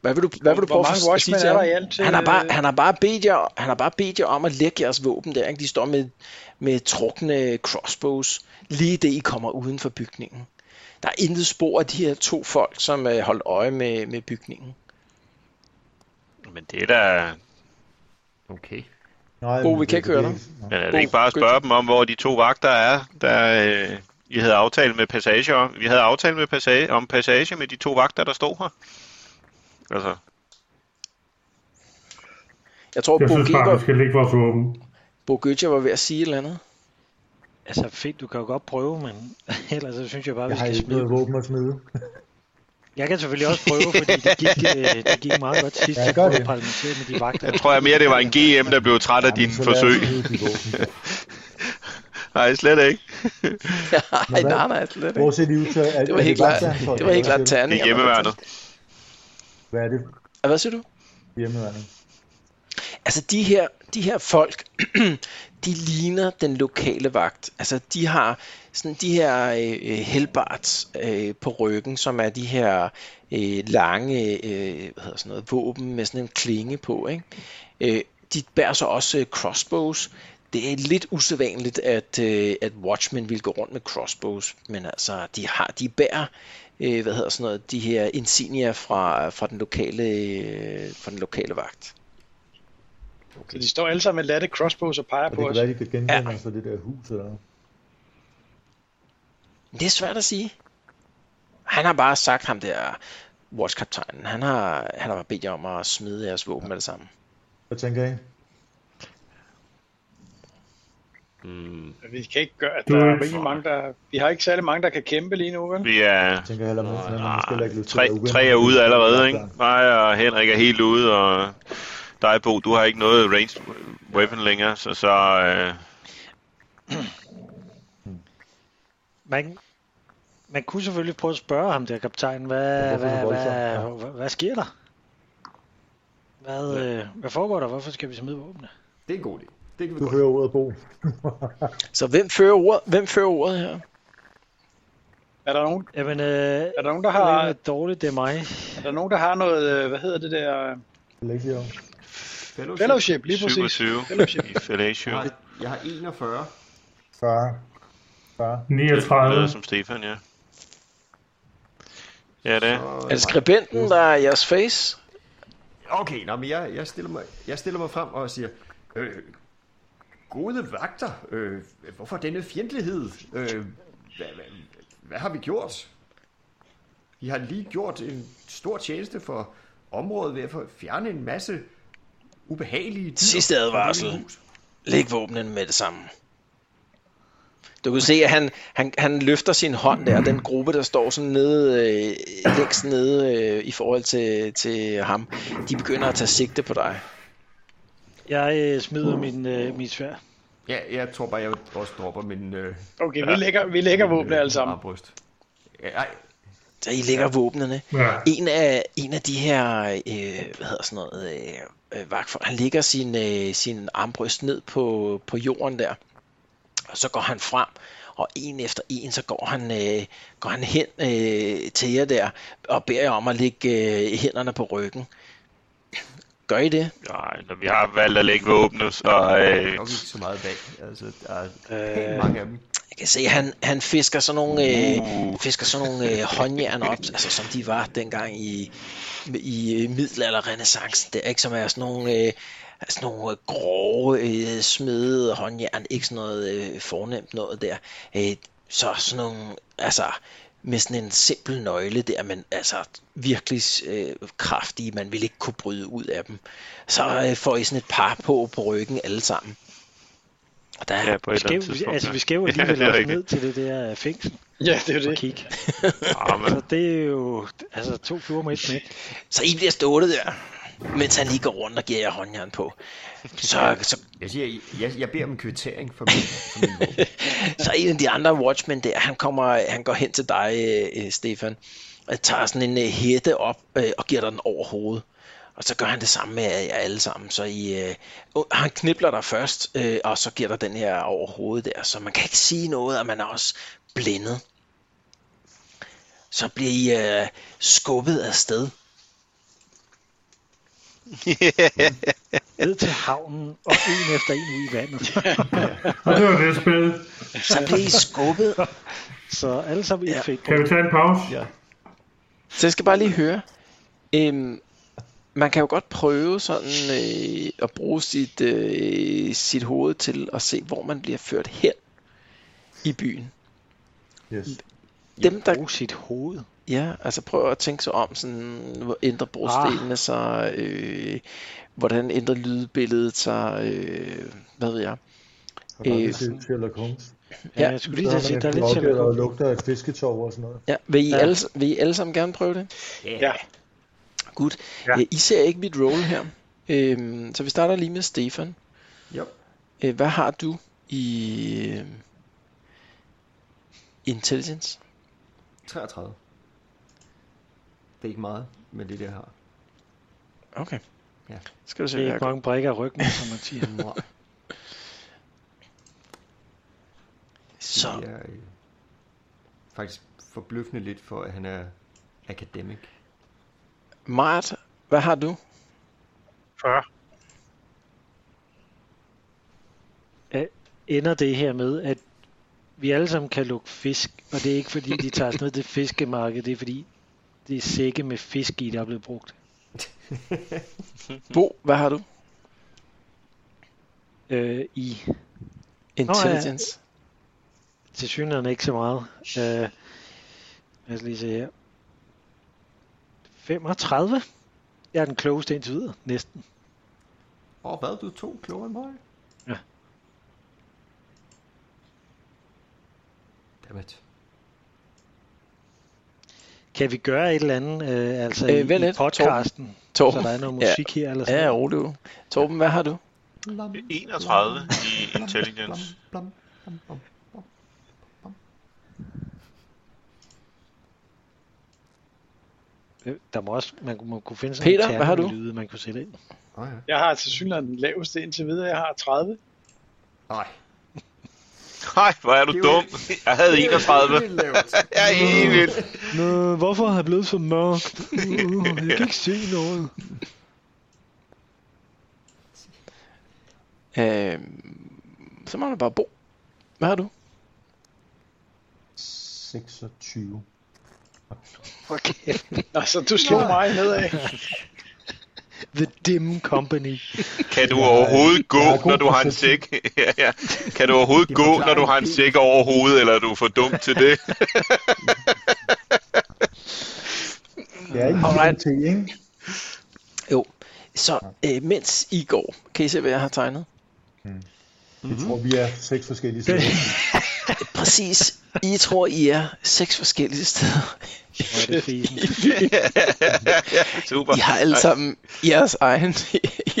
Hvad vil du, hvad vil du Hvor prøve mange for at sige watchmen til er der ham? i alt? Han har øh, bare, han har bare, bedt, jer, han har bare bedt jer om at lægge jeres våben der. Ikke? De står med, med trukne crossbows, lige det I kommer uden for bygningen. Der er intet spor af de her to folk, som øh, holdt øje med, med bygningen. men det er da... Okay. Nej, Bo, vi men det- kan ikke høre det- Nå. Men er God, det ikke bare at god spørge dem om, hvor de to vagter er, der øh, I havde aftalt med passage om? Vi havde aftalt med passage, om passage med de to vagter, der stod her. Altså, Jeg tror, Jeg synes bare, vi Bo skal lægge vores våben. Bogøtja var ved at sige et eller andet. Altså, fedt, du kan jo godt prøve, men [LAUGHS] ellers så synes jeg bare, vi Jeg har skal ikke smide noget våben at smide. Jeg kan selvfølgelig også prøve, fordi det gik, øh, det gik meget godt sidst, Ja, jeg gør prøvede det. at parlamentere med de vagter. jeg tror jeg mere, det var en GM, der blev træt af Jamen, dine så lad os forsøg. smide de våben. Nej, slet ikke. [LAUGHS] Nej, hvad? nej, nej, slet ikke. Bortset lige ud til... [LAUGHS] er- Det var er helt klart, vagtternsfolk, det var helt klart eller hvad? Det terninger. er hjemmeværnet. Hvad er det? Ja, Hvad siger du? Hjemmeværende. Altså de her, de her folk, [CLEARS THROAT] de ligner den lokale vagt. Altså de har sådan de her øh, helbards øh, på ryggen, som er de her øh, lange øh, hvad hedder sådan noget, våben med sådan en klinge på. Ikke? Øh, de bærer så også øh, crossbows. Det er lidt usædvanligt, at, øh, at Watchmen vil gå rundt med crossbows, men altså, de har, de bærer, øh, hvad hedder sådan noget, de her insignier fra, fra, den lokale, øh, fra den lokale vagt. Så de står alle sammen med latte crossbows og peger Og på det os. kan være, de kan genkende Ja. os fra det der hus eller noget. Det er svært at sige. Han har bare sagt ham der, watchkaptajnen, han har, han har bare bedt jer om at smide jeres våben med det samme. Hvad tænker I? Mm, Vi kan ikke gøre, at Du der er er ikke rigtig mange, der... Vi har ikke særlig mange, der kan kæmpe lige nu, vel? Vi er Jeg tænker heller, at man måske heller ikke lyst til tre, at være uvenner. tre er ude allerede, ikke? Mig og Henrik er helt ude, og dig, Bo, du har ikke noget ranged weapon længere, så, så øh, Man, man kunne selvfølgelig prøve at spørge ham der, kaptajn, Ja, hvad, hvorfor er hvad, du voldsom? hvad, Ja. hvad, hvad sker der? Hvad, øh, hvad foregår der? Hvorfor skal vi smide våbnene? det er en god idé. Det kan vi Du godt. hører ordet, Bo. Så hvem fører ordet, hvem fører ordet her? Er der nogen, Jamen, øh, er der nogen, der det har, er dårligt, det er mig. er der nogen, der har noget, øh, hvad hedder det der, øh, Lexio. Fellowship. fellowship, lige præcis. 27 [LAUGHS] Fellowship. i Fellatio. Jeg har, jeg har 41. 40. 40. 39. Bedre som Stefan, ja. Ja, det er. Er det skribenten, der er jeres face? Okay, nå, men jeg, jeg, stiller mig, jeg stiller mig frem og siger, øh, gode vagter, øh, hvorfor denne fjendtlighed? Øh, hvad, hvad, hvad har vi gjort? Vi har lige gjort en stor tjeneste for området ved at få- fjerne en masse ubehagelige dyr Sidste fra det lille advarsel. hus. Læg våbnene med det samme. Du kan se, at han, han, han løfter sin hånd der, den gruppe, der står sådan nede, øh, længst nede øh, i forhold til, til ham. De begynder at tage sigte på dig. Jeg øh, smider min, øh, min svær. Ja, jeg tror bare, jeg også dropper min øh, Okay, vi lægger, vi lægger våbne alle sammen. armbryst. Ja, ej, Så I lægger våbnene. Ja. En af, en af de her, øh, hvad hedder sådan noget, øh, øh, vagtfolk, han lægger sin, øh, sin armbryst ned på, på jorden der, og så går han frem, og en efter en, så går han, øh, går han hen øh, til jer der, og beder jer om at lægge øh, hænderne på ryggen. Gør I det? Nej, når vi har valgt at lægge våbne, så... Der er Øh, nok ikke så meget bag. Altså, der er Øh. pænt mange af dem. Jeg kan se, at han, han fisker sådan nogle, øh, fisker sådan nogle øh, håndjern op, altså som de var dengang i, i øh, middelalderrenæssancen. Det er ikke som er sådan nogle, øh, sådan nogle øh, grove øh, smedede håndjern, ikke sådan noget øh, fornemt noget der. Øh, så sådan nogle, altså med sådan en simpel nøgle der, men altså virkelig øh, kraftige, man ville ikke kunne bryde ud af dem. Så øh, får I sådan et par på på ryggen alle sammen. Og der er ja, på et eller Skæv, andet tidspunkt. altså, vi [LAUGHS] ja. skal [LAUGHS] jo Ja, alligevel det er også rigtigt. ned til det der øh, fængsel Ja, det er jo og det. kigge. Ja, Ah, men, Så det er jo altså, to fluer med et smæk. Så I bliver stående der, mens han lige går rundt og giver jer håndjern på. Så, så, Jeg siger, jeg, jeg beder om en kvittering for min, [LAUGHS] for min våben. så en af de andre watchmen der, han, kommer, han går hen til dig, øh, øh, Stefan, og tager sådan en øh, hætte op øh, og giver dig den over hovedet. Og så gør han det samme med jer alle sammen. Så I, øh, uh, han knibler dig først, øh, og så giver dig den her over hovedet der. Så man kan ikke sige noget, og man er også blændet. Så bliver I øh, skubbet afsted. Ned til havnen, og en efter en ud i vandet. Og det var det spil. Så bliver I skubbet Så alle sammen i Ja. et fængsel. Kan vi tage en pause? Ja. Så jeg skal bare lige høre. Øhm, man kan jo godt prøve sådan øh, at bruge sit, øh, sit hoved til at se, hvor man bliver ført hen i byen. Yes. Dem, der, Bruge sit hoved. ja, altså prøv at tænke sig om, sådan, hvor ændrer brostenene ah. sig, øh, hvordan ændrer lydbilledet sig, øh, hvad ved jeg. Har du aldrig Øh, set Sherlock Holmes? Ja, jeg skulle lige til at sige, der er lidt til Sherlock at Holmes. lugter af et fisketov og sådan noget. Ja, vil, I ja. Ja. Alle, vil I alle sammen gerne prøve det? Ja. Godt. Ja. I ser ikke mit roll her. Øhm, så vi starter lige med Stefan. Jo. Øh, hvad har du i øh, intelligence? 33. Det er ikke meget, men det er det, jeg har. Okay. Ja. Skal du se, Det er hvad jeg ikke mange brækker i ryggen, som man siger. Nej, Så det er øh, faktisk forbløffende lidt for, at han er academic. Mart, hvad har du? 40. Ender det her med, at vi alle sammen kan lukke fisk, og det er ikke fordi, de tager os ned til fiskemarkedet, det er fordi, det er sække med fisk i, der er blevet brugt. Bo, hvad har du? Øh, I Intelligence. til synligheden ikke så meget. Øh, lad os lige se her. 35. Jeg er den klogeste indtil videre, næsten. Åh, hvad? Du er to klogere end mig? Ja. Dammit. Kan vi gøre et eller andet, øh, altså Øh, øh, vent i, i lidt, podcasten, så Torben. der er noget Ja. musik her eller sådan Ja, noget? jo, du. Torben, hvad har du? 31 i intelligence. Blom, blom, blom. Øh, Der må også, man, kunne- man kunne finde Peter, sådan hvad har nogle du? lyde, man kunne sætte ind. Åh ja. Jeg har til synligheden den laveste indtil videre. Jeg har 30. Nej. Nej, hvor er du Det er jo- dum. Jeg havde 31. Det er lavt. Jeg er helt vildt. Nå, hvorfor har jeg blevet så mørk? Uh, jeg kan ikke se noget. Øh, så må du bare Bo. Hvad har du? 26. Okay. Nå, så du slog [LAUGHS] mig nedad. The Dim Company. Kan du overhovedet jeg har gå, god når du har en procession. sæk? [LAUGHS] ja, ja. Kan du overhovedet gå, når du har en sæk over hovedet, eller er du for dum til det? Det er ikke en Alright. til, ikke? Jo. Så øh, mens I går, kan I se, hvad jeg har tegnet? Mhm. Jeg tror, vi er seks forskellige steder. Præcis. I tror, I er seks forskellige steder. Hvor er det fisen. Super. I har alle sammen jeres egen [LAUGHS]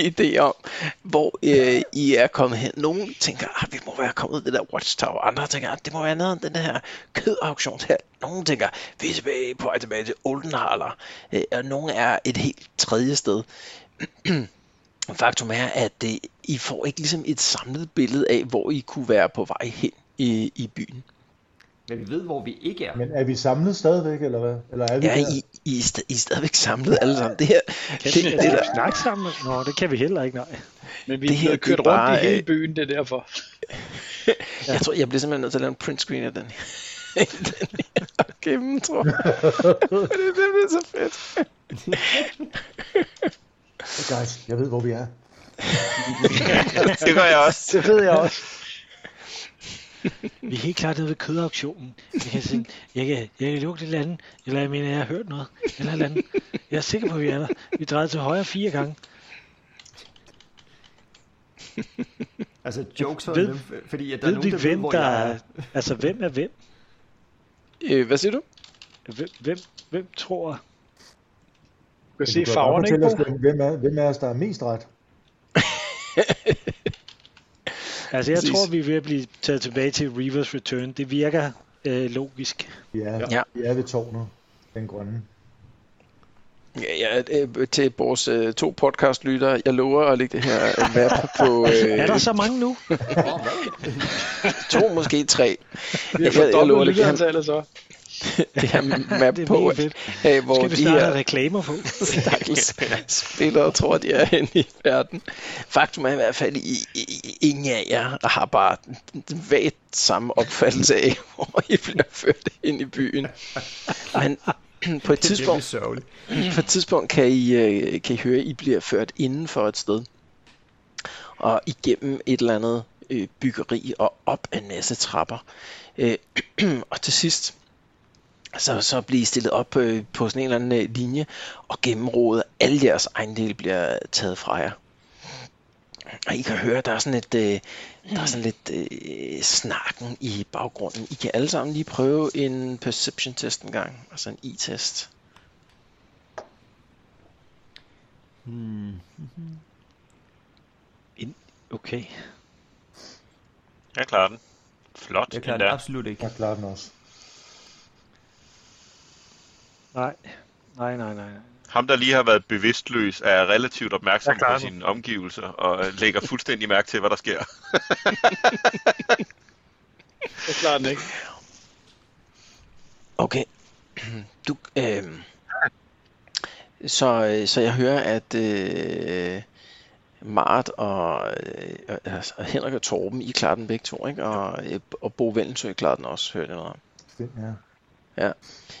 idé om, hvor øh, I er kommet hen. Nogle tænker, at vi må være kommet ud af det der Watchtower. Andre tænker, at det må være noget af den her kødauktionshal. Nogle tænker, vi er tilbage på vej tilbage til Oldenhaler. Øh, og nogle er et helt tredje sted. [CLEARS THROAT] Faktum er, at øh, I får ikke ligesom et samlet billede af, hvor I kunne være på vej hen i, i byen. Ja, vi ved, hvor vi ikke er. Men er vi samlet stadigvæk, eller hvad? Eller er vi Ja, der? I, I, er sta- I er stadigvæk samlet alle sammen. Det her, [LAUGHS] det, det, det der, er snakke sammen. Nå, det kan vi heller ikke, nej. Men vi Det det her, her, det er kørt rundt bare, i hele øh, byen, det er derfor. jeg tror, jeg bliver simpelthen nødt til at lave en print screen af den [LAUGHS] her. den her gennem, tror jeg. det bliver så fedt. Hey guys, jeg ved, hvor vi er. [LAUGHS] Det gør jeg også. Det ved jeg også. Vi er helt klart nede ved kødauktionen. Jeg kan, tænke, jeg kan, jeg kan lugte et eller andet, eller jeg mener, jeg har hørt noget, eller et eller andet. Jeg er sikker på, at vi er der. Vi drejede til højre fire gange. Altså, jokes om Ved- dem, f- fordi at der Der er nogen, ved vi, der hvem ved, hvor der jeg er... er. Altså, hvem er hvem? Øh, hvad siger du? Hvem, hvem, hvem tror... Du kan Men se du kan godt farverne, ikke? fortælle os, Bo? hvem- Hvem er, hvem er os, der er mest ret? Altså, jeg Præcis. tror, vi er ved at blive taget tilbage til Reavers Return. Det virker øh, logisk. Vi er, Ja. ja. vi er ved tårnet, den grønne. Ja, ja, øh, til vores øh, to podcastlyttere. Jeg lover at lægge det her øh, map på [LAUGHS] Er der øh, så mange nu? To, måske tre. Vi har Jeg, fået jeg lover dobbelt at lægge det her, lytterantallet så. det her map [LAUGHS] Det er på, mega fedt. øh, hvor Skal vi de snart her have reklamer på? [LAUGHS] stakkels spillere tror, de er henne i verden. Faktum er i hvert fald, I, I, I- ingen af jer har bare den vagt samme opfattelse af, [LAUGHS] hvor I bliver ført ind i byen. Men [CLEARS THROAT] på et Det er virkelig tidspunkt, sørgeligt. på et tidspunkt kan, I, øh, kan I høre, at I bliver ført inden for et sted. Og igennem et eller andet øh, byggeri og op ad en masse trapper. Øh, [CLEARS THROAT] og til sidst, så, så bliver I stillet op øh, på sådan en eller anden øh, linje og gennemrodet. Alle jeres ejendele bliver taget fra jer. Og I kan høre, der er sådan lidt, øh, der er sådan lidt øh, snakken i baggrunden. I kan alle sammen lige prøve en perception test en gang, altså en i-test. Okay. Jeg klarer den. Flot. Jeg klarer det endda. absolut ikke. Jeg klarer den også. [LAUGHS] Nej. Nej, nej, nej. nej. Ham, der lige har været bevidstløs, er relativt opmærksom Jeg klarer på den. sine omgivelser og øh, lægger fuldstændig mærke til, hvad der sker. Jeg klarer den ikke. Okay. [CLEARS THROAT] Du, øh, så, øh, så jeg hører, at øh, Mart og, øh, altså, Henrik og Torben, I klarer den begge to, ikke? Og, øh, og Bo Vellensø klarer den også, hørte jeg noget om. Den her.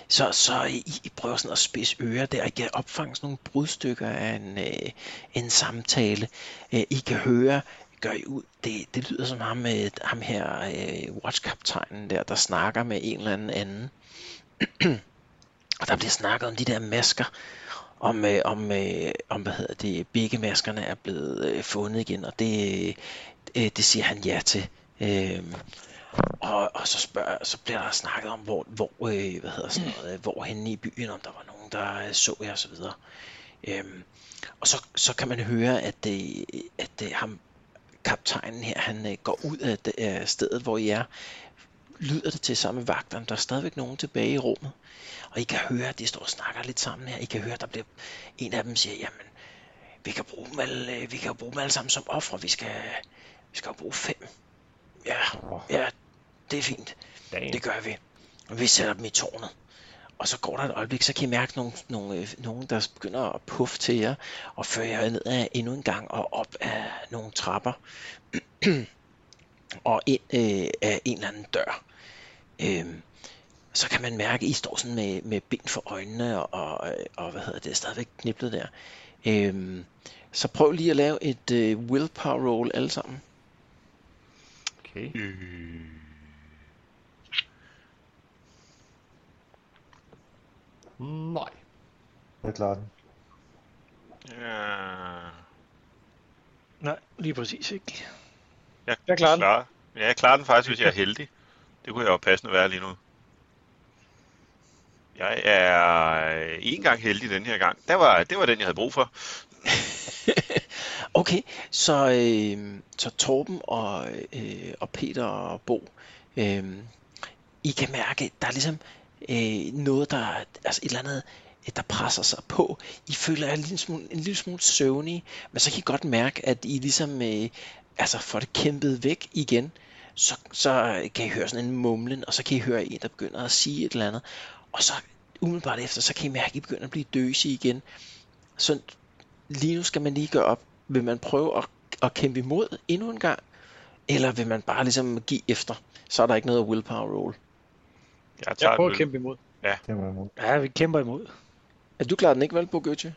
Så, så I, I prøver sådan at spidse ører der, og I kan opfange sådan nogle brudstykker af en, øh, en samtale. Øh, I kan høre, gør I ud, det, det lyder som ham, øh, ham her, øh, watchkaptajnen der, der snakker med en eller anden anden. og der bliver snakket om de der masker, om, øh, om, øh, om hvad hedder det, begge maskerne er blevet øh, fundet igen, og det, øh, det siger han ja til. Øh, og, og så, spørger, så bliver der snakket om, hvor, hvor, øh, hvad hedder sådan noget, øh, hvor henne i byen, om der var nogen, der øh, så jer osv. Øhm, og så, så kan man høre, at, øh, at øh, ham, kaptajnen her, han øh, går ud af det, af stedet, hvor I er. Lyder det til sammen med vagterne, der er stadigvæk nogen tilbage i rummet. Og I kan høre, at de står og snakker lidt sammen her. I kan høre, at der bliver en af dem siger, jamen, vi kan bruge dem alle, øh, vi kan jo bruge dem alle sammen som ofre. Vi skal, vi skal jo bruge fem. Ja, ja, det er fint. Damn. Det gør vi. Og vi sætter dem i tårnet. Og så går der et øjeblik, så kan I mærke nogle, nogle, øh, nogen, der begynder at puffe til jer, og føre jer ned ad endnu en gang og op af nogle trapper, [CLEARS THROAT] og ind øh, af en eller anden dør. Øhm, så kan man mærke, at I står sådan med, med ben for øjnene, og, og, øh, og hvad hedder det, stadigvæk kniblet der. Øhm, så prøv lige at lave et øh, willpower roll alle sammen. Okay. Nej. Jeg klarer den. Ja. Nej, lige præcis ikke. Jeg klarer den. Klar. Ja, jeg klarer den faktisk, hvis jeg er heldig. Det kunne jeg jo passende være lige nu. Jeg er øh, en gang heldig den her gang. Der var, det var den, jeg havde brug for. Okay, så, øh, så Torben og, øh, og Peter og Bo, øh, I kan mærke, at der er ligesom øh, noget, der altså et eller andet, øh, der presser sig på. I føler jer en lille smule, en lille smule søvnige, men så kan I godt mærke, at I ligesom øh, altså får det kæmpet væk igen. så, så kan I høre sådan en mumlen, og så kan I høre en, der begynder at sige et eller andet. Og så umiddelbart efter, så kan I mærke, at I begynder at blive døsige igen. Så lige nu skal man lige gøre op, vil man prøve at, at kæmpe imod endnu en gang, eller vil man bare ligesom give efter? Så er der ikke noget willpower roll. Jeg tager Jeg prøver den. at kæmpe imod. Ja, Det må jeg imod. Ja, vi kæmper imod. Er du klar den ikke vel, Bogøtje?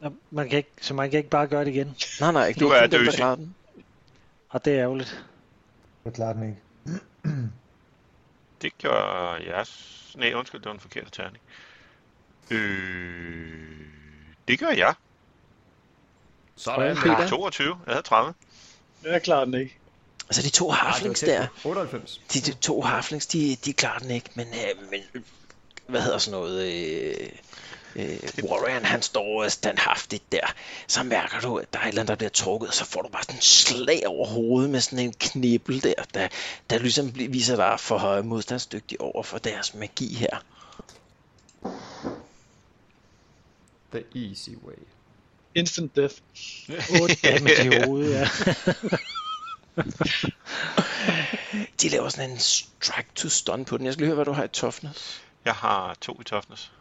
Nå, Man kan ikke, så man kan ikke bare gøre det igen. Nej, nej, ikke. Du det er er kun dem, der døsig. klarer den. Og det er ærgerligt. Jeg klarer den ikke. det gør jeg... s- Nej, undskyld, det var en forkert terning. Øh, det gør jeg. Sådan. Peter? Ja. 22, jeg havde 30. Jeg klarer den ikke. Altså de to Ah, det var harflings tæt der, på. 98. de, de to harflings, de, de klarer den ikke, men, øh, men øh, hvad hedder sådan noget, øh, øh, Warren han står øh, standhaftigt der, så mærker du, at der er et eller andet, der bliver trukket, og så får du bare sådan en slag over hovedet med sådan en knibbel der, der, der ligesom bl- viser dig for øh, modstandsdygtig over for deres magi her. The easy way. Instant death. Otte dage med de hoved, [LAUGHS] ja. De laver sådan en strike to stun på den. Jeg skal lige høre, hvad du har i toughness. Jeg har to i toughness.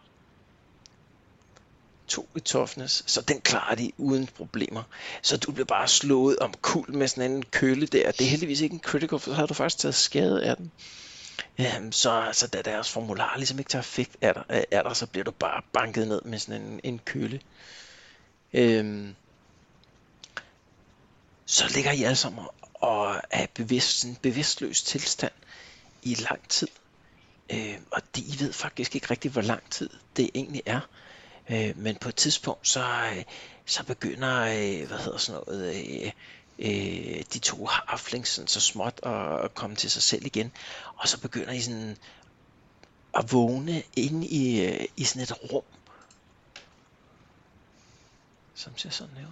To i toughness, så den klarer de uden problemer. Så du bliver bare slået om kul med sådan en kølle der. Det er heldigvis ikke en critical, for så har du faktisk taget skade af den. Øhm, så, så da deres formular ligesom ikke tager effekt af dig, øh, af dig, så bliver du bare banket ned med sådan en, en kølle. Øhm, så ligger I alle sammen og er bevidst, sådan en bevidstløs tilstand i lang tid. Øh, og det, I ved faktisk ikke rigtigt, hvor lang tid det egentlig er. Øh, men på et tidspunkt, så, øh, så begynder, øh, hvad hedder sådan noget, øh, øh, de to harflings sådan så småt at, at komme til sig selv igen. Og så begynder I sådan at vågne inde i, øh, i sådan et rum, som ser sådan her ud.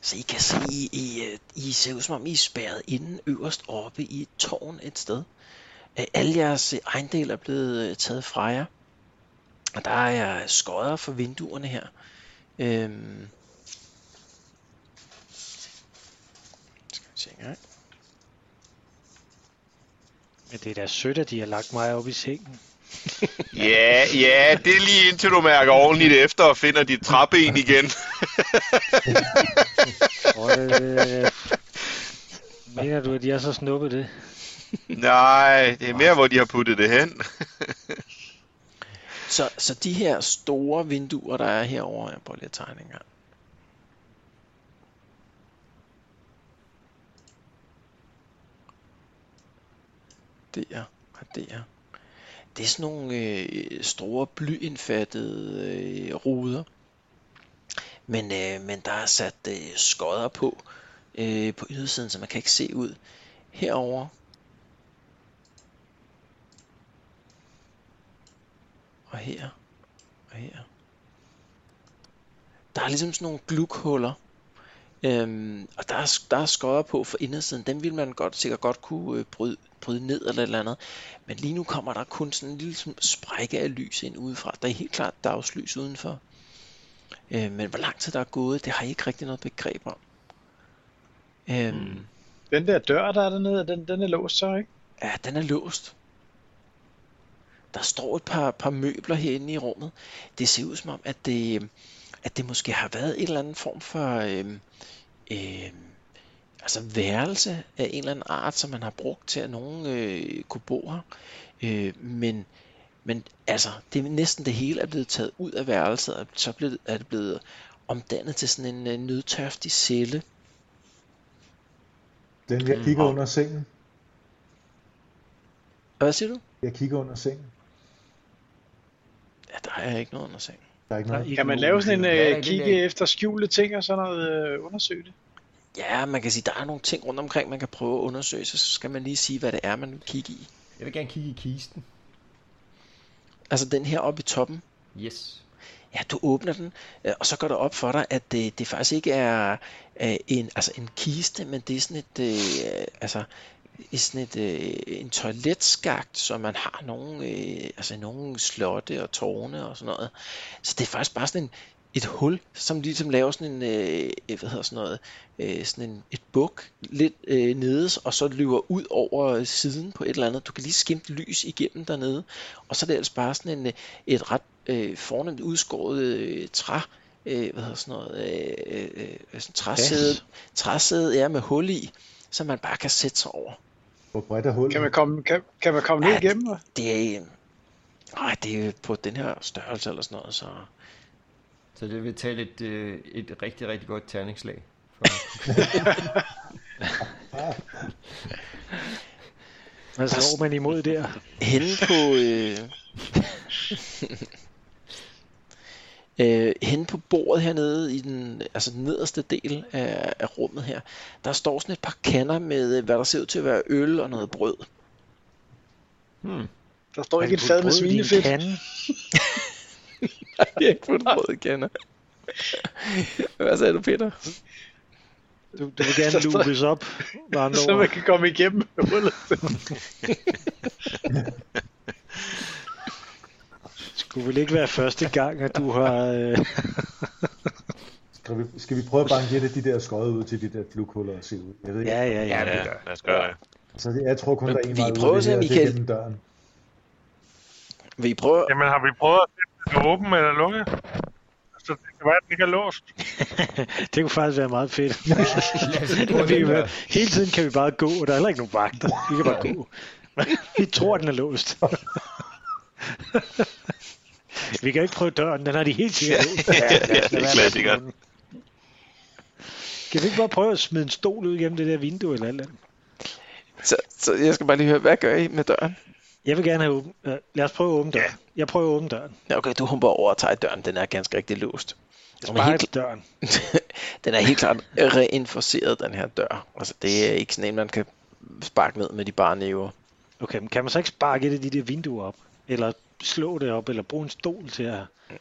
Så I kan se, I, I, øh, I ser ud som om I er spærret inden øverst oppe i et tårn et sted. Øh, Alle jeres øh, ejendele er blevet øh, taget fra jer. Og der er øh, skodder for vinduerne her. Øhm. Skal vi se engang. Men det er da sødt, at de har lagt mig op i [LAUGHS] sengen. Ja, ja, det er lige indtil du mærker ordentligt efter og finder dit træben igen. Øh, mener du, at jeg så snuppet det? Nej, det er mere, hvor de har puttet det hen. Så, så de her store vinduer, der er herovre, jeg prøver lige at tegne en gang. Det er, og det er. Det er sådan nogle øh, store blyindfattede øh, ruder. Men, øh, men der er sat øh, skodder på øh, på ydersiden, så man kan ikke se ud. Herover og her og her. Der er ligesom sådan nogle glukhuller, øhm, og der er, der er skodder på for indersiden. Dem ville man godt, sikkert godt kunne øh, bryde, bryde ned eller et eller andet. Men lige nu kommer der kun sådan en lille sådan sprække af lys ind udefra. Der er helt klart dagslys udenfor. Øh, men hvor lang tid der er gået, det har I ikke rigtig noget begreb om. Øhm, mm. Den der dør, der er dernede, den, den er låst så, ikke? Ja, den er låst. Der står et par, par møbler herinde i rummet. Det ser ud som om, at det, at det måske har været en eller anden form for øhm, øhm, altså værelse af en eller anden art, som man har brugt til, at nogen øh, kunne bo her. Øh, men, men altså, det er næsten det hele er blevet taget ud af værelset, og så blevet, er det blevet omdannet til sådan en øh, nødtørftig celle. Den, jeg Mm. kigger under sengen. Hvad siger du? Jeg kigger under sengen. Ja, der er ikke noget under sengen. Der er ikke noget. Kan man lave sådan en Hvad er øh, det kigge der? efter skjulte ting og sådan noget, øh, undersøge det? Ja, man kan sige, der er nogle ting rundt omkring, man kan prøve at undersøge, så skal man lige sige, hvad det er, man vil kigge i. Jeg vil gerne kigge i kisten. Altså den her oppe i toppen, Yes. ja, du åbner den, øh, og så går det op for dig, at det, det faktisk ikke er øh, en, altså en kiste, men det er sådan et, øh, altså, i sådan et, øh, en toiletskagt, som man har nogle, øh, altså nogle slotte og tårne og sådan noget. Så det er faktisk bare sådan en, et hul, som ligesom laver sådan en, øh, øh, hvad hedder sådan noget, øh, sådan en, et buk lidt øh, nedes, og så løber ud over siden på et eller andet. Du kan lige skimte lys igennem dernede, og så er det altså bare sådan en, øh, et ret øh, fornemt udskåret øh, træ, øh, hvad hedder sådan noget, øh, øh, øh, sådan træsæde, træsæde ja, med hul i, som man bare kan sætte sig over. Hvor bredt er hullet? Kan man komme, kan, kan man komme ned Ja, igennem? hva'? Det er, øh, nej, det er på den her størrelse eller sådan noget, så... Så det vil tage et, øh, et rigtig, rigtig godt terningslag. For... Hvad Altså, slår man imod der? Henne på... Øh... [LAUGHS] øh, henne på bordet hernede, i den altså den nederste del af, af rummet her, der står sådan et par kander med, øh, hvad der ser ud til at være øl og noget brød. Hmm. Der står Har ikke du et fad med puttet brødet i en svinefedt. kande? Nej, [LAUGHS] det er ikke på brød, kander. hvad sagde du, Peter? Du, du vil gerne [LAUGHS] Så- så- lupes op. med andre [LAUGHS] Så ord. man kan komme igennem [LAUGHS] hullet. Skulle vel ikke være første gang, at du har... Øh... Skal vi, skal vi prøve at banke lidt af de der skøjet ud til de der flughuller og se ud? Jeg ved ikke. Ja, ja, ja. Ja, lad os gøre det. Så det, jeg tror kun, Men der er en vi vej ud prøver af at se, om det her, og I det er kan- gennem døren. Vil I prøve? Jamen har vi prøvet at se, om den er åben eller lukket? Så det kan være, at den ikke er låst. [LAUGHS] Det kunne faktisk være meget fedt. [LAUGHS] Lad os [LAUGHS] ikke gå vi den kan, der. være- hele tiden kan vi bare gå, og der er heller ikke nogen vagter. Vi kan bare gå. [LAUGHS] Vi tror, den er låst. [LAUGHS] vi kan ikke prøve døren, den har de helt [LAUGHS] sikkert låst. Ja, det er klassikeren. Kan vi ikke bare prøve at smide en stol ud gennem det der vindue eller alt andet? Så, så jeg skal bare lige høre, hvad gør I med døren? Jeg vil gerne have åben. øh, Lad os prøve at åbne døren. Jeg prøver at åbne døren. Ja, okay, du humper over og tager i døren. Den er ganske rigtig låst. [LAUGHS] Den er, Bare helt, døren. den er helt klart reinforceret, den her dør. Altså, det er ikke sådan en, man kan sparke ned med de bare næver. Okay, men kan man så ikke sparke et af de der vinduer op? Eller slå det op, eller bruge en stol til at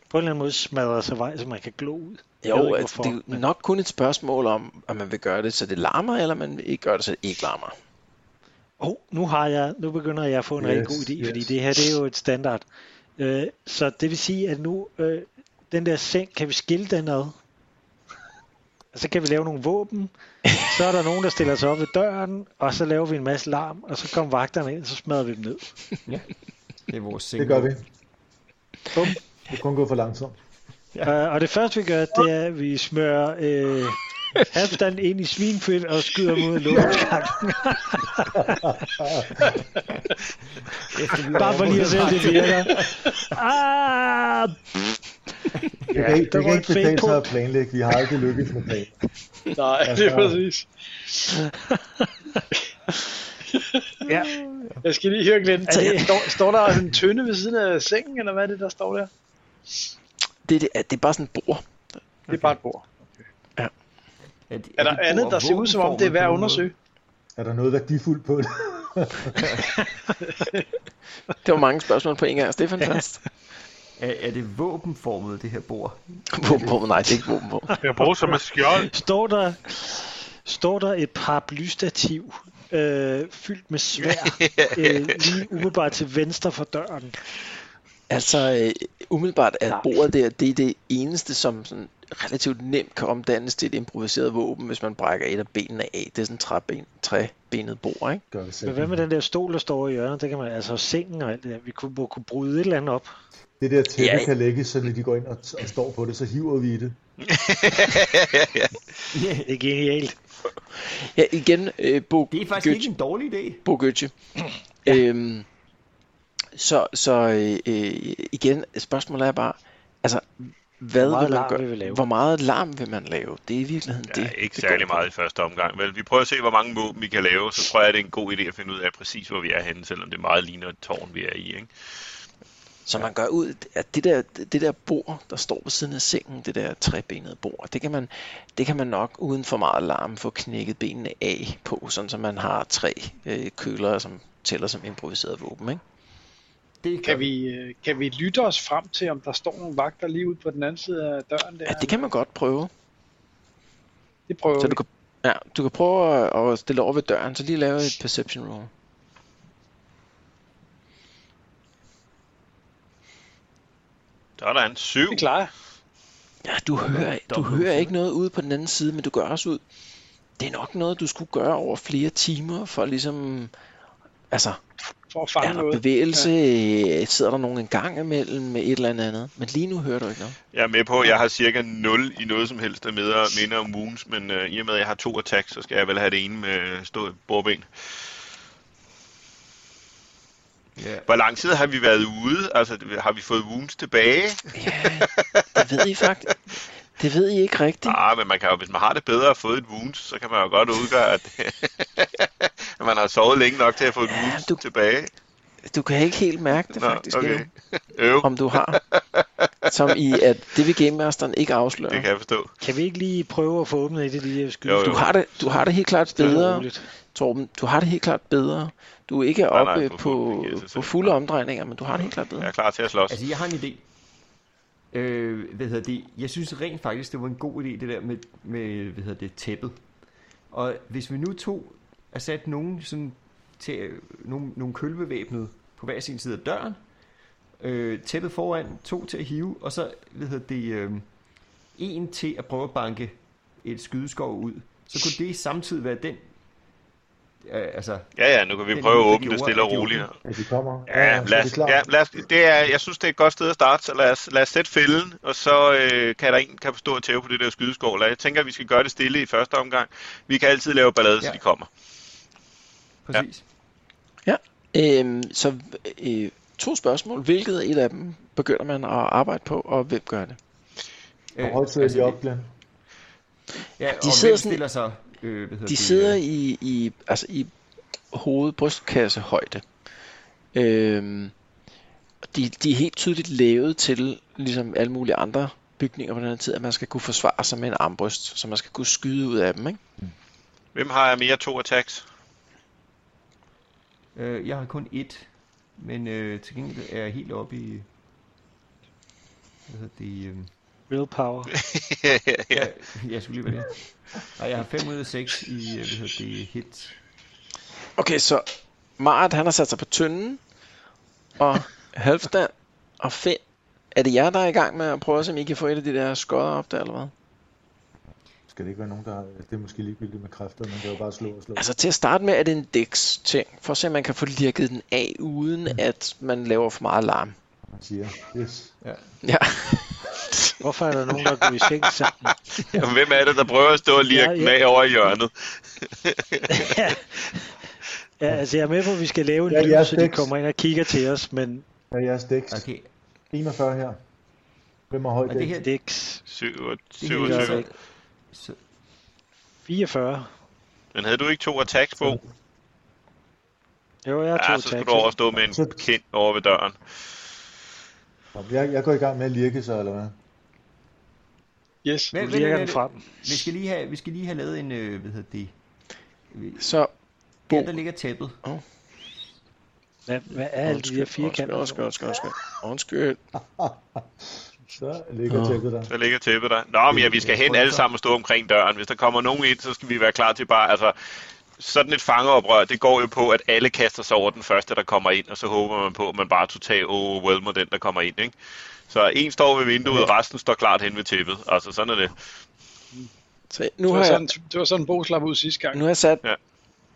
på en eller anden måde smadre sig vej, så man kan glo ud? Jeg ved Jo, ikke, altså, hvorfor, det er jo nok kun et spørgsmål om, om man vil gøre det, så det larmer, eller man ikke gør det, så det ikke larmer. Oh, nu, har jeg, nu begynder jeg at få en yes, rigtig Yes, god idé, yes. yes. fordi det her det er jo et standard. Øh, så det vil sige, at nu øh, den der seng, kan vi skille den ad? Og så kan vi lave nogle våben. Så er der nogen, der stiller sig op ved døren, og så laver vi en masse larm, og så kommer vagterne ind, og så smadrer vi dem ned. Det er vores seng. Det gør vi. Bum. Det kunne gå for langsomt. Uh, og det første vi gør, det er, at vi smører øh, Halfdan ind i svinfedt og skyder mod luftkanten. Efter vi Bare for lige at se, om det virker. Ah, Det kan der ikke, det kan røg ikke et fade betale sig på. at planlægge. Vi har aldrig lykkes med planen. Nej, Altså- det er [LAUGHS] præcis. ja. Jeg skal lige høre Glenn. Er det- [LAUGHS] Står, står der en tønde ved siden af sengen, eller hvad er det, der står der? Det, er det, at det er bare sådan et bord. Det er bare et bord. Er, det- Er der det bord- andet, der ser ud som om, det er våbenformet værd på at nogen måde? undersøge? Er der noget værdifuldt på det? Det var mange spørgsmål på en gang, Stefan [LAUGHS] fast. Er, er det våbenformet, det her bord? Våben på, nej, det er ikke våben på. Det er brugt som et skjold. Står der, står der et paraplystativ øh, fyldt med svær øh, lige umiddelbart til venstre for døren? Altså, øh, umiddelbart er bordet der, det er det eneste, som sådan relativt nemt kan omdannes til et improviseret våben, hvis man brækker et af benene af. Det er sådan et træben, træbenet bord, ikke? Gør vi selv. Men hvad med den der stol, der står i hjørnet? Det kan man, altså sengen og alt det der. Vi kunne, må kunne bryde et eller andet op. Det der tæppe Ja. kan lægges, så når de går ind og, og står på det, så hiver vi i det. Det er genialt. Ja, igen, øh, Bo Det er faktisk Götze- ikke en dårlig idé. Bo Goethe. ja. øhm, så så øh, øh, igen, spørgsmålet er bare, altså, hvad meget vil man larm gøre? vil vi lave? Hvor meget larm vil man lave? Det er i virkeligheden Ja, det. ikke det særlig går på. meget i første omgang. Vel, vi prøver at se, hvor mange våben vi kan lave. Så tror jeg, det er en god idé at finde ud af præcis, hvor vi er henne, selvom det meget ligner et tårn, vi er i. Ikke? Så man gør ud, at det der, det der bord, der står ved siden af sengen, det der trebenede bord, det kan man, det kan man nok uden for meget larm få knækket benene af på, sådan så man har tre øh, køler, som tæller som improviseret våben. Ikke? Det Kan vi, øh, kan vi lytte os frem til, om der står nogle vagter lige ude på den anden side af døren der? Ja, det kan man godt prøve. det prøver Så vi. du kan, ja, du kan prøve at, at stille over ved døren, så lige lave et perception roll. Så er der en syv. Det klarer jeg. Ja, du hører, du Dobbelt. hører ikke noget ude på den anden side, men du gør også ud. Det er nok noget, du skulle gøre over flere timer, for ligesom... Altså, for at er fange der noget. bevægelse? Ja. Sidder der nogen en gang imellem med et eller andet andet? Men lige nu hører du ikke noget. Jeg er med på, at jeg har cirka 0 i noget som helst, der minder, minder om wounds, men øh, i og med, at jeg har to attacks, så skal jeg vel have det ene med øh, stå bordben. Ja. Hvor lang tid har vi været ude? Altså, har vi fået wounds tilbage? Det ved I faktisk. Det ved I ikke rigtigt. Ah, men man kan jo, hvis man har det bedre at få et wounds, så kan man jo godt udgøre, at, [LAUGHS] at man har sovet længe nok til at få et ja, wounds du... tilbage. Du kan ikke helt mærke det Nå, faktisk okay. endnu, Øv. om du har. Som i, at det vil Game Masteren ikke afsløre. Det kan jeg forstå. Kan vi ikke lige prøve at få åbnet et af de der skyde? Jo, jo. Du, har det, du har det helt klart Stille og bedre, roligt. Torben. Du har det helt klart bedre. Du er ikke Nej, nej, oppe på på, på, på fulde omdrejninger, men du har det helt klart bedre. Jeg er klar til at slås. Altså, jeg har en idé. Øh, hvad hedder det? Jeg synes rent faktisk, det var en god idé, det der med, med hvad hedder det, tæppet. Og hvis vi nu tog og satte nogen sådan til, øh, nogle, nogle kølbevæbnede på hver sin side af døren, øh, tæppet foran, to til at hive, og så, hvad hedder det, øh, en til at prøve at banke et skydeskov ud, så kunne det samtidig være den, øh, altså... Ja, ja, nu kan vi den prøve der at åbne det gjorde, stille at og de åbnede. roligt. Ja, de kommer. Ja, lad os, ja, lad os, det er, jeg synes, det er et godt sted at starte, så lad os, lad os sætte fælden, og så øh, kan der en kan stå og tæve på det der skydeskål. Og Jeg tænker, at vi skal gøre det stille i første omgang. Vi kan altid lave ballade, ja. så Ja. de kommer. Præcis. Ja. Øhm, så øh, to spørgsmål. Hvilket et af dem begynder man at arbejde på, og hvem gør det? Ja. Hvor højt sidder altså, de op, Glenn? Øh, altså Ja, og De de sidder sidder hvem sådan- stiller sig... Øh, hvad hedder De det, sidder i, i, altså i hoved brystkassehøjde. Øhm, og de, de er helt tydeligt lavet til, ligesom alle mulige andre bygninger på den her tid, at man skal kunne forsvare sig med en armbryst, så man skal kunne skyde ud af dem. Ikke? Hvem har mere to attacks? Øh, jeg har kun ét, men øh, til gengæld er jeg helt oppe i... Hvad hedder det? Øh, Real power. ja, ja, ja. jeg, [LAUGHS] jeg skulle lige være det. Og jeg har 5 ud af 6 i, øh, hvad hedder det, hit. Okay, så Marat han har sat sig på tynden, og Halvdan og Finn, er det jer, der er i gang med at prøve at se, om I kan få et af de der skodder op der, eller hvad? Skal det ikke være nogen, der har... Det er måske ligegyldigt med kræfter, men det er jo bare slå og slå. Altså til at starte med er det en dex-ting, for at se om man kan få lirket den af, uden at man laver for meget larm. Man siger, yes. Ja. Ja, Hvorfor er der nogen, der er gået i seng sammen? Ja, Hvem er det, der prøver at stå og lirke Ja, ja, ja. ja. med over i hjørnet? Ja, altså jeg er med på, at vi skal lave en Ja, lyd, jeres så de dæks. kommer ind og kigger til os, men Hvad er jeres dæks? Altså- Okay, 41 her. Hvem har højt og det her... dæks? Det, dæks 27. ikke. så, 44. Men havde du ikke to attacks på? Jo, jeg har Ja, to så skulle tags. du over og stå med en Så- kind over ved døren. Nå, Jeg, jeg går i gang med at lirke så, eller hvad? Yes. hvad, Du lirker den frem. Vi skal lige have, vi skal lige have lavet en, øh, hvad hedder det... så Bo. Ja, der ligger tæppet. Hvad, hvad er alle de der firkanter? Undskyld, undskyld, undskyld. Undskyld. Så ligger tæppet der. Så ligger tæppet der. Nå, men ja, vi skal hen alle sammen og stå omkring døren. Hvis der kommer nogen ind, så skal vi være klar til bare, altså, sådan et fangeoprør, det går jo på, at alle kaster sig over den første, der kommer ind, og så håber man på, at man bare totalt overwhelmer den, der kommer ind, ikke? Så en står ved vinduet, resten står klart hen ved tæppet. Altså, sådan er det. Så Det nu var, har jeg, sådan, det var sådan, Bo slap ud sidste gang. nu har jeg sat, Ja.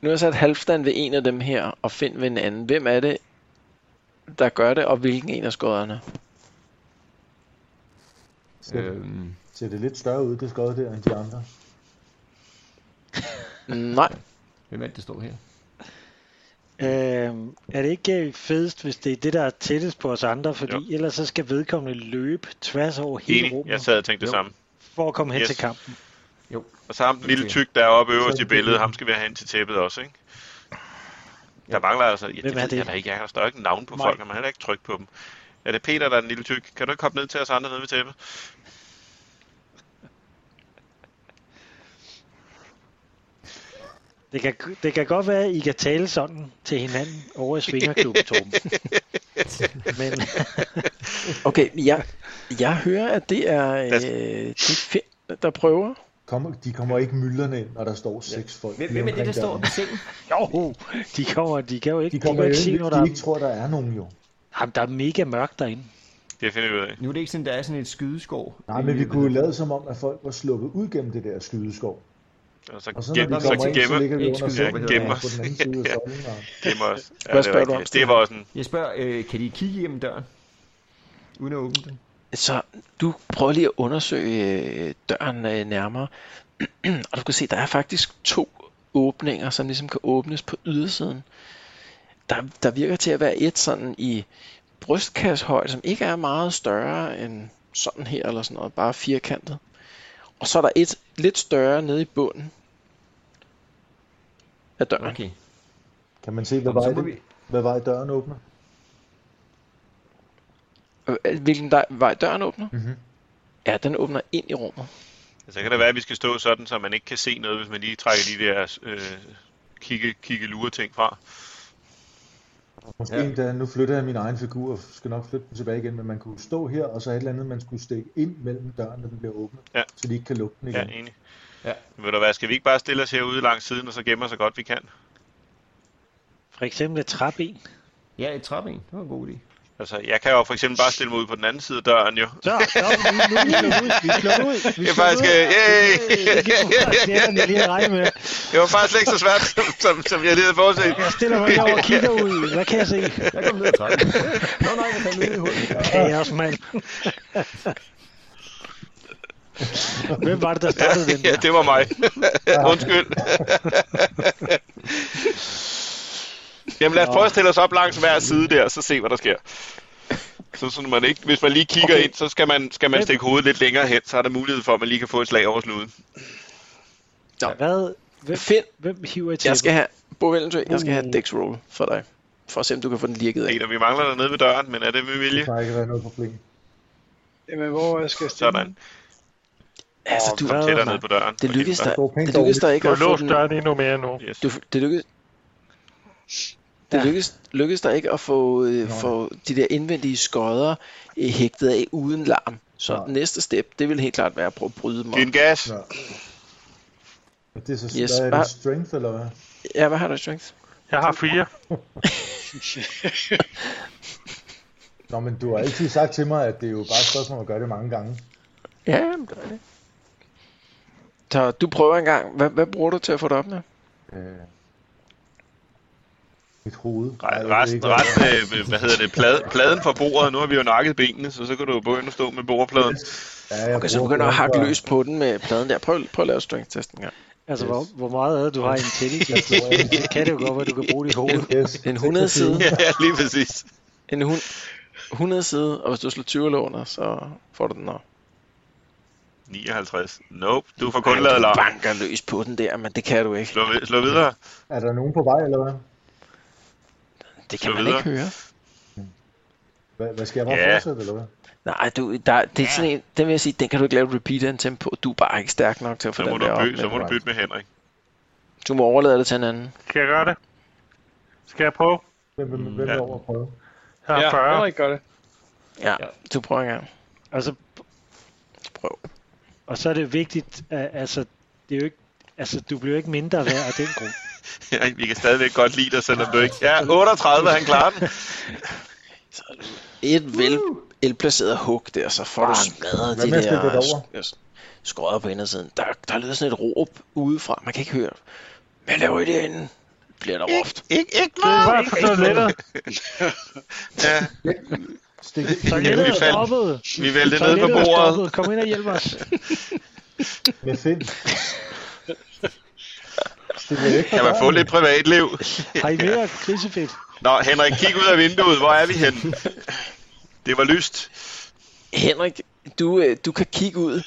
nu har jeg sat Halvdan ved en af dem her, og Finn ved en anden. Hvem er det, der gør det, og hvilken en af skodderne? Ser, øh... Øhm, ser det lidt større ud, det skod der, end de andre. Nej, Hvem er det, der står her? Øhm, er det ikke øh, fedest, hvis det er det, der er tættest på os andre? Fordi Jo. jo. ellers så skal vedkommende løbe tværs over hele Enig, rummet jeg sad og tænkte det Jo. samme. for at komme hen Yes. yes. til kampen. Og så ham den lille tyk, der er oppe øverst i billedet, ham skal vi have hen til tæppet også, ikke? Der mangler altså... Ja, det Hvem er ved det? jeg da ikke. Jeg har der er ikke navn på Nej. folk, og man har heller ikke tryk på dem. Er det Peter, der er den lille tyk? Kan du ikke komme ned til os andre nede ved tæppet? Det kan, det kan godt være, at I kan tale sådan til hinanden over i Svingerklubben, [LAUGHS] Torben. Men okay, jeg, jeg hører, at det er øh, Altså- det er Finn, der prøver. Kom, de kommer ikke myldrende ind, når der står seks folk. Hvem, lige hvem er det, omkring der står døren. ved sengen? jo, [LAUGHS] de kommer, de kan jo ikke, De de kommer kan jo ikke se ind, noget, hvis der de ikke tror, der er nogen jo. Jamen, der er mega mørkt derinde. Det finder vi ud af. Nu er det ikke sådan, der er sådan et skydeskov. Nej, øh, men vi kunne jo lade som om, at folk var sluppet ud gennem det der skydeskov. Og så, Og så når gem, vi så, kommer ind, så gemmer, ligger vi under ja, sofaen gemmer på den anden side af ja, søjlen, og- gemmer os. Ja, Hvad det, spørger var du om, rigtigt. det var også en Jeg spørger, øh, kan de kigge igennem døren? Uden at åbne den? Så du prøver lige at undersøge øh, døren øh, nærmere, [CLEARS THROAT] og du kan se, der er faktisk to åbninger, som ligesom kan åbnes på ydersiden. Der, der virker til at være et sådan i brystkassehøjde, som ikke er meget større end sådan her eller sådan noget, bare firkantet. Og så er der et lidt større nede i bunden af døren. Okay. Kan man se, hvad Jamen, vej, så må det, vi- hvad vej døren åbner? Øh, Hvilken dej- vej døren åbner? Mhm. Ja, den åbner ind i rummet. Så altså, kan det være, at vi skal stå sådan, så man ikke kan se noget, hvis man lige trækker de der øh, kigge, kigge lure ting fra. Måske Ja. ja. endda, nu flytter jeg min egen figur, og skal nok flytte den tilbage igen, men man kunne stå her, og så et eller andet, man skulle stikke ind mellem døren, når den bliver åbnet, Ja. så de ikke kan lukke den Ja, igen. enig. Ja. Ved du hvad, skal vi ikke bare stille os herude langs siden, og så gemme os så godt vi kan? For eksempel et træben. Ja, et træben. Det var en god idé. Altså, jeg kan jo for eksempel bare stille mig ud på den anden side af døren, jo. Så, så vi, nu, vi slår ud, vi slår ud. Vi Det er slår faktisk, ud. øh, yay! [LAUGHS] Det er den, jeg lige havde regnet med. Det var faktisk slet ikke så svært, som, som, som jeg lige havde forudset. Jeg stiller mig herover og kigger ud. Hvad kan jeg se? Jeg kom ned og trække. Nå nej, jeg faldt ned i hullet. Kaos, mand. Hvem var det, der startede den? Ja, det var mig. [LAUGHS] Undskyld. Jamen lad os prøve at stille os op langs hver side der, så se hvad der sker. Så, så man ikke, hvis man lige kigger okay. ind, så skal man, skal man stikke hovedet lidt længere hen, så er der mulighed for, at man lige kan få et slag over snuden. Hvad? Hvem, Find, hvem hiver i jeg skal tæppet? have, Bo Vellensø, jeg skal have et dex roll for dig, for at se, om du kan få den lirket af. Peter, vi mangler dig nede ved døren, men er det med vilje? Det plejer ikke at være noget problem. Jamen, hvor skal jeg stille? Sådan. Altså, du, Kom tættere ned på døren. det lykkedes dig, der går pænt det lykkedes dig Du ikke har at få låst den, døren endnu mere nu. Yes. du, det lykkedes, det lykkedes, lykkedes dig ikke at få, øh, nej. få de der indvendige skodder øh, hægtet af uden larm. Så Nej. den næste step, det vil helt klart være at prøve at bryde dem op. Giv den gas. Nå. Og Det er så Yes, yes, er bare- det strength, eller hvad? Ja, hvad har du i strength? Jeg har fire. Nå, men du har altid sagt til mig, at det er jo bare et spørgsmål at gøre det mange gange. Ja, jamen, det er det. Så du prøver engang. Hvad, hvad bruger du til at få det op med? Øh, mit hoved. Nej, jeg ved Resten, ikke, hvad- resten øh, hvad hedder det, plade, pladen fra bordet, nu har vi jo nakket benene, så så kan du jo begynde at stå med bordpladen. Ja, jeg Okay, så bruger begynder at hakke blomster. løs på den med pladen der. Prøv, prøv at lave strength-test en gang. Altså, hvor, hvor meget er det, du har i intelligence? Jeg slår en. Det kan det jo godt være, du kan bruge dit hoved. Yes, En 100 side. [LAUGHS] Ja, lige præcis. En hun, 100 side, og hvis du slår 20 eller under, så får du den op. 59. Nope, du får Ej, kun lavet du larm. banker løs på den der, men det kan du ikke. Slå, vi- slå videre. Er der nogen på vej, eller hvad? Det kan slå man videre. ikke høre. Hvad, hvad skal jeg bare Ja. fortsætte, eller hvad? Nej, du, der, det er sådan en, den vil jeg sige, den kan du ikke lave repeater en tempo. Du er bare ikke stærk nok til at få Så må, den du der op. by, så men må du bytte med Henrik. [LAUGHS] Du må overlade det til en anden. Kan jeg gøre det? Skal jeg prøve? Hvem, hvem, hvem ja. er over at prøve? Jeg har Ja, 40. Henrik gør det. Ja, du prøver engang. Altså, Prøv. og så er det vigtigt, at, altså, det er jo ikke, altså, du bliver jo ikke mindre værd af den grund. Ja, vi kan stadigvæk godt lide dig, selvom du ikke... Ja, 38, han klarer den. Et vel, velplaceret hug der, så får du smadret Hvad de med at stikke der det over? sk- skodder på indersiden. Der, der lyder sådan et råb udefra. Man kan ikke høre. Hvad laver I derinde? Bliver der råbt. Ikke, ikke Det er meget. bare for toilettet. [LAUGHS] Ja, [LAUGHS] Stik. Toilettet vi er faldt. stoppet. vi vælter ned på Toilettet er bordet. stoppet. Kom ind og hjælp os. Med Finn. Stik mig væk fra Kan man få døren. lidt privatliv? Har I mere krisefedt? Nå, Henrik, kig ud af vinduet. Hvor er vi [LAUGHS] henne? Det var lyst. Henrik, du, øh, du kan kigge ud.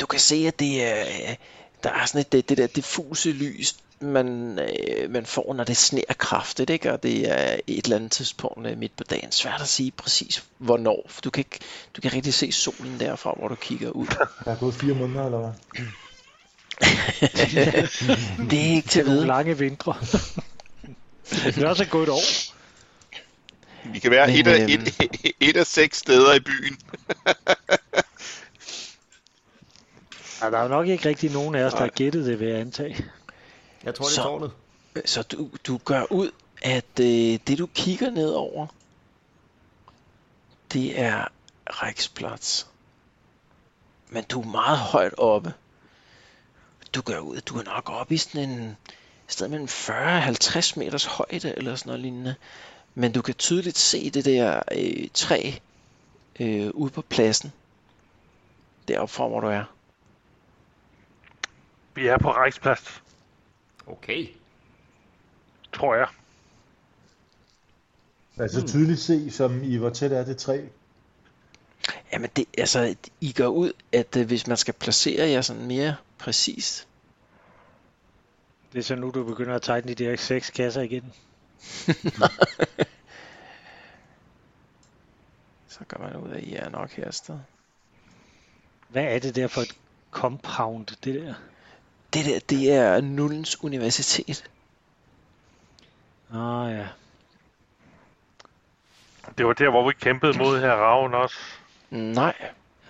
Du kan se, at det er, øh, der er sådan et, det, det der diffuse lys, man, øh, man får, når det sner kraftigt, ikke? og det er et eller andet tidspunkt øh, midt på dagen. Svært at sige præcis, hvornår, for du kan ikke du kan ikke rigtig se solen derfra, hvor du kigger ud. Der er gået fire måneder, eller hvad? Det er ikke til at Nogle vide. lange vintre. [LAUGHS] Det er også et godt år. Vi kan være Men, et af, øhm, et, et af seks steder i byen. Ja, der er jo nok ikke rigtig nogen af os, der har gættet det, vil jeg antage. Jeg tror, det er Så- tårnet. Så du, du gør ud, at øh, det du kigger nedover, det er Riksplatz. Men du er meget højt oppe. Du gør ud, du er nok oppe i sådan en et sted mellem 40 og 50 meters højde eller sådan noget lignende. Men du kan tydeligt se det der øh, træ øh, ude på pladsen. Deroppe fra, hvor du er. Vi er på Reichsplads. Okay. Tror jeg. Altså tydeligt se, som I, hvor tæt er det træ. Jamen, det, altså, I går ud, at øh, hvis man skal placere jer sådan mere præcist, Det er så nu, du begynder at tegne de der seks kasser igen. så gør man ud af, at I er nok her et sted. Hvad er det der for et compound, det der? Det der, det er Nullens Universitet. Åh oh, ja. Det var der, hvor vi kæmpede mod her Raven også. Nej,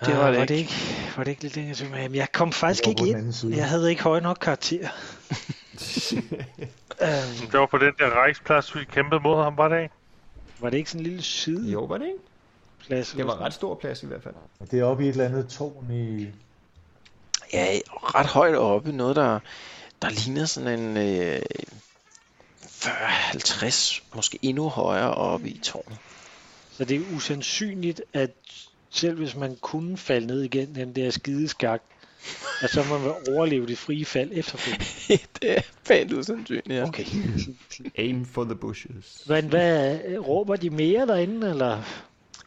Ah, det var det Ah, var det ikke. Var det ikke lidt længere tilbage? Jamen, jeg kom faktisk Det var på ikke den anden ind. side. Jeg havde ikke høje nok karakterer. øhm, Det var på den der Reichsplads, vi kæmpede mod ham, var det ikke? var det ikke sådan en lille side? [LAUGHS] Jo, var det ikke? Plads, det var ret stor plads i hvert fald. Og det er oppe i et eller andet tårn i... Ja, ret højt oppe. Noget, der, der ligner sådan en øh, 40-50, måske endnu højere oppe i tårnet. Så det er usandsynligt, at selv hvis man kunne falde ned igen den der skideskak, at så må man overleve det frie fald efterfølgende. [LAUGHS] det er pænt usandsynligt, ja. Okay. Aim for the bushes. Men hvad, råber de mere derinde, eller?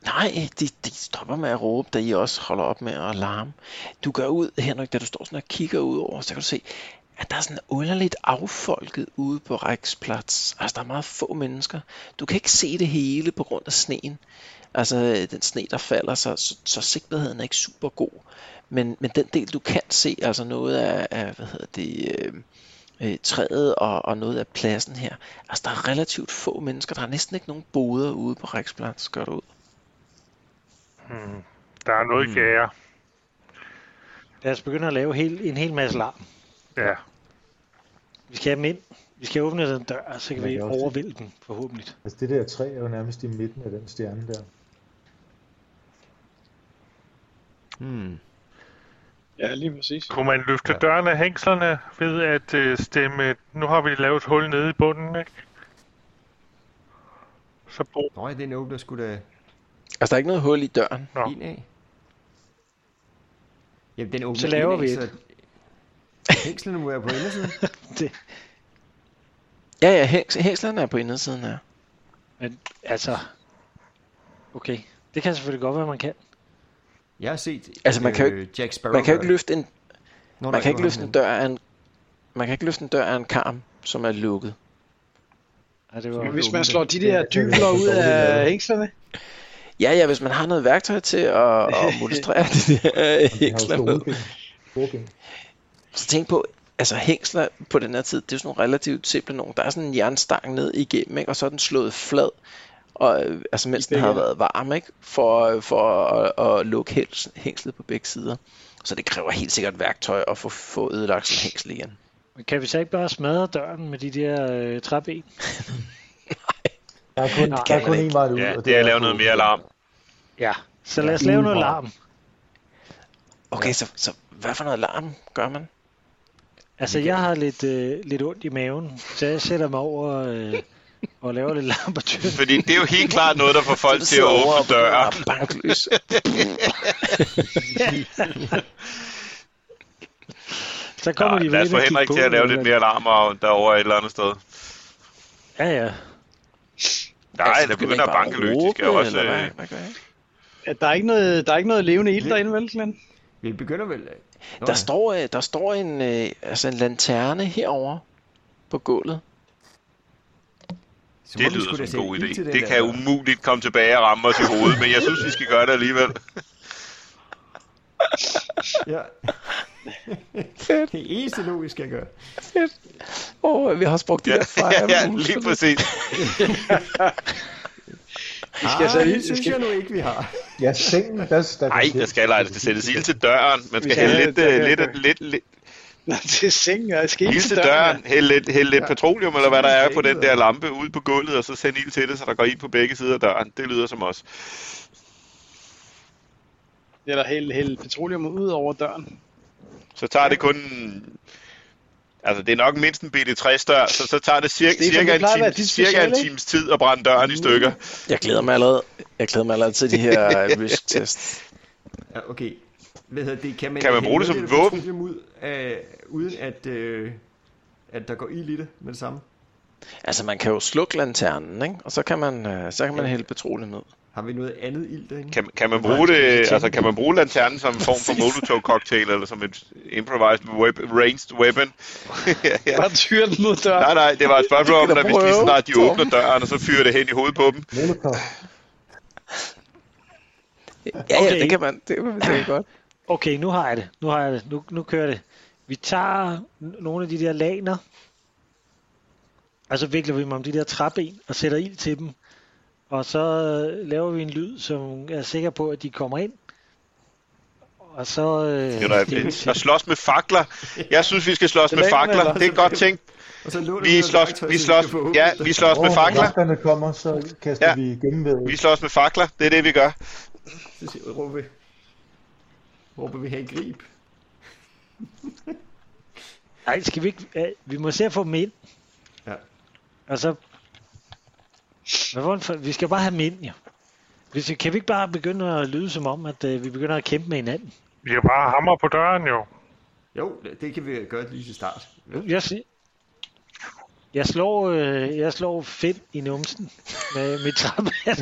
Nej, de, de stopper med at råbe, da I også holder op med at larme. Du går ud, Henrik, da du står sådan og kigger ud over, så kan du se, at der er sådan underligt affolket ude på Ræksplads. Altså, der er meget få mennesker. Du kan ikke se det hele på grund af sneen. Altså, øh, den sne, der falder, så, så, så sigtbarheden er ikke super god. Men, men den del, du kan se, altså noget af, af hvad hedder det, øh, øh, træet og, og noget af pladsen her. Altså, der er relativt få mennesker. Der er næsten ikke nogen boder ude på Ræksplads, gør du ud. Hmm. Der er noget i gære. Lad os begynde at lave hel, en hel masse larm. Ja. Vi skal have dem ind. Vi skal åbne den dør, så kan Ja, det vi er også det. overvælde dem, forhåbentlig. Altså det der træ er jo nærmest i midten af den stjerne der. Hmm. Ja, lige præcis. Kunne man løfte ja. dørene af hængslerne ved at øh, stemme... Nu har vi lavet et hul nede i bunden, ikke? Så brug. Nå, ja, den åbner sgu da Altså, der er ikke noget hul i døren. Nå. en af. Jamen, den åbner Så laver indad, vi så et. Hængslerne må være på indersiden. det. Ja, ja, hæks- hængslerne er på indersiden her. Men altså, okay. Det kan selvfølgelig godt være, man kan. Jeg har set Altså, man kan jo øh, ikke, Jack Sparrow man kan jo gøre ikke det. løfte en, Nå, man nej, kan ikke det var løfte ham en dør af en, man kan ikke løfte en dør af en karm, som er lukket. Ja, det Men hvis man slår de der dybler ud af hængslerne, Ja, ja, hvis man har noget værktøj til at, [LAUGHS] at modestrere de der hængsler med. Så tænk på, altså hængsler på den her tid, det er jo sådan nogle relativt simple nogle. Der er sådan en jernstang ned igennem, ikke? og så er den slået flad, og, øh, altså mens den har været varm, ikke? for, for at, at lukke hæls- hængslet på begge sider. Så det kræver helt sikkert værktøj at få, få ødelagt sådan en hængsel igen. Men Kan vi så ikke bare smadre døren med de der øh, træben? Der er kun, Nej, der er det kun kan én vej ud. Ja, og det er at lave noget mere alarm. Ja. Så lad os lave noget larm. Okay, så, så hvad for noget larm gør man? Altså, jeg har lidt, øh, lidt ondt i maven, så jeg sætter mig over øh, og laver lidt larm på tyren. Fordi det er jo helt klart noget, der får folk til at åbne døre. [LAUGHS] Banklys. Altså, Så kommer Nej, de vel lad os ind få og kigge Henrik på til at lave eller lidt hvad? mere alarm og derovre et eller andet sted. Ja, ja. Nej, Altså, altså, skal der man begynder ikke at bare banke løs. De skal råbe, også... eller Øh, hvad? at der er ikke noget, der er ikke noget levende ild derinde, vel, Glenn? [LAUGHS] Vi begynder vel... Der står, øh, der står en, øh, altså en lanterne herover på gulvet. Så det må vi sgu da lyder som sætte en god ild til idé. den Det der kan dør. umuligt komme tilbage og ramme os i hovedet, men jeg synes, vi skal gøre det alligevel. [LAUGHS] Ja. det eneste logisk, jeg gør. Åh, oh, vi har også brugt de [LAUGHS] der Ja, [LAUGHS] ja, fejl. ja, lige præcis. Vi skal så Ah, lige- det synes skal- jeg nu ikke, vi har. Ja, sengen, der, der Nej, der skal altså det sættes ild til døren. Man skal Ja, hælde lidt, der øh, kan- lidt, lidt, lidt, Nej, det er sengen, og jeg skal ild ikke til døren, hælde lidt, hælde lidt Ja. petroleum, eller hvad der er på den Helvede. der lampe ud på gulvet, og så sende ild til det, så der går ild på begge sider af døren. Det lyder som os. Eller hælde, hælde petroleum ud over døren. Så tager det kun... Altså, det er nok mindst en BD60 dør, så, så tager det cir- Stefan, det cirka, en, plejer at være time, dit cirka en speciale, ikke? times tid at brænde døren i stykker. Jeg glæder mig allerede, jeg glæder mig allerede til de [LAUGHS] her øh, risk-tests. Ja, okay. Hvad hedder det? Kan man, Kan man bruge det hælde som våben? petroleum Ud af, uden at, øh, at der går ild i det med det samme? Altså, man kan jo slukke lanternen, ikke? og så kan man, øh, så kan man hælde petroleum ned. Har vi noget andet ild derinde? Kan, kan man bruge det, altså kan man bruge lanternen som en form for molotov cocktail eller som et improvised web, ranged weapon? ja, ja. Bare tyre den mod døren. Nej, nej, det var et spørgsmål om, Det kan at du hvis lige så prøve, snart de Torben. åbner døren, og så fyrer det hen i hovedet på dem. Ja, ja, okay. det kan man, det, det er [CLEARS THROAT] godt. Okay, nu har jeg det. Nu har jeg det. Nu, nu kører det. Vi tager n- nogle af de der laner, og så vikler vi dem om de der træben og sætter ild til dem. Og så øh, laver vi en lyd, som er sikker på, at de kommer ind. Og så... Øh, Det er stiller- da- at slås med fakler. Jeg synes, vi skal slås Det med lader man fakler. altså. Det er godt tænkt. Vi slås, vi slås, ja, vi slås med Hvor fakler. vagterne kommer, så kaster Ja. ja. vi gennemvædet. Vi slås med fakler. Det er det, vi gør. Så siger, råber vi, råber vi her i grib. Nej, skal vi ikke... øh, Vi må se at få dem ind. Ja. Og så... Hvad var det for... Vi skal bare have dem ind, jo. Hvis vi... Kan vi ikke bare begynde at lyde som om, at øh, vi begynder at kæmpe med hinanden? Vi kan bare hammer på døren, jo. Jo, det kan vi gøre lige til start. Jeg, si- jeg slår, øh, jeg slår fem i numsen med mit [LAUGHS] trappehand.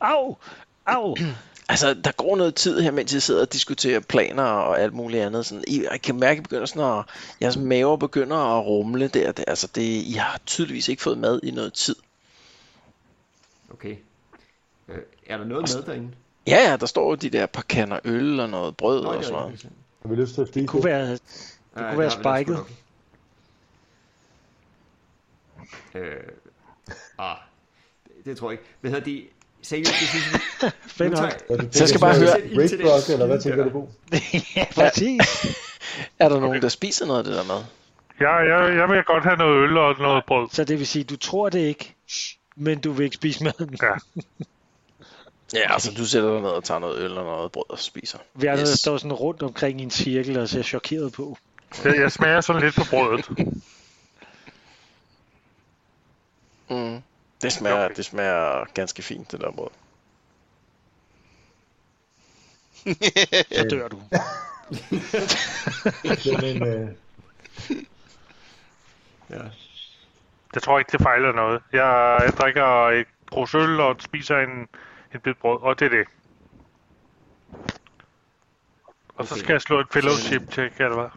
Au! Au! Altså, der går noget tid her, mens I sidder og diskuterer planer og alt muligt andet. Sådan, I, jeg kan mærke, at I begynder sådan at, jeres maver begynder at rumle der. Det, altså, det, I har tydeligvis ikke fået mad i noget tid. Okay. Øh, er der noget mad derinde? Ja, ja, der står jo de der par kander øl og noget brød Nå, det er og sådan noget. rigtigt. Har vi lyst til at spise det? kunne være, det Ej, kunne være det har vi da spiket. sgu Øh, ah, det, det tror jeg ikke. Hvad hedder det? Seriøst, det synes jeg... Fedt Nu nok. tager- Er det- Så jeg skal bare det er høre- sådan en Red Rock, eller hvad tænker du på? ja, præcis. Er der nogen, der spiser noget af det der mad? Ja, jeg, jeg vil godt have noget øl og noget brød. Så det vil sige, du tror det ikke, men du vil ikke spise maden. Ja. Ja, altså, du sætter dig ned og tager noget øl og noget brød og spiser. Vi andre yes. står sådan rundt omkring i en cirkel og ser chokeret på. Jeg, jeg smager sådan lidt på brødet. Mm. Det smager, det smager ganske fint, det der brød. Så dør du. Jamen, øh, Ja. Jeg tror ikke, det fejler noget. Jeg, jeg drikker et krus øl og spiser en, en bid brød, og det er det. Og så skal jeg slå et fellowship check, eller hvad?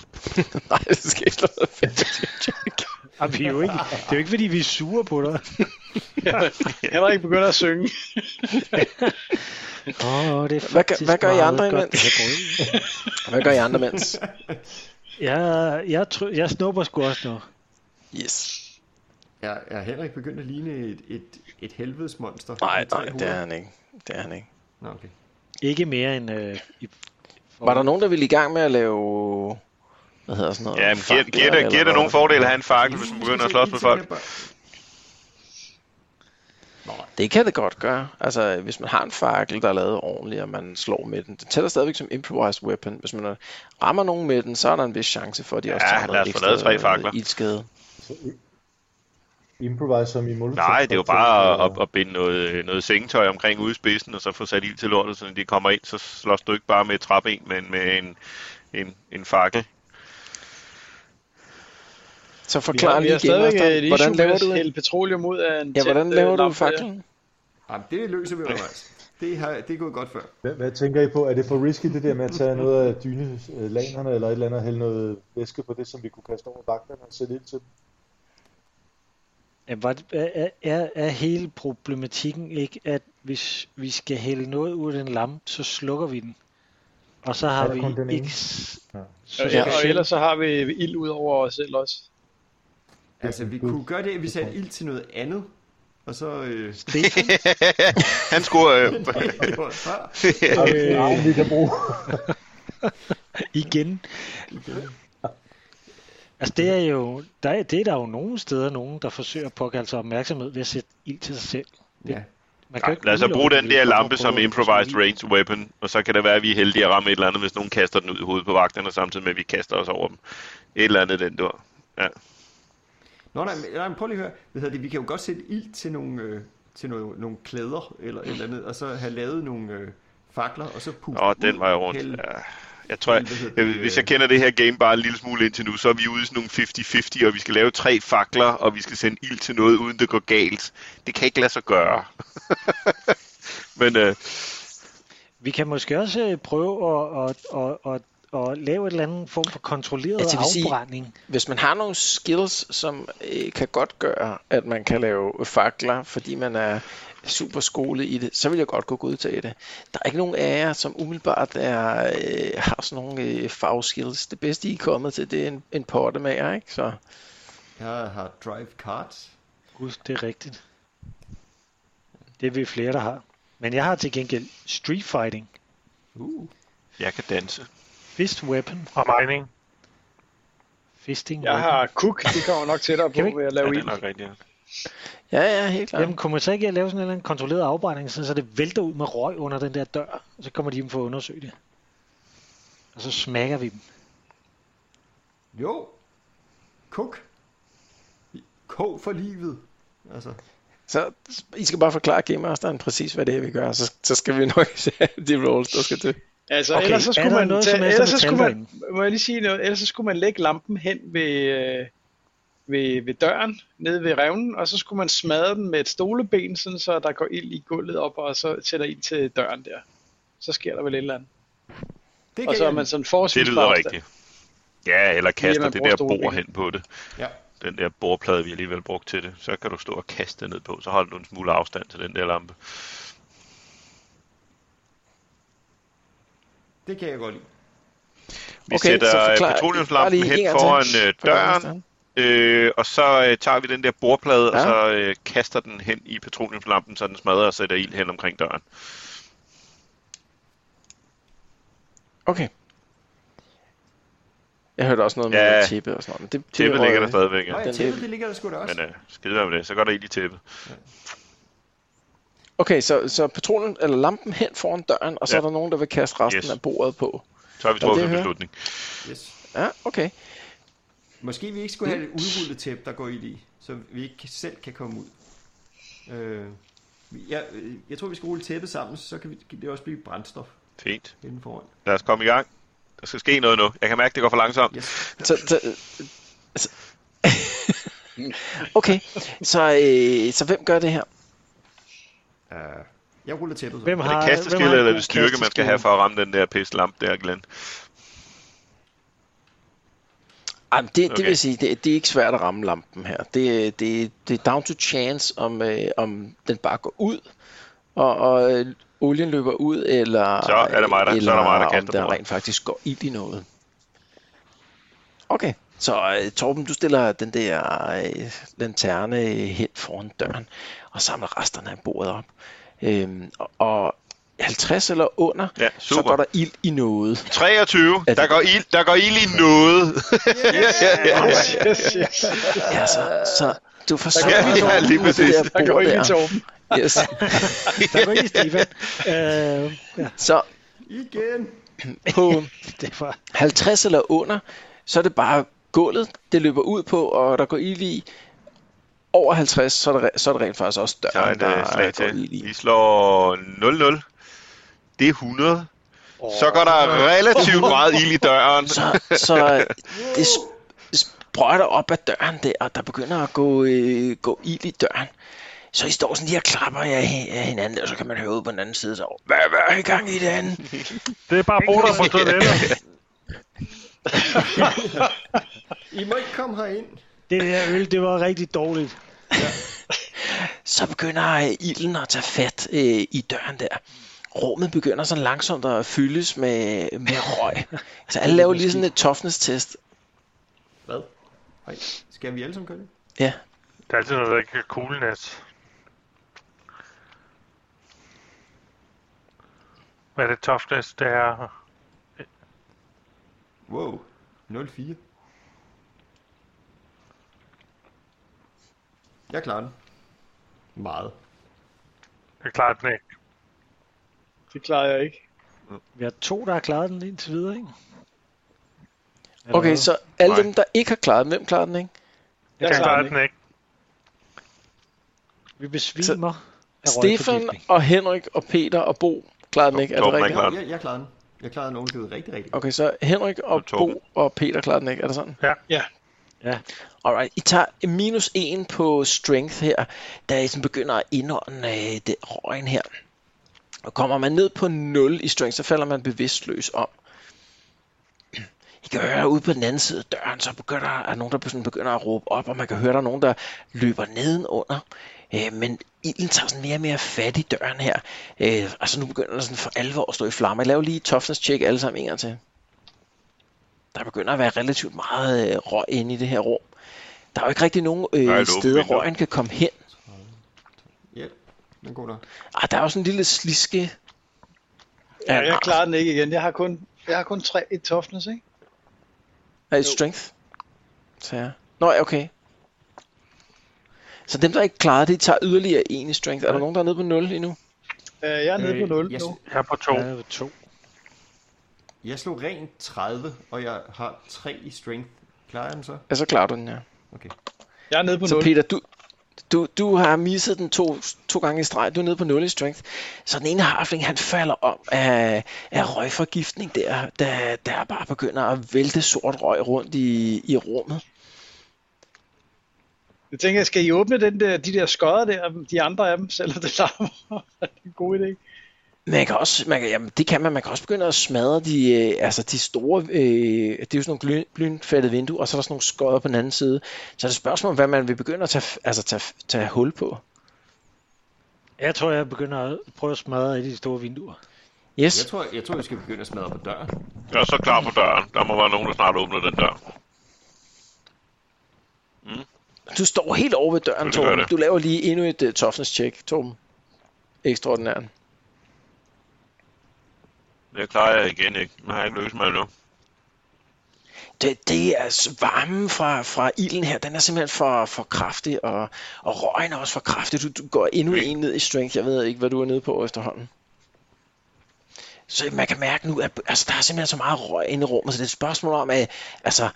[LAUGHS] Nej, det skal ikke noget [LAUGHS] fedt. Og vi er jo ikke, det er jo ikke, fordi vi er sure på dig. Henrik begynder at synge. Åh, oh, det Hvad er gør- faktisk hvad gør I meget andre godt, imens? det her brød. Hvad gør I andre mens? Jeg, jeg, try, jeg snupper sgu også noget. Yes. Er, er Henrik begyndt at ligne et, et, et helvedes monster? Nej, Med tre nej, det er hoveder? han ikke. Det er han ikke. Nå, okay. Ikke mere end... Øh, i, Var der nogen, der ville i gang med at lave... Hvad hedder sådan noget? Ja, men giver, Fakler giver, eller det, giver det noget? nogen fordele at have en fakkel, hvis man begynder at slås med folk? Det kan det godt gøre. Altså, hvis man har en fakkel, der er lavet ordentligt, og man slår med den. Det tæller stadigvæk som improvised weapon. Hvis man rammer nogen med den, så er der en vis chance for, at de Ja, også tager lad noget os få lavet tre ekstra fakler. øh, ildskade. så i- improvise som i Øh, Molotov. Nej, det er jo bare at, at binde noget, noget sengetøj omkring ude i spidsen, og så få sat ild til lortet, så når de kommer ind, så slås du ikke bare med et træben, men med en, en, en fakkel. Så forklar Vi lige har igen, stadigvæk øh, Asta, hvordan et issue laver med du at det? hælde petroleum ud af en Ja, hvordan tændt, øh, laver du lampe der. faklen? Jamen, det løser vi undervejs. Det, har, det er gået godt før. Hvad, hvad tænker I på? Er det for risky det der med at tage noget af dynelanerne eller et eller andet og hælde noget væske på det, som vi kunne kaste over vagterne og sætte ind til dem? Jamen, var det, er, er, er hele problematikken ikke, at hvis vi skal hælde noget ud af den lampe, så slukker vi den. Og så Er har der kun den vi ene? ikke... s- Så Og, skal ja, Øh, og ellers så har vi ild ud over os selv også. Altså, vi kunne gøre det, at vi satte ild til noget andet, og så... [LAUGHS] Øh, [LAUGHS] Stefan, Han skulle... Øh, det var før. Har vi en arm, vi kan bruge? igen. Altså, det er jo... Der er, det er der jo nogle steder, nogen, der forsøger at påkalde sig opmærksomhed ved at sætte ild til sig selv. Ja. Man kan lad os så bruge den der lampe som improvised range weapon, og så kan det være, at vi er heldige at ramme et eller andet, hvis nogen kaster den ud i hovedet på vagterne, samtidig med, at vi kaster os over dem. Et eller andet den der. Ja. Nå nej, men- nej men prøv lige at høre. Hvad hedder det? Vi kan jo godt sætte ild til nogle, øh, til nogle, nogle klæder eller et eller andet, og så have lavet nogle øh, fakler, og så puste Åh, den vej rundt. hælde- Ja. Jeg tror, jeg, jeg, hvis jeg kender det her game bare en lille smule indtil nu, så er vi ude i sådan nogle 50-50, og vi skal lave tre fakler, og vi skal sende ild til noget, uden det går galt. Det kan ikke lade sig gøre. [LAUGHS] Men øh, Vi kan måske også øh, prøve at, at, at, at, at lave et eller andet form for kontrolleret Ja, det Altså, vil sige- afbrænding. Hvis man har nogle skills, som øh, kan godt gøre, at man kan lave fakler, fordi man er super skolet i det, så vil jeg godt kunne godtage det. Der er ikke nogen af jer, som umiddelbart er, øh, har sådan nogle øh, fagskills. Det bedste, I er kommet til, det er en, en pottemager, ikke? Så... Jeg har drive cards. Gud, det er rigtigt. Det er vi flere, der har. Men jeg har til gengæld street fighting, Uh. jeg kan danse. fist weapon. Og mining. Fisting Jeg weapon. har cook, det kommer nok tættere på ved at lave ild. rigtigt. Ja, ja, helt klart. Jamen, kunne man så ikke lave sådan en eller anden kontrolleret afbrænding, sådan så det vælter ud med røg under den der dør, og så kommer de ind for at undersøge det. Og så smækker vi dem. Jo. Kuk. Kog for livet. Altså. Så I skal bare forklare Game Masteren præcis, hvad det er, vi gør, så, så skal vi nok [LAUGHS] se de rolls, der skal til. Altså, Okay, okay. ellers så er skulle der man, noget tage, som helst, ellers der så skulle man, tænder må jeg lige sige noget, ellers så skulle man lægge lampen hen ved, øh, ved, ved døren, nede ved revnen, og så skulle man smadre den med et stoleben, sådan så der går ild i gulvet op, og så sætter ild til døren der. Så sker der vel et eller andet. Det og så er man sådan forholdsvis det lyder på rigtigt. Ja, eller Fordi kaster man det bruger der store bord ben. hen på det. Ja. Den der bordplade, vi alligevel brugt til det. Så kan du stå og kaste det ned på, så holder du en smule afstand til den der lampe. Det kan jeg godt lide. Vi Okay, okay, så sætter øh, forklar- bare petroleumslampen lige en hen gang til. foran øh, Forklar døren, øh, og så øh, tager vi den der bordplade, ja. og Ja. så øh, kaster den hen i petroleumslampen, så den smadrer og sætter ild hen omkring døren. Okay. Jeg hørte også noget med Ja. ja. tippe og sådan noget. men Det, det Tæppet røg ligger der væk. stadigvæk, ja. Nej, Den- tæppet, det ligger der sgu da også. Men øh, skide være med det, så går der ild i tæppet. Okay, så, så patronen, eller lampen hen foran døren, og så Ja. ja. er der nogen, der vil kaste resten Yes. yes. af bordet på. Så har vi Er det, truffet jeg en hører? beslutning. Yes. Ja, okay. Måske vi ikke skulle have et [CLEARS THROAT] udrullet tæppe, der går ild i, så vi ikke selv kan komme ud. Øh, jeg, øh, jeg tror, vi skal rulle tæppet sammen, så kan, vi, kan det også blive brændstof Fint. inden foran. Lad os komme i gang. Der skal ske noget nu. Jeg kan mærke, det går for langsomt. Yes. Så, så, så, Mm. [LAUGHS] okay, så, øh, så hvem gør det her? Øh. Uh, jeg ruller tæppet. så. Hvem Er det kasteskill eller er det styrke, man skal have for at ramme den der pisse lampe der, Glenn? Jamen, det, okay. Okay. det vil sige, det, det er ikke svært at ramme lampen her. Det, det, det er down to chance, om, øh, om den bare går ud, og, og øh, olien løber ud, eller, Så er det mig, der- så er eller det mig, der om kaster der bordet. rent faktisk går ild i noget. Okay, så øh, Torben, du stiller den der øh, lanterne hen foran døren, og samler resterne af bordet op. Øhm, og, og 50 eller under, ja, så går der ild i noget. 23. Der går ild, der går ild i noget. [LAUGHS] Yes, yes. Ja, så, Øh, så du forsøger Ja, at [LAUGHS] ja, komme lige ud af det præcis. der Der går bord ild i der. Torben. Yes. Der går i Stefan. [LAUGHS] Øh, ja. Så Igen. på det var... 50 eller under, så er det bare gulvet, det løber ud på, og der går ild i. Over 50, så er det, re- så er det rent faktisk også Så er døren, det der slag går ild til. Vi slår 0-0. Det er 100. Så går der relativt meget ild i døren. Så, så øh, det sp- sprøjter op ad døren der, og der begynder at gå, øh, gå ild i døren. Så I står sådan lige og klapper af hin- af hinanden, og så kan man høre ud på den anden side, så, hvad, hvad er i gang i det andet? Det er bare bruder på toilettet. I må ikke komme herind. Det der øl, det var rigtig dårligt. så begynder øh, ilden at tage fat øh, i døren der. Rummet begynder sådan langsomt at fyldes med, med [LAUGHS] røg. Så alle laver lige sådan et toughness-test. Hvad? Ej, skal vi alle sammen gøre det? Ja. Der er altid noget, der ikke er coolness. Hvad er det toughness, det er? Wow. 04. Jeg klarer den. Meget. Jeg klarer den ikke. Det klarede jeg ikke. Vi har to, der har klaret den indtil videre, ikke? Eller Okay, hvad? så alle dem, der ikke har klaret den, hvem klarer den ikke? Jeg Jeg klarer klarer den den ikke. Vi besvimer. Stefan og Henrik og Peter og Bo klarer den ikke, er det rigtigt? Jeg, jeg klarede den. Jeg klarede den ovenikøbet rigtig, rigtig. Okay, så Henrik og Bo og Peter klarer den ikke, er det sådan? Ja. Ja. Ja. Alright, I tager minus 1 på strength her, da I sådan begynder at indånde øh, det røgen her. Og kommer man ned på 0 i strength, så falder man bevidstløs om. I kan høre ude på den anden side af døren, så begynder, er der nogen, der sådan begynder at råbe op, og man kan høre, der er nogen, der løber nedenunder. Øh, men ilden tager sådan mere og mere fat i døren her. Øh, altså nu begynder der sådan for alvor at stå i flammer. Lav lige toughness check alle sammen en gang til. Der begynder at være relativt meget øh, røg inde i det her rum. Der er jo ikke rigtig nogen Der er øh, et åbent steder, vindue. røgen kan komme hen. Ja, den er god nok. Ah, der er jo sådan en lille sliske. Ja, jeg nej. klarer den ikke igen. Jeg har kun, jeg har kun tre i toughness, ikke? Er det strength? Så ja. Nå, ja, okay. Så dem, der ikke klarer det, tager yderligere en i strength. Er der nogen, der er nede på 0 endnu? Øh, jeg er nede Øh, på 0 jeg nu. s- Jeg er på 2. Jeg er på 2. Jeg slog rent 30, og jeg har 3 i strength. Klarer jeg den så? Ja, så klarer du den, ja. Okay. Jeg er nede på Så 0. Peter, du, du, du har misset den to, to gange i streg. Du er nede på 0 i strength. Så den ene harfling, han falder om af, af røgforgiftning der, der, der bare begynder at vælte sort røg rundt i, i rummet. Jeg tænker, skal I åbne den der, de der skodder der, de andre af dem, selvom det larmer? [LAUGHS] er det en god idé? Man kan også, man kan, jamen, det kan man, man kan også begynde at smadre de, øh, altså de store, øh, det er jo sådan nogle glø- glønfældede vinduer, og så er der sådan nogle skodder på den anden side. Så er det et spørgsmål, om, hvad man vil begynde at tage, altså tage, tage hul på. Jeg tror, jeg begynder at prøve at smadre et af de store vinduer. Yes. Jeg tror, jeg tror, vi skal begynde at smadre på døren. Jeg er så klar på døren. Der må være nogen, der snart åbner den dør. Du står helt over ved døren, Det gør Torben. det. Du laver lige endnu et uh, toughness check, Torben. Ekstraordinært. Det klarer jeg igen ikke. Den har jeg ikke løst mig endnu. Det, det er s- varmen fra, fra ilden her, den er simpelthen for, for kraftig, og, og røgen er også for kraftig. Du, du går endnu en ned i strength. Jeg ved ikke, hvad du er nede på efterhånden. Så man kan mærke nu, at altså, der er simpelthen så meget røg inde i rummet, så det er et spørgsmål om, at altså,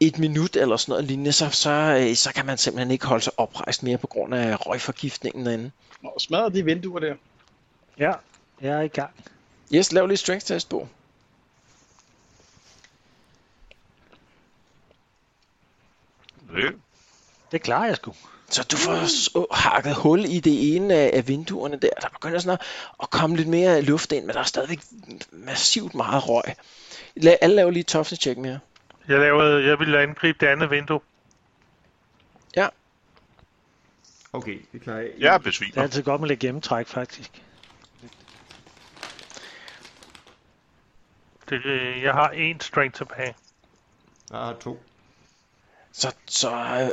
et minut eller sådan noget lignende, så, så, øh, så kan man simpelthen ikke holde sig oprejst mere på grund af røgforgiftningen derinde. Og smadre de vinduer der. Ja, jeg er i gang. Yes, lav lige strength test på. Det. Det klarer jeg sgu. Så du får så hakket hul i det ene af, af vinduerne der. Der begynder sådan at, at komme lidt mere luft ind, men der er stadigvæk massivt meget røg. Lad, alle laver lige et toughness check mere. Jeg, lavede, jeg ville angribe det andet vindue. Ja. Okay, det klarer jeg. Jeg er Det er besvimet. altid godt med lidt gennemtræk, faktisk. Det, øh, jeg har en strength tilbage. Jeg har to. Så, så øh,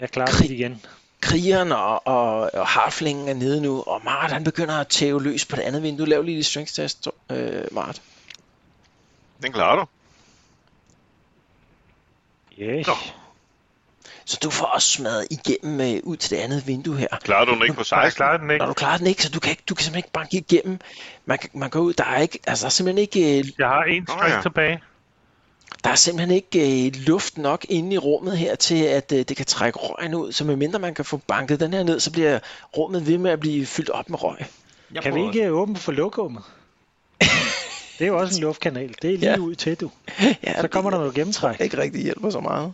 Jeg klarer det igen. krigeren og, og, og harflingen er nede nu, og Mart han begynder at tæve løs på det andet vindue. Lav lige et strength test, øh, Mart. Den klarer du. Yes. Så du får også smadret igennem øh, ud til det andet vindue her. Klarer du den ikke på 16? Jeg klarer den ikke. Når du klarer den ikke, så du kan, ikke, du kan simpelthen ikke banke igennem. Man, kan- man går ud, der er ikke, altså der er simpelthen ikke... Øh, Jeg har en strength ja. tilbage. Der er simpelthen ikke øh, luft nok inde i rummet her til, at øh, det kan trække røgen ud. Så medmindre man kan få banket den her ned, så bliver rummet ved med at blive fyldt op med røg. [LAUGHS] Jeg kan vi prøver ikke åbne for [LAUGHS] lokummet? det er jo også en luftkanal. Det er lige Ja. ud til, du. Ja, så kommer der noget gennemtræk. Ikke rigtig hjælper så meget.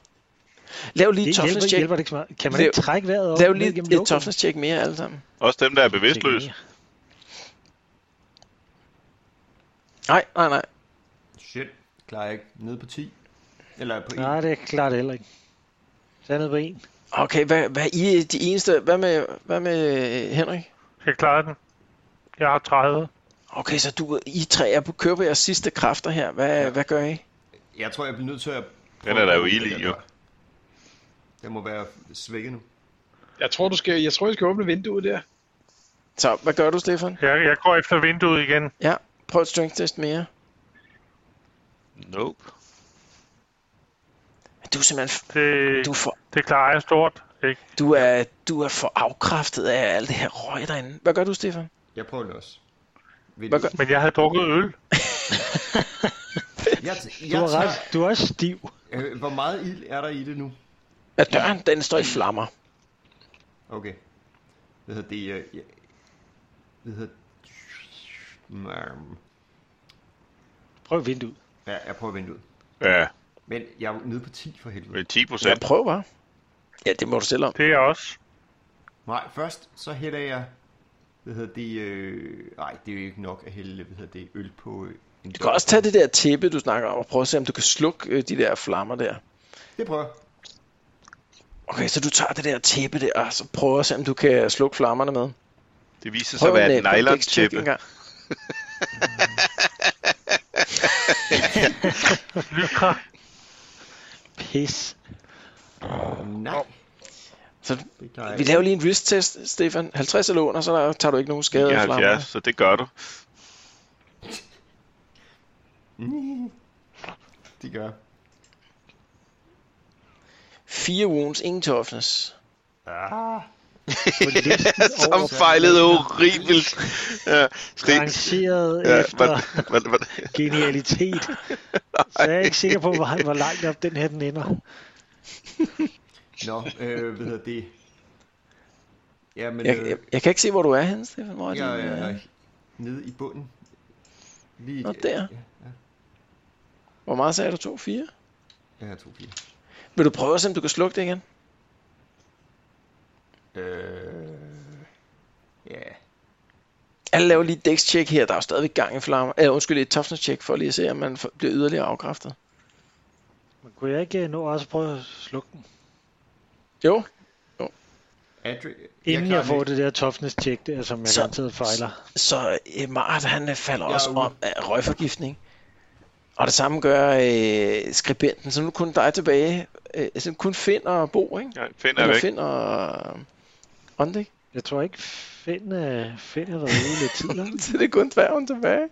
Lav lige et Det hjælper, toughness check. hjælper det ikke så meget. Kan man ikke Lav- trække vejret op? Lav ned lige gennem et lokummet? toughness check mere alle sammen. Også dem, der er bevidstløse. Nej, nej, nej. Shit, klarer jeg ikke. Nede på 10. Eller på 1. Nej, det er klart heller ikke. Så er jeg nede på en. Okay, hvad, hvad I er de eneste... Hvad med, hvad med øh, Henrik? Jeg klarer den. Jeg har 30. Okay, så du, I tre er på køber jeres sidste kræfter her. Hvad, ja. hvad gør I? Jeg tror, jeg bliver nødt til at... Den er der jo ild i, jo. Den må være svækket nu. Jeg tror, du skal, jeg tror, jeg skal åbne vinduet der. Så hvad gør du, Stefan? Jeg, jeg går efter vinduet igen. Ja, prøv et strength test mere. Nope. Du er simpelthen... Det, du får... det klarer jeg stort. Ikke? Du er, du er for afkræftet af alt det her røg derinde. Hvad gør du, Stefan? Jeg prøver det også. Hvad gør... Men jeg havde drukket øl. Jeg, Du har ret. Du er også stiv. Øh, hvor meget ild er der i det nu? Ja, døren, den står i flammer. Okay. Hvad hedder det? Øh, jeg- hvad hedder Mm, øhm. Prøv vinduet. Ja, jeg prøver vinduet. Ja. Men jeg er jo nede på 10 for helvede. Med 10 procent. Jeg prøver. Ja, det må du selv om. Det er også. Nej, først så hælder jeg... Hvad hedder det? Øh, nej, det er jo ikke nok at hælde hvad hedder det, øl på øh, en Du kan også tage det der tæppe, du snakker om, og prøve at se, om du kan slukke øh, de der flammer der. Det prøver jeg. Okay, så du tager det der tæppe der, og så prøver at se, om du kan slukke flammerne med. Det viser sig at være et øh, kontekst-check nylon-tæppe. engang. Pis. Nej. Så jeg vi ikke. laver lige en wrist-test, Stefan. 50 eller under, så der, tager du ikke nogen skade af flammerne. 79, så det gør [LAUGHS] du. De gør. 4 wounds, ingen toughness. Ah. Som fejlede horribelt. Ja, Sten- Rangeret Ja, efter [LAUGHS] hvad- hvad- hvad- genialitet. Så jeg er ikke sikker på, hvor, hvor langt op den her den ender. Nå, øh, hvad hedder det? Øh. øh, Jamen, Jeg, jeg, jeg kan ikke se, hvor du er henne, Stefan. Hvor er jeg, din, øh, jeg, nede i bunden. Lige, Nå, der. Ja, ja. Hvor meget sagde du? 2, 4? Ja, jeg tog fire. Vil du prøve at se, om du kan slukke det igen? Øh, ja. Alle laver lige et dex-check her. Der er jo stadigvæk gang i flammer. Eh, undskyld, et toughness-check for lige at se, om man får- bliver yderligere afkræftet. Men kunne jeg ikke øh, nå også at prøve at slukke den? Jo. Adri- Inden klarer jeg får det. det der toughness check der, som jeg Så- garanteret fejler. Så øh, Mart, han øh, falder Jeg er også ude. om af røgforgiftning. Og det samme gør øh, skribenten. Så nu er kun dig tilbage. Øh, altså kun Finn og Bo, ikke? Ja, Finn er Eller væk. Finn og øh, Ondik. [LAUGHS] Jeg tror ikke, Finn, øh, Finn har været ude lidt [LAUGHS] tidligere. Så det er kun dværgen tilbage.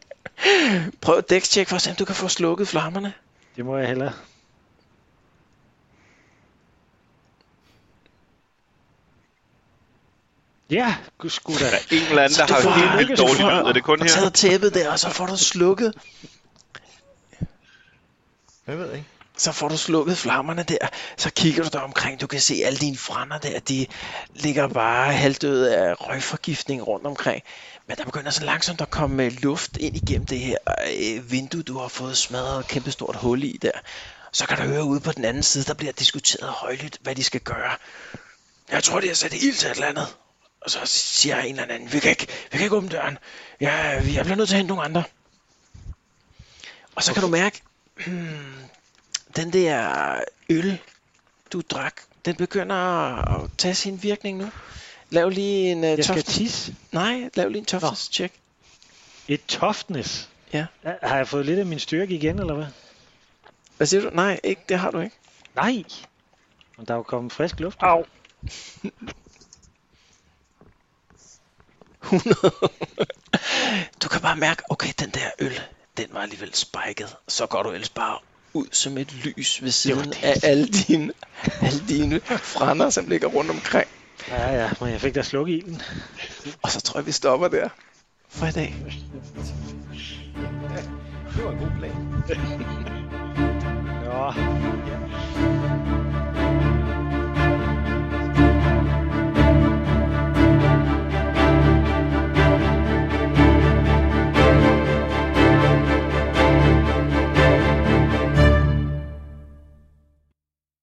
Prøv et dækstjek for at se, om du kan få slukket flammerne. Det må jeg hellere. Ja, gud sgu da. Der er en eller anden, der har du får- helt vildt lykkes, dårlig du lyd. Er det kun Og her? taget tæppet der, og så får du slukket. Jeg ved ikke. Så får du slukket flammerne der, så kigger du dig omkring, du kan se alle dine frænder der, de ligger bare halvdøde af røgforgiftning rundt omkring. Men der begynder så langsomt at komme øh, luft ind igennem det her øh, vindue, du har fået smadret et kæmpe stort hul i der. Så kan du høre ude på den anden side, der bliver diskuteret højlydt, hvad de skal gøre. Jeg tror, de har sat ild til et eller andet. Og så siger en eller anden, vi kan ikke, vi kan ikke åbne døren. Ja, vi- jeg bliver nødt til at hente nogle andre. Og så kan du mærke, hmm, den der øl, du drak, den begynder at tage sin virkning nu. Lav lige en uh, Jeg skal toughness. tisse. Nej, lav lige en toughness check. Et toughness? Ja. Har jeg fået lidt af min styrke igen, eller hvad? Hvad siger du? Nej, ikke, det har du ikke. Nej. Men der er jo kommet frisk luft. Au. 100. du kan bare mærke, okay, den der øl, den var alligevel spiket. Så går du ellers bare ud som et lys ved siden det. af alle dine, alle dine frænder, som ligger rundt omkring. Ja, ja, men jeg fik da slukket ilden. Og så tror jeg, vi stopper der for i dag. Det var en god plan. Ja.